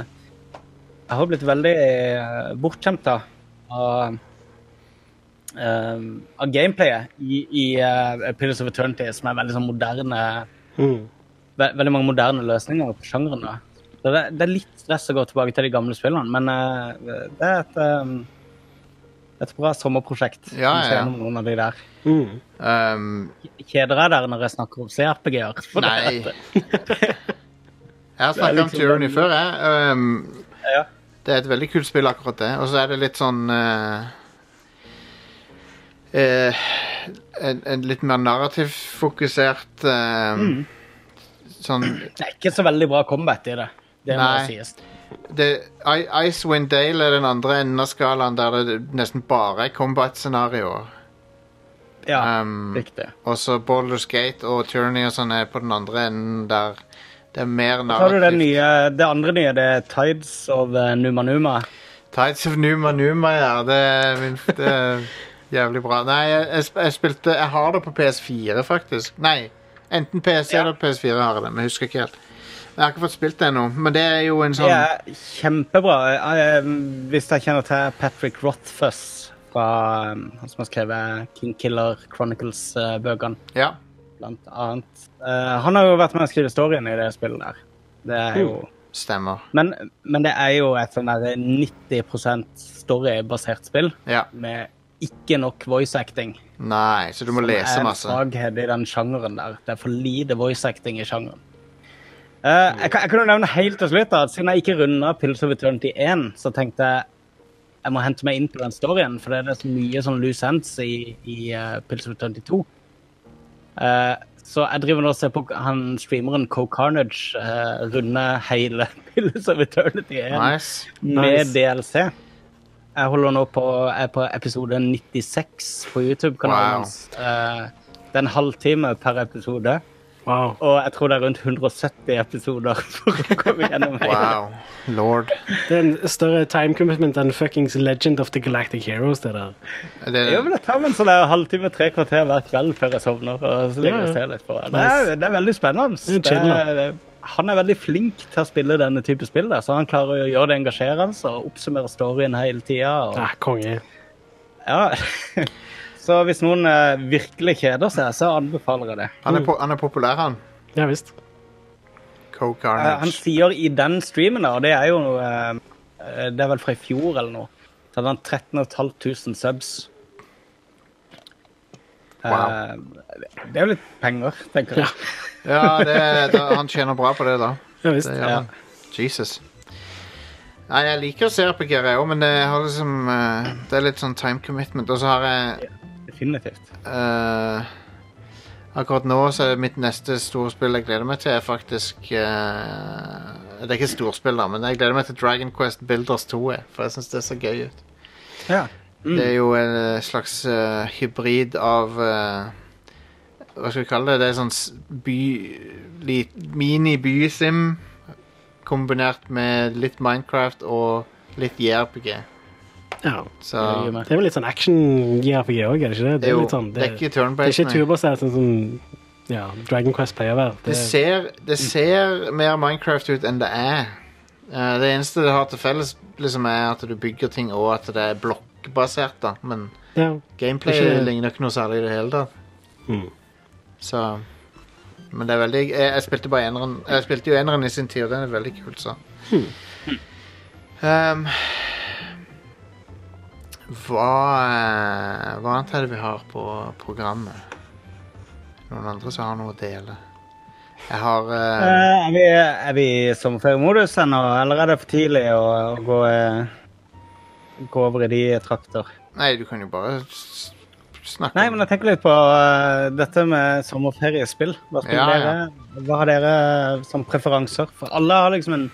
S7: jeg har blitt veldig eh, bortskjemt da, av, eh, av gameplayet i, i eh, Pillars of Eternity, som er veldig sånn moderne
S2: Mm.
S7: ve veldig mange moderne løsninger på sjangeren. da. Så det, det er litt stress å gå tilbake til de gamle spillene, men eh, det er et, eh, et bra sommerprosjekt.
S1: Ja,
S7: Kanskje
S1: ja, ja.
S7: gjennom Noen av de der.
S2: Mm.
S1: Um,
S7: Kjeder jeg dere når jeg snakker om CRPG-er? For det
S1: nei.
S7: er-
S1: [laughs] Jeg har snakket om
S7: liksom
S1: Tyranny
S7: den-
S1: før, jeg. Um,
S7: Ja.
S1: det er et veldig kult spill, akkurat det. Og så er det litt sånn eh, eh, en, en litt mer narrativfokusert um,
S7: Mm.
S1: Sånn
S7: Det er ikke så veldig bra combat i det. Det må
S1: Nei.
S7: sies.
S1: det, I- Icewind Dale er den andre enden av skalaen der det nesten bare er combat-scenarioer.
S7: Ja,
S1: Um,
S7: riktig.
S1: Og så Baldur's Gate og Tyranny og sånn er på den andre enden der det er mer
S7: Så har du det,
S1: narrativt.
S7: nye, det andre nye, det er Tides of eh, Numa Numa.
S1: Tides of Numa Numa, ja. Det er, min, det er jævlig bra. Nei, jeg, jeg, sp- jeg spilte Jeg har det på PS4, faktisk. Nei, enten PC
S7: Ja.
S1: eller PS4 har jeg det, men jeg husker ikke helt. Jeg har ikke fått spilt det ennå, men det er jo en
S7: Det
S1: sånn
S7: er kjempebra. Eh, Hvis jeg kjenner til Patrick Rothfuss, fra, eh, han som har skrevet King Killer eh, Chronicles-bøkene,
S1: Ja.
S7: blant annet. Eh, Han har jo vært med å skrive storyen i det spillet der. Det er jo...
S1: Stemmer.
S7: Men, men det er jo et sånn der 90 storybasert spill,
S1: Ja.
S7: med ikke nok voice acting.
S1: Nei, så du må lese
S7: Det
S1: masse.
S7: Sånn er en svaghet i den sjangeren der. Det er for lite voice acting i sjangeren. Eh, jeg, kan, jeg kan jo nevne helt til slutt da, at siden jeg ikke runda Pills of Eternity 1, så tenkte jeg jeg må hente meg inn på den storyen, for det er så mye sånn loose ends i, i eh, Pills of Eternity 2. Eh, Så jeg driver nå og ser på han streameren Co Carnage eh, runde hele [laughs] Pillars of Eternity igjen
S1: Nice.
S7: med
S2: Nice.
S7: DLC. Jeg holder nå på, er på episode 96 på YouTube-kanalen
S1: Wow.
S7: hans. Eh, det er en halvtime per episode,
S2: Wow.
S7: og jeg tror det er rundt 170 episoder [laughs] for å komme gjennom hele.
S1: Wow. Lord.
S2: Det er en større time commitment enn fuckings Legend of the Galactic Heroes. det der.
S1: Det,
S7: Jeg vil ta meg en sånn der halvtime, tre kvarter hver kveld før jeg sovner. og så
S2: Ja,
S7: ligger jeg
S2: ja.
S7: og ser litt på det. Det
S2: Nice.
S7: er, det er veldig spennende.
S2: er
S7: Det
S2: chill,
S7: er, han er veldig flink til å spille denne type spill, der, så han klarer å gjøre det engasjerende altså, og oppsummere storyen hele tida. Og...
S2: Ah, konge.
S7: Ja. [laughs] Så hvis noen eh, virkelig kjeder seg, så anbefaler jeg det.
S1: han, er po han er populær, han.
S2: Ja visst.
S1: Co
S7: Eh, Han
S1: Carnage.
S7: sier i den streamen, da, og det er jo eh, eh, Det er vel fra i fjor eller noe, så hadde han 13 500 subs. Eh,
S1: Wow.
S7: Det er jo litt penger, tenker jeg.
S1: Ja, det, da, han tjener bra på det, da.
S2: Ja, visst.
S1: Det gjør han. Jesus. Nei, jeg liker å se RPG òg, E men det, har liksom, eh, det er litt sånn time commitment. Og så har jeg
S7: Definitivt.
S1: eh, Akkurat nå så er mitt neste storspill jeg gleder meg til, er faktisk eh, Det er ikke storspill, da, men jeg gleder meg til Dragon Quest Builders 2. jeg, For jeg syns det ser gøy ut.
S7: Ja.
S1: Det
S2: Mm.
S1: er jo en eh, slags eh, hybrid av eh, Hva skal vi kalle det? Det er sånn s- by, li- mini-bysim kombinert med litt Minecraft og litt JRPG.
S2: Ja.
S1: Så
S7: Det gir meg.
S2: Det er vel litt sånn action-JRPG òg, er det ikke det? Det er,
S1: jo-
S2: litt sånn,
S1: det er ikke
S2: det er ikke
S1: turn-based. nei.
S2: turbasert sånn som ja, Dragon Quest pleier å være.
S1: Det ser,
S2: Mm.
S1: det ser mer Minecraft ut enn det er. Eh, det eneste det har til felles, liksom, er at du bygger ting og at det er blokkbasert. da Men
S2: ja.
S1: gameplay
S2: Det er ikke-
S1: ligner ikke noe særlig i det hele tatt.
S2: Mm.
S1: Så Men det er veldig Jeg, jeg spilte bare eneren. Jeg spilte jo eneren i sin tid, og den er veldig kul, så. Um, hva eh, Hva annet er det vi har på programmet? Noen andre som har noe å dele? Jeg har
S7: Eh,
S1: eh,
S7: Er vi, er vi i sommerferiemodus ennå, eller er det for tidlig å, å gå, eh, gå over i de trakter?
S1: Nei, du kan jo bare s- snakke
S7: Nei,
S1: om
S7: men jeg tenker litt på eh, dette med sommerferiespill. Hva spiller
S1: Ja, ja.
S7: dere? Hva har dere eh, som preferanser? For alle har liksom en,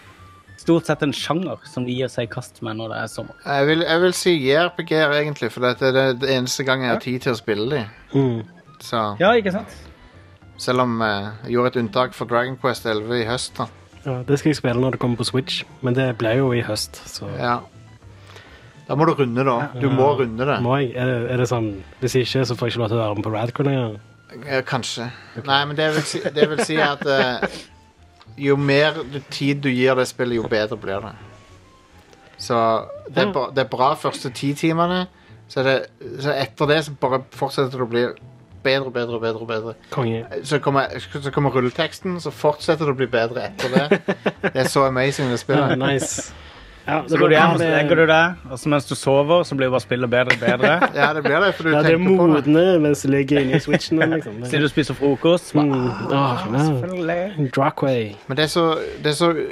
S7: stort sett en sjanger som de gir seg i kast med når det er sommer.
S1: Jeg vil, jeg vil si JRPG-er, egentlig, for dette er det, det eneste gang jeg har tid til å spille dem.
S2: Mm.
S1: Så
S7: Ja, ikke sant?
S1: Selv om eh, jeg gjorde et unntak for Dragon Quest 11 i høst. da.
S2: ja. Det skal jeg spille når det kommer på Switch, men det blir jo i høst, så
S1: Ja. Da må du runde, da. Du må runde det.
S2: må jeg. Er det, er det sånn Hvis ikke, så får jeg ikke lov til å være med på Radcon lenger.
S1: Eh, Kanskje. Nei, men det vil si, det vil si at eh, jo mer du- tid du gir det spillet, jo bedre blir det. Så det er,
S2: Ja.
S1: bra, det er bra første ti timene, så, er det, så etter det så bare fortsetter det å bli bedre og bedre og bedre. og bedre.
S2: Konge.
S1: Så kommer, så kommer rulleteksten, så fortsetter det å bli bedre etter det. Det er så amazing, det
S2: Ja,
S1: spillet.
S2: nice. Ja, det
S7: Så går du hjem og så
S2: det-
S7: legger du deg, og så mens du sover, så blir bare spillet bedre og [laughs] bedre.
S1: Ja, det blir det, for du
S2: Ja, det er
S1: tenker på det.
S2: modne mens du ligger inni
S1: [laughs]
S2: Switchen. Liksom.
S7: Siden du spiser frokost
S2: Mm.
S7: bare, ah,
S2: Åh, ja.
S7: Selvfølgelig.
S2: Drockway.
S1: Men det er så, det er så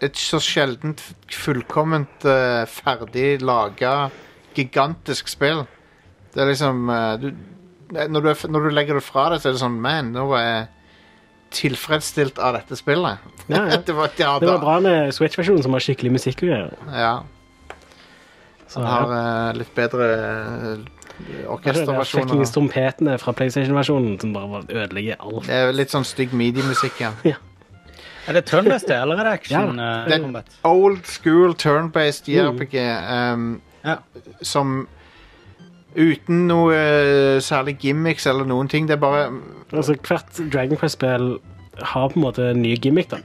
S1: Et så sjeldent fullkomment eh, ferdig laga, gigantisk spill. Det er liksom eh, du, når, du, er f- når du legger det fra deg, så er det sånn Man, nå var jeg tilfredsstilt av dette spillet.
S2: Ja, ja.
S1: [laughs] det var, ja,
S2: Det var
S1: da-
S2: bra med Switch-versjonen, som har skikkelig musikk og greier.
S1: Ja,
S2: Så
S1: den har eh, litt bedre eh,
S2: ja, det er de
S1: orkesterversjoner.
S2: fuckings trompetene fra PlayStation-versjonen som bare var- ødelegger alt.
S1: Det er litt sånn stygg mediemusikk, ja.
S7: Er det turn-based, det, eller er det action?
S2: Ja.
S7: eh,
S1: Den-
S7: combat?
S1: old school turn-based
S2: Mm.
S1: JRPG um,
S7: Ja.
S1: som Uten noe eh, særlig gimmicks eller noen ting. Det er bare
S2: Altså, hvert Dragon Quest-spill har på en måte en ny gimmick, da.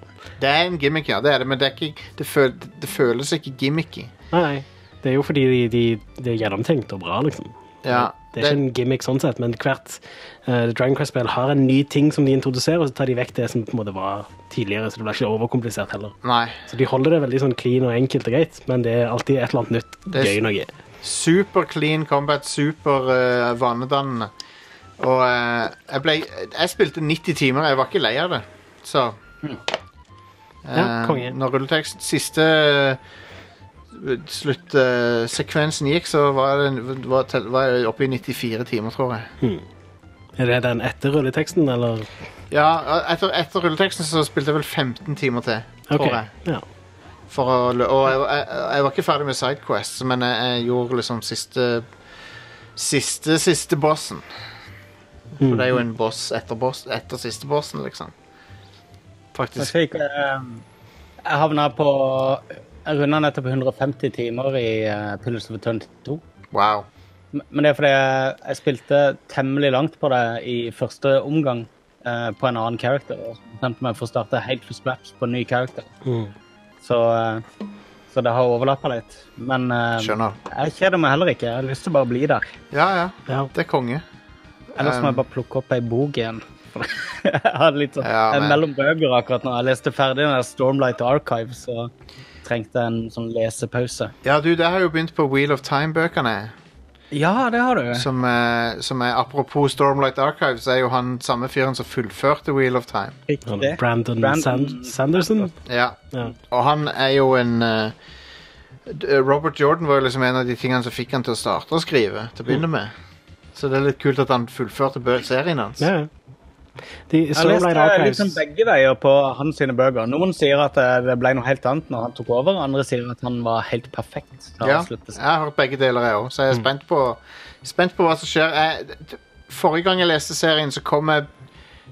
S1: Det er en gimmick, ja, det er det, men det, er ikke, det, føl, det føles ikke gimmicky.
S2: Nei, nei. Det er jo fordi de, de, de er gjennomtenkt og bra, liksom.
S1: Ja,
S2: Det er ikke
S1: det-
S2: en gimmick sånn sett, men hvert eh, Dragon Quest-spill har en ny ting som de introduserer, og så tar de vekk det som på en måte var tidligere, så det blir ikke overkomplisert heller.
S1: Nei.
S2: Så de holder det veldig sånn clean og enkelt og greit, men det er alltid et eller annet nytt
S1: Det er-
S2: gøy noe.
S1: Super clean combat, super eh, vanedannende. Og eh, jeg ble Jeg spilte 90 timer, jeg var ikke lei av det. Så
S2: Ja,
S1: Eh,
S2: konge.
S1: Når rulletekst Siste eh, sluttsekvensen gikk, så var, det, var, var jeg oppe i 94 timer, tror jeg.
S2: Er det den etter rulleteksten, eller?
S1: Ja, etter, etter rulleteksten så spilte jeg vel 15 timer til. Tror
S2: Ok,
S1: jeg.
S2: Ja.
S1: For å, lø- og jeg, jeg, jeg var ikke ferdig med Sidequest, men jeg, jeg gjorde liksom siste Siste, siste bossen. For det er jo en boss etter, boss, etter siste bossen, liksom.
S7: Så
S1: Faktisk.
S7: fikk eh, Jeg havna på Jeg runda nettopp 150 timer i uh, Pillars of Eternity 2.
S1: Wow.
S7: M- Men det er fordi jeg, jeg spilte temmelig langt på det i første omgang eh, på en annen character. Og så bestemte meg for å starte helt fra scratch på en ny character. Så, eh, så det har overlappa litt. Men eh,
S1: Skjønner.
S7: jeg kjeder meg heller ikke. Jeg har lyst til å bare bli der.
S1: Ja, ja.
S2: Ja.
S1: Det er konge.
S7: Ellers må jeg
S1: Um,
S7: bare plukke opp ei bok igjen. [laughs] For jeg hadde litt sånn
S1: Ja,
S7: jeg er
S1: men-
S7: Mellom bøker akkurat nå. Jeg leste ferdig den der Stormlight Archive, så trengte jeg en sånn lesepause.
S1: Ja, du, det har jo begynt på Wheel of Time-bøkene.
S7: Ja, det har du.
S1: Som, eh, som er Apropos Stormlight Archives, er jo han samme fyren som fullførte Wheel of Time.
S7: Riktig.
S2: Sånn, Brandon,
S7: Brandon-
S2: Sand Sanderson?
S1: Ja.
S2: Ja.
S1: Og han er jo en eh, d- Robert Jordan var jo liksom en av de tingene som fikk han til å starte å skrive. Til å begynne
S2: Mm.
S1: med Så det er litt kult at han fullførte bø- serien hans.
S2: ja. De,
S7: Jeg
S2: Stormlight
S7: leste liksom
S2: Archives
S7: begge veier på hans sine bøker. Noen sier at eh, det ble noe helt annet når han tok over, andre sier at han var helt perfekt. når
S1: Ja,
S7: han sluttet.
S1: jeg har hørt begge deler, jeg òg, så
S2: Mm.
S1: jeg er spent på, spent på hva som skjer. Jeg, d- d- forrige gang jeg leste serien, så kom jeg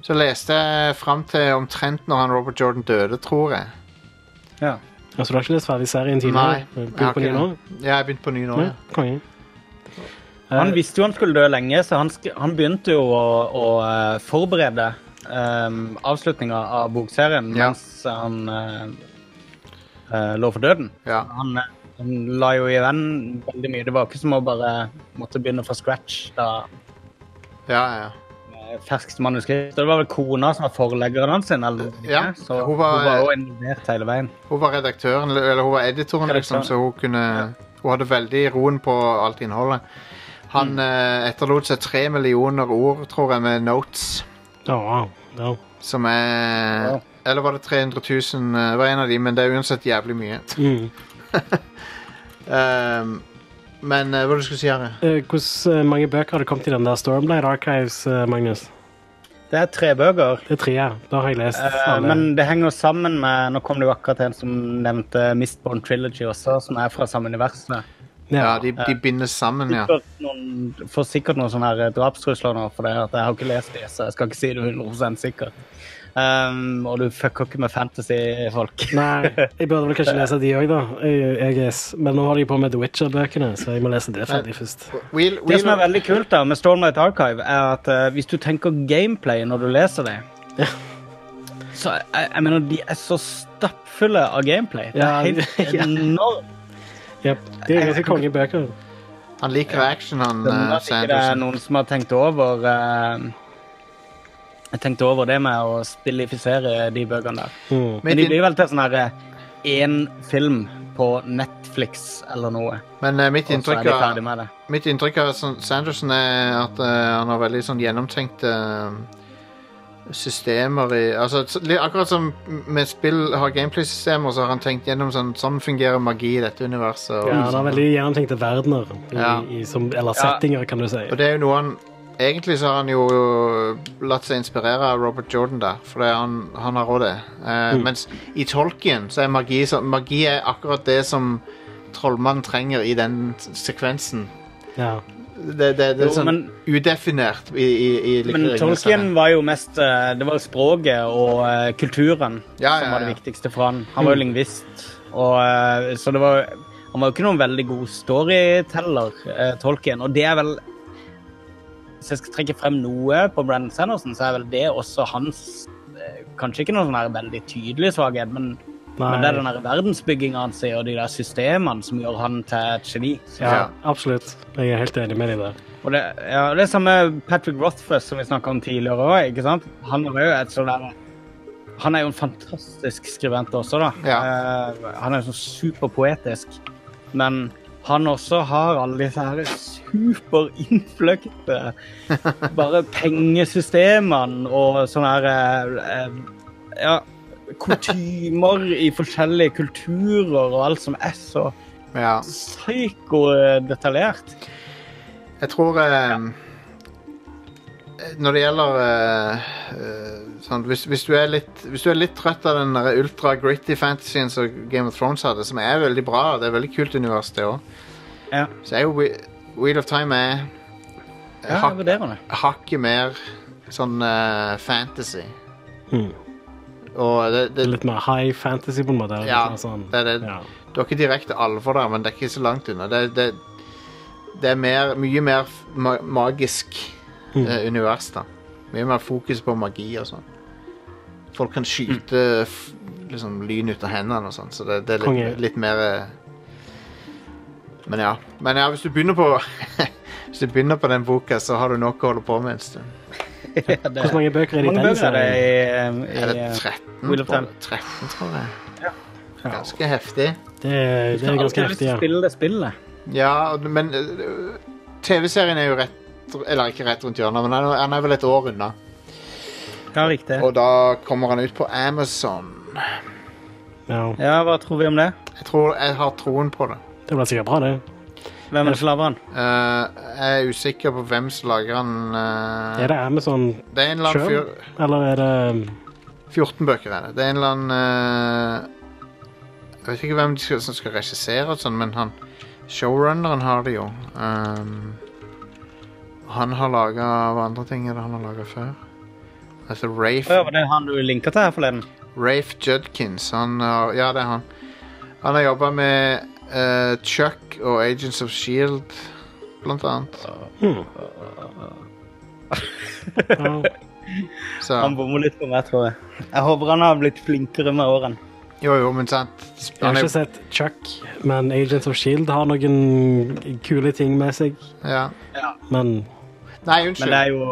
S1: Så leste jeg fram til omtrent når han Robert Jordan døde, tror jeg.
S7: Ja.
S2: Altså, Du har ikke lest ferdig serien tidligere?
S1: Nei, jeg har
S2: Begynt på ny
S1: ikke
S2: nå?
S1: det. Ja, jeg begynte på ny nå.
S2: Ja,
S1: Ja.
S2: konge.
S7: Han
S2: Eh,
S7: visste jo han skulle dø lenge, så han, sk han begynte jo å, å eh, forberede um, avslutninga av bokserien
S1: Ja.
S7: mens han eh, eh, lå for døden.
S1: Ja.
S7: Han, eh, han la jo igjen veldig mye. Det var ikke som å bare måtte begynne fra scratch da
S1: Ja, ja.
S7: eh, ferskt manuskript. Og Det var vel kona som var forleggeren hans, sin, eller noe,
S1: Ja,
S7: så
S1: hun
S7: hun
S1: var- eh,
S7: var òg involvert hele veien.
S1: Hun var redaktøren, eller hun var editoren, liksom,
S7: Redaktøren.
S1: så hun kunne Hun hadde veldig roen på alt innholdet. Han
S7: Mm.
S1: eh, etterlot seg tre millioner ord, tror jeg, med notes,
S2: ja, wow. Ja.
S1: som er
S7: Wow.
S1: Eller var det 300 000? eh, var en av de, men det er uansett jævlig mye.
S2: Mm.
S1: Ehm, men eh, hva du skulle si, Harry?
S2: Eh, Hvordan eh, mange bøker har det kommet i den der Stormlight Archives, eh, Magnus?
S7: Det er tre bøker.
S2: Det er tre, ja. Da har jeg lest
S7: Eh,
S2: alle.
S7: men det henger sammen med Nå kom det jo akkurat en som nevnte Mistborn Trilogy også, som er fra samme universet.
S1: Ja, de, de bindes sammen, ja.
S7: sikkert noen, får sikkert noen sånne her eh, drapstrusler nå, for det at jeg har ikke lest det, så jeg skal ikke si det 100 sikkert. Um, og du fucker ikke med
S1: [laughs]
S7: fantasy-folk.
S2: Nei, jeg burde vel kanskje lese de òg, da. Jeg, jeg er s- men nå har de på med The Witcher-bøkene, så jeg må lese det ferdig først.
S1: Wheel,
S7: Det som er
S1: Wheel,
S7: veldig kult da med Stormlight Archive, er at eh, hvis du tenker gameplay når du leser det Så jeg, jeg mener, de er så stappfulle av gameplay. Det
S2: Ja,
S7: er
S2: [laughs]
S7: helt
S2: ja.
S7: enormt.
S2: Ja, de er ganske kongebøker.
S1: han liker action, han
S7: Skjønner
S1: eh,
S7: at ikke det er
S1: Sanderson.
S7: noen som har tenkt over eh, Tenkt over det med å spillifisere de bøkene der.
S2: Mm.
S1: Midt
S7: Men de
S1: inn-
S7: blir vel til sånn her én film på Netflix eller noe.
S1: Men eh, mitt
S7: Og så er
S1: inntrykk
S7: de
S1: av
S7: ferdig med det.
S1: Mitt inntrykk av San- Sanderson er at eh, han har veldig sånn gjennomtenkte eh, systemer i altså, s- li- Akkurat som med spill har gameplay-systemer, så har han tenkt gjennom sånn Sånn fungerer magi i dette universet. Og,
S2: Ja, det er veldig gjennomtenkte verdener, i,
S1: Ja.
S2: i, som, eller settinger, kan du si.
S1: og det er jo noe han Egentlig så har han jo eh, latt seg inspirere av Robert Jordan, da, for det er han, han har òg det. Eh, Mens i Tolkien så er magi så, Magi er akkurat det som trollmannen trenger i den s- sekvensen.
S2: Ja.
S1: Det, det, det er
S7: Jo,
S1: sånn
S7: men-
S1: udefinert i, i, i
S7: Men
S1: Ringene
S7: Tolkien
S1: sine.
S7: var jo mest eh, Det var språket og eh, kulturen
S1: Ja, ja,
S7: som var
S1: ja. Mm.
S7: det viktigste for han. Han var jo lingvist, og eh, så det var Han var jo ikke noen veldig god storyteller, eh, Tolkien, og det er vel Hvis jeg skal trekke frem noe på Brandon Sanderson, så er vel det også hans eh, Kanskje ikke noen sånn her veldig tydelig svakhet, men
S2: Nei.
S7: Men det er den der verdensbygginga hans og de der systemene som gjør han til et geni.
S2: ja,
S1: Ja.
S2: absolutt. Jeg er helt enig med deg der.
S7: Og det, ja, det er samme Patrick Rothfuss som vi snakka om tidligere òg, ikke sant? Han er jo et sånn der Han er jo en fantastisk skribent også, da. Eh, han er jo sånn superpoetisk. Men han også har alle disse her [laughs] superinnfløkte Bare pengesystemene og sånne her eh, eh, Ja, kutymer i forskjellige kulturer og alt som er så
S1: Ja.
S7: psykodetaljert.
S1: Jeg tror eh, eh, når det gjelder eh, eh, sånn, hvis, hvis, du er litt, hvis du er litt trøtt av den der ultra-gritty fantasyen som Game of Thrones hadde, som er veldig bra, det er veldig kult univers, det òg,
S7: Ja.
S1: så er jo Whe- Wheel of Time er
S7: Ja, jeg
S1: hak,
S7: vurderer det.
S1: hakket mer sånn eh, fantasy.
S2: Mhm.
S1: Og det, det,
S2: Litt mer high fantasy, på en måte.
S1: Ja,
S2: litt mer sånn-
S1: det er det.
S2: Ja.
S1: Du har ikke direkte alvor der, men det er ikke så langt unna. Det, det, det er mer, mye mer f- ma magisk
S7: Mm.
S1: eh, univers, da. Mye mer fokus på magi og sånn. Folk kan skyte
S7: Mm.
S1: f liksom, lyn ut av hendene og sånn, så det, det er
S2: Konge.
S1: litt, litt mer eh, Men ja. Men ja, hvis du begynner på [laughs] Hvis du begynner på den boka, så har du nok å holde på med en stund.
S7: [laughs] Ja, det.
S2: Hvor mange bøker er det i den
S7: mange bøker er det
S2: serien?
S7: i,
S1: Er det
S7: eh, i
S1: 13?
S7: Wheel of
S1: tror-
S7: Time.
S1: 13 tror jeg. Ganske heftig.
S2: Det er, det er ganske heftig, ja.
S7: Spille det spillet.
S1: Ja, og- men øh, TV-serien er jo rett Eller ikke rett rundt hjørnet, men han er- han er vel et år unna.
S7: Ja, riktig.
S1: Og da kommer han ut på Amazon.
S2: ja.
S7: Ja, hva tror vi om det?
S1: Jeg tror jeg har troen på det.
S2: Det blir sikkert bra, det.
S7: Hvem er det som lager den?
S1: Eh, jeg er usikker på hvem som lager den. eh,
S2: Er det Amazon
S1: det er en eller annen
S2: sjøl,
S1: fyr
S2: eller er det
S1: 14 bøker er det. Det er en eller annen eh, Jeg vet ikke hvem de skal, som skal regissere, og sånn, men han showrunneren har det jo. Um, han har laga Hva andre ting er det han har laga før? Altså Rafe
S7: Å ja, var det han du linka til her forleden?
S1: Rafe Judkins. Han har, ja, det er han. Han har jobba med eh, Chuck og Agents of Shield, E blant annet.
S2: ja.
S1: [laughs] Så,
S7: Han bommer litt på meg, tror jeg. Jeg håper han har blitt flinkere med årene.
S1: jo, jo, men sant.
S2: Jeg
S1: Han
S2: har
S1: er,
S2: ikke sett Chuck, men Agents of Shield E har noen kule ting med seg.
S1: ja.
S2: Men
S1: Nei,
S7: Men det
S1: unnskyld.
S7: er jo,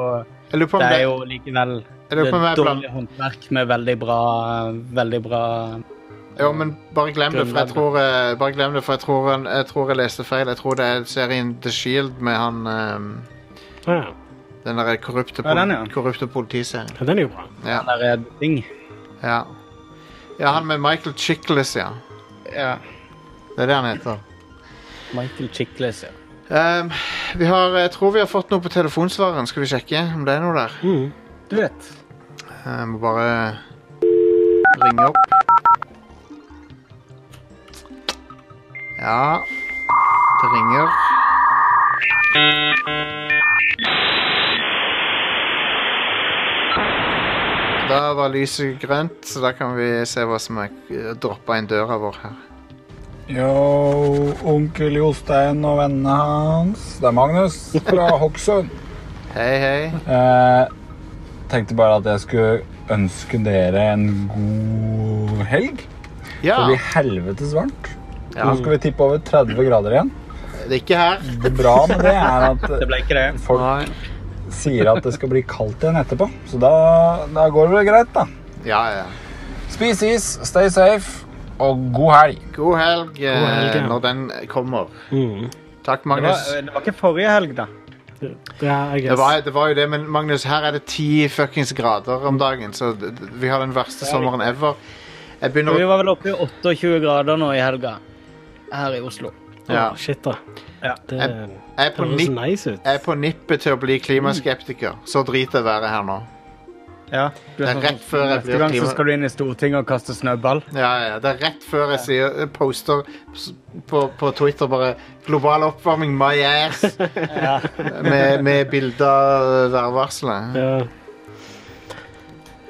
S1: Jeg lurer på om
S7: det
S1: det
S7: er jo likevel
S1: Jeg lurer på om jeg
S7: dårlig håndverk med veldig bra Veldig bra
S1: Jo, men bare glem det, for jeg
S7: Grunnlag.
S1: tror, eh, bare glem det, for jeg tror, han- jeg tror jeg leste feil. Jeg tror det er serien The Shield E med han ehm,
S2: ja,
S1: Den derre korrupte,
S7: Ja, den, ja.
S1: pol- korrupte politiserien.
S2: den er jo bra.
S1: Ja,
S7: der er ting.
S1: ja. ja, han med Michael Chiklis, ja.
S7: Ja.
S1: Det er det han heter.
S7: Michael Chiklis, ja.
S1: Ehm, vi har, jeg tror vi har fått noe på telefonsvareren. Skal vi sjekke om det er noe der?
S2: Mm.
S7: Du vet.
S1: Jeg må bare ringe opp. Ja Det ringer. Da var lyset grønt, så da kan vi se hva som er droppa inn døra vår her.
S8: Yo, onkel Jostein og vennene hans. Det er Magnus
S1: [laughs]
S8: fra Hokksund.
S1: Hei, hei.
S8: Eh, tenkte bare at jeg skulle ønske dere en god helg.
S1: Ja,
S8: Det blir helvetes varmt.
S1: Ja.
S8: Nå skal vi tippe over 30 grader igjen.
S1: det er ikke her.
S8: Det bra med det er
S1: [laughs]
S8: at
S7: Det ble ikke det.
S8: folk
S1: Nei.
S8: sier at det skal bli kaldt igjen etterpå. Så da, da går det vel greit, da.
S1: Ja, ja.
S8: Spis is, stay safe, og god helg.
S1: God helg, eh,
S2: God helg, ja.
S1: når den kommer.
S2: Mm.
S1: Takk,
S7: Det var, eh,
S1: Magnus.
S7: det var ikke forrige helg, da.
S2: Ja, I guess.
S1: Det var, det var jo det, men Magnus, her er det ti fuckings grader om dagen, så d- d- vi har den verste sommeren ever. Jeg begynner
S7: Vi
S1: å
S7: var vel oppe i 28 grader nå i helga. Her i Oslo.
S1: ja.
S2: Åh, Shit, da.
S7: Ja.
S2: Det,
S1: Jeg-
S2: det
S1: Jeg er på
S2: høres
S1: nipp-
S2: nice ut.
S1: jeg er på nippet til å bli klimaskeptiker. Så driter været her nå.
S7: Ja, du
S1: Det er
S7: sånn-
S1: rett før jeg
S7: Neste
S1: blir
S7: gang så
S1: klima-
S7: skal du inn i Stortinget og kaste snøball.
S1: Ja, ja, Det er rett før jeg sier, poster s- på, på Twitter bare 'Global oppvarming, my
S7: [laughs]
S1: ass' med, med bilde av værvarselet.
S2: Ja.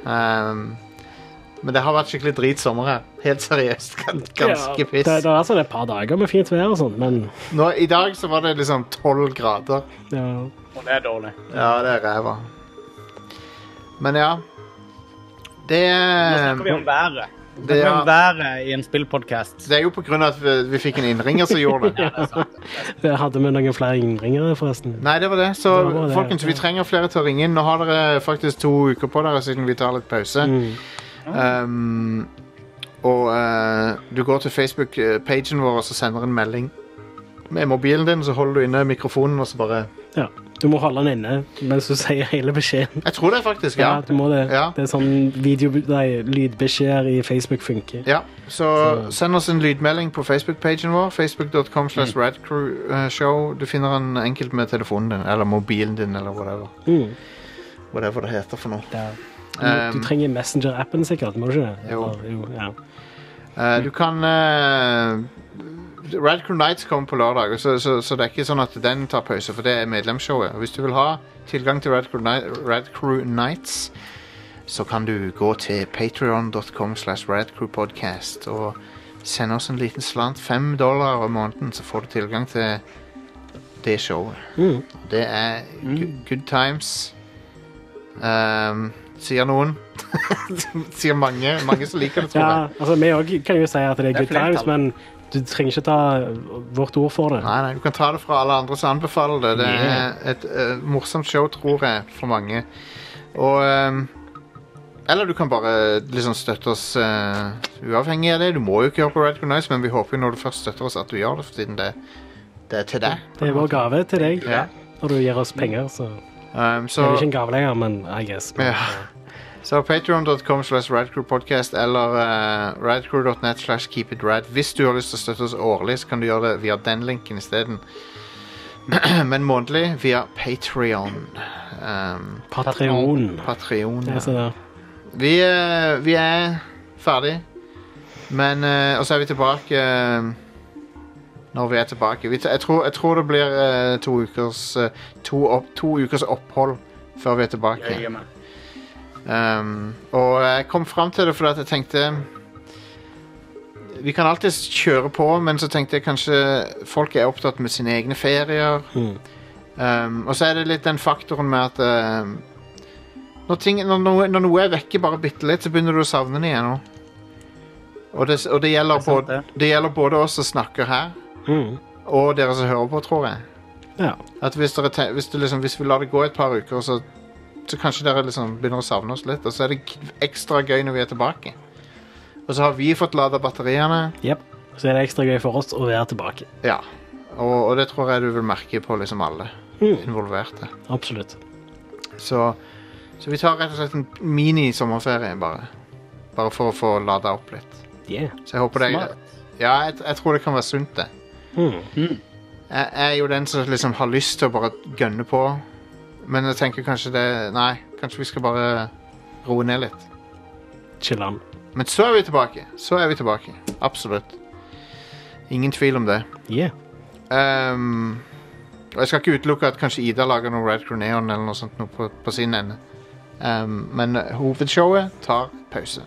S1: Um, men det har vært skikkelig drit sommer her. Helt seriøst. [laughs] Gans- Ganske
S2: Ja, Det,
S1: piss.
S2: det er sånn et par dager med fint vær og sånn, men
S1: Nå, I dag så var det liksom tolv grader.
S2: ja.
S7: Og det er dårlig.
S1: Ja, det er ræva. Men ja Det
S7: Nå snakker vi
S1: er,
S7: om været.
S1: det,
S7: Det
S1: er,
S7: været i en spillpodkast.
S1: det er jo på grunn av at vi, vi fikk en innringer som gjorde
S2: [laughs]
S1: det.
S2: Det Hadde vi noen flere innringere, forresten?
S1: Nei, det var det. Så
S2: Det var det,
S1: folkens, vi
S2: ja.
S1: trenger flere til å ringe inn. Nå har dere faktisk to uker på dere siden vi tar litt pause.
S2: Mm.
S1: Um, og eh, du går til Facebook-pagen vår og så sender en melding med mobilen din, så holder du inne mikrofonen og så bare
S2: Ja. Du må holde den inne mens du sier hele beskjeden.
S1: Jeg tror det, faktisk.
S2: Ja,
S1: Ja.
S2: du må det.
S1: Ja.
S2: Det er sånn video, nei, lydbeskjeder i Facebook funker.
S1: Ja, så send oss en lydmelding på Facebook-pagen vår. Facebook.com slash eh, radcrewshow. Du finner den enkelt med telefonen din, eller mobilen din, eller whatever.
S2: Mm.
S1: whatever det heter for noe.
S2: Ja. Du,
S1: Um,
S2: du trenger Messenger-appen sikkert, må du ikke det?
S1: Jo.
S2: Eller, jo ja.
S1: Eh, du kan uh, Radcrow Nights kommer på lørdag, så, så, så det er ikke sånn at den tar pause, for det er medlemsshowet. Og Hvis du vil ha tilgang til Radcrow, Ni Radcrow Nights, så kan du gå til patreon.com slash radcrewpodcast og sende oss en liten slant. Fem dollar om måneden, så får du tilgang til det showet.
S2: Mm.
S1: Det er good, good times. Ehm, sier noen. [laughs] sier mange. Mange som liker det, tror jeg.
S2: ja, altså Vi òg kan jo si at det er
S1: er
S2: good times,
S1: flertall.
S2: men du trenger ikke ta vårt ord for det.
S1: Nei, nei, du kan ta det fra alle andre som anbefaler det. Det er et eh, morsomt show, tror jeg, for mange. Og ehm, Eller du kan bare liksom støtte oss eh, uavhengig av det. Du må jo ikke høre på Radcrow Nights, men vi håper jo når du først støtter oss, at du gjør det, siden det, det er til deg.
S2: Det er vår gave til deg.
S1: Ja.
S2: Når du gir oss penger, så
S1: Ehm,
S2: Det
S1: så
S2: er jo ikke en gave lenger, men I guess. Men,
S1: Ja. så patreon.com slash radcrewpodcast eller uh, radcrew.net slash keepitrad. Hvis du har lyst til å støtte oss årlig, så kan du gjøre det via den linken isteden. [clears throat] men månedlig via Patrion. Um,
S2: Patreon.
S1: Patreon.
S2: Det
S1: Ja.
S2: er så der.
S1: Vi, eh, vi er ferdig. Men eh, Og så er vi tilbake eh, når vi er tilbake. Vi, t- jeg, tror, jeg tror det blir eh, to, ukers, eh, to, opp, to ukers opphold før vi er tilbake. Um, og jeg kom fram til det fordi at jeg tenkte Vi kan alltid kjøre på, men så tenkte jeg kanskje folk er opptatt med sine egne ferier.
S2: Mhm.
S1: Um, og så er det litt den faktoren med at um, når, ting, når, noe, når noe er vekke bare bitte litt, så begynner du å savne det igjen. også. Og det, og det, gjelder,
S7: Det er sant,
S1: både, det gjelder både oss som snakker her,
S2: Mm.
S1: og dere som hører på, tror jeg.
S2: Ja.
S1: At hvis, dere te hvis, du liksom, hvis vi lar det gå et par uker, så, så kanskje dere liksom begynner å savne oss litt. Og så er det k- ekstra gøy når vi er tilbake. Og så har vi fått lada batteriene.
S2: Jep. Så er det ekstra gøy for oss å være tilbake.
S1: Ja. Og, og det tror jeg du vil merke på liksom alle
S2: Mm.
S1: involverte.
S2: Absolutt.
S1: Så, så vi tar rett og slett en mini-sommerferie, bare. Bare for å få lada opp litt.
S2: Yeah.
S1: Så jeg håper det Ja, jeg, jeg tror det kan være sunt, det.
S2: Mm.
S1: jeg er jo den som liksom har lyst til å bare gønne på. Men jeg tenker kanskje det Nei, kanskje vi skal bare roe ned litt.
S2: Chiller'n.
S1: Men så er vi tilbake. Så er vi tilbake. Absolutt. Ingen tvil om det.
S2: Yeah.
S1: Ehm, og jeg skal ikke utelukke at kanskje Ida lager noe Red Croneon eller noe sånt noe på, på sin ende. Ehm, men hovedshowet tar pause.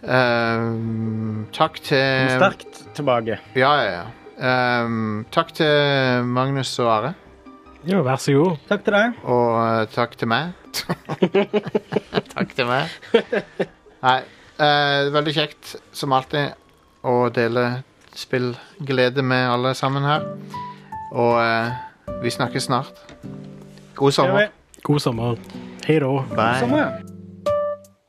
S1: Ehm, takk til
S7: Sterkt tilbake.
S1: Ja, ja, ja. Ehm, takk til Magnus og Are.
S2: Ja, vær så god.
S7: Takk til deg.
S1: Og eh, takk til meg. [laughs] takk til meg. [laughs] Nei, eh, veldig kjekt som alltid å dele spillglede med alle sammen her. Og eh, vi snakkes snart. God
S7: Det gjør
S1: sommer.
S7: vi.
S2: God sommer. Hei da.
S1: Bye.
S7: Sommer, ja.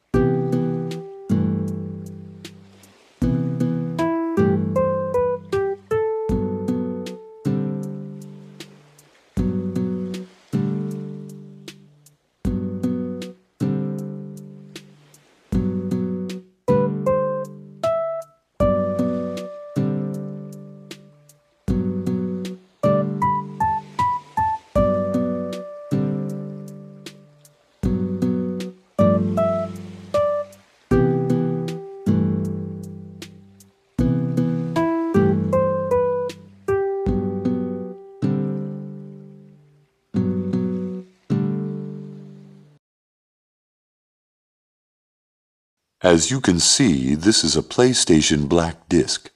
S9: As you can see, this is a PlayStation black disc.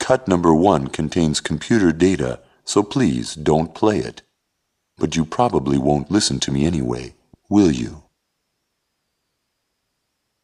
S9: Cut number one contains computer data, so please don't play it. But you probably won't listen to me anyway, will you?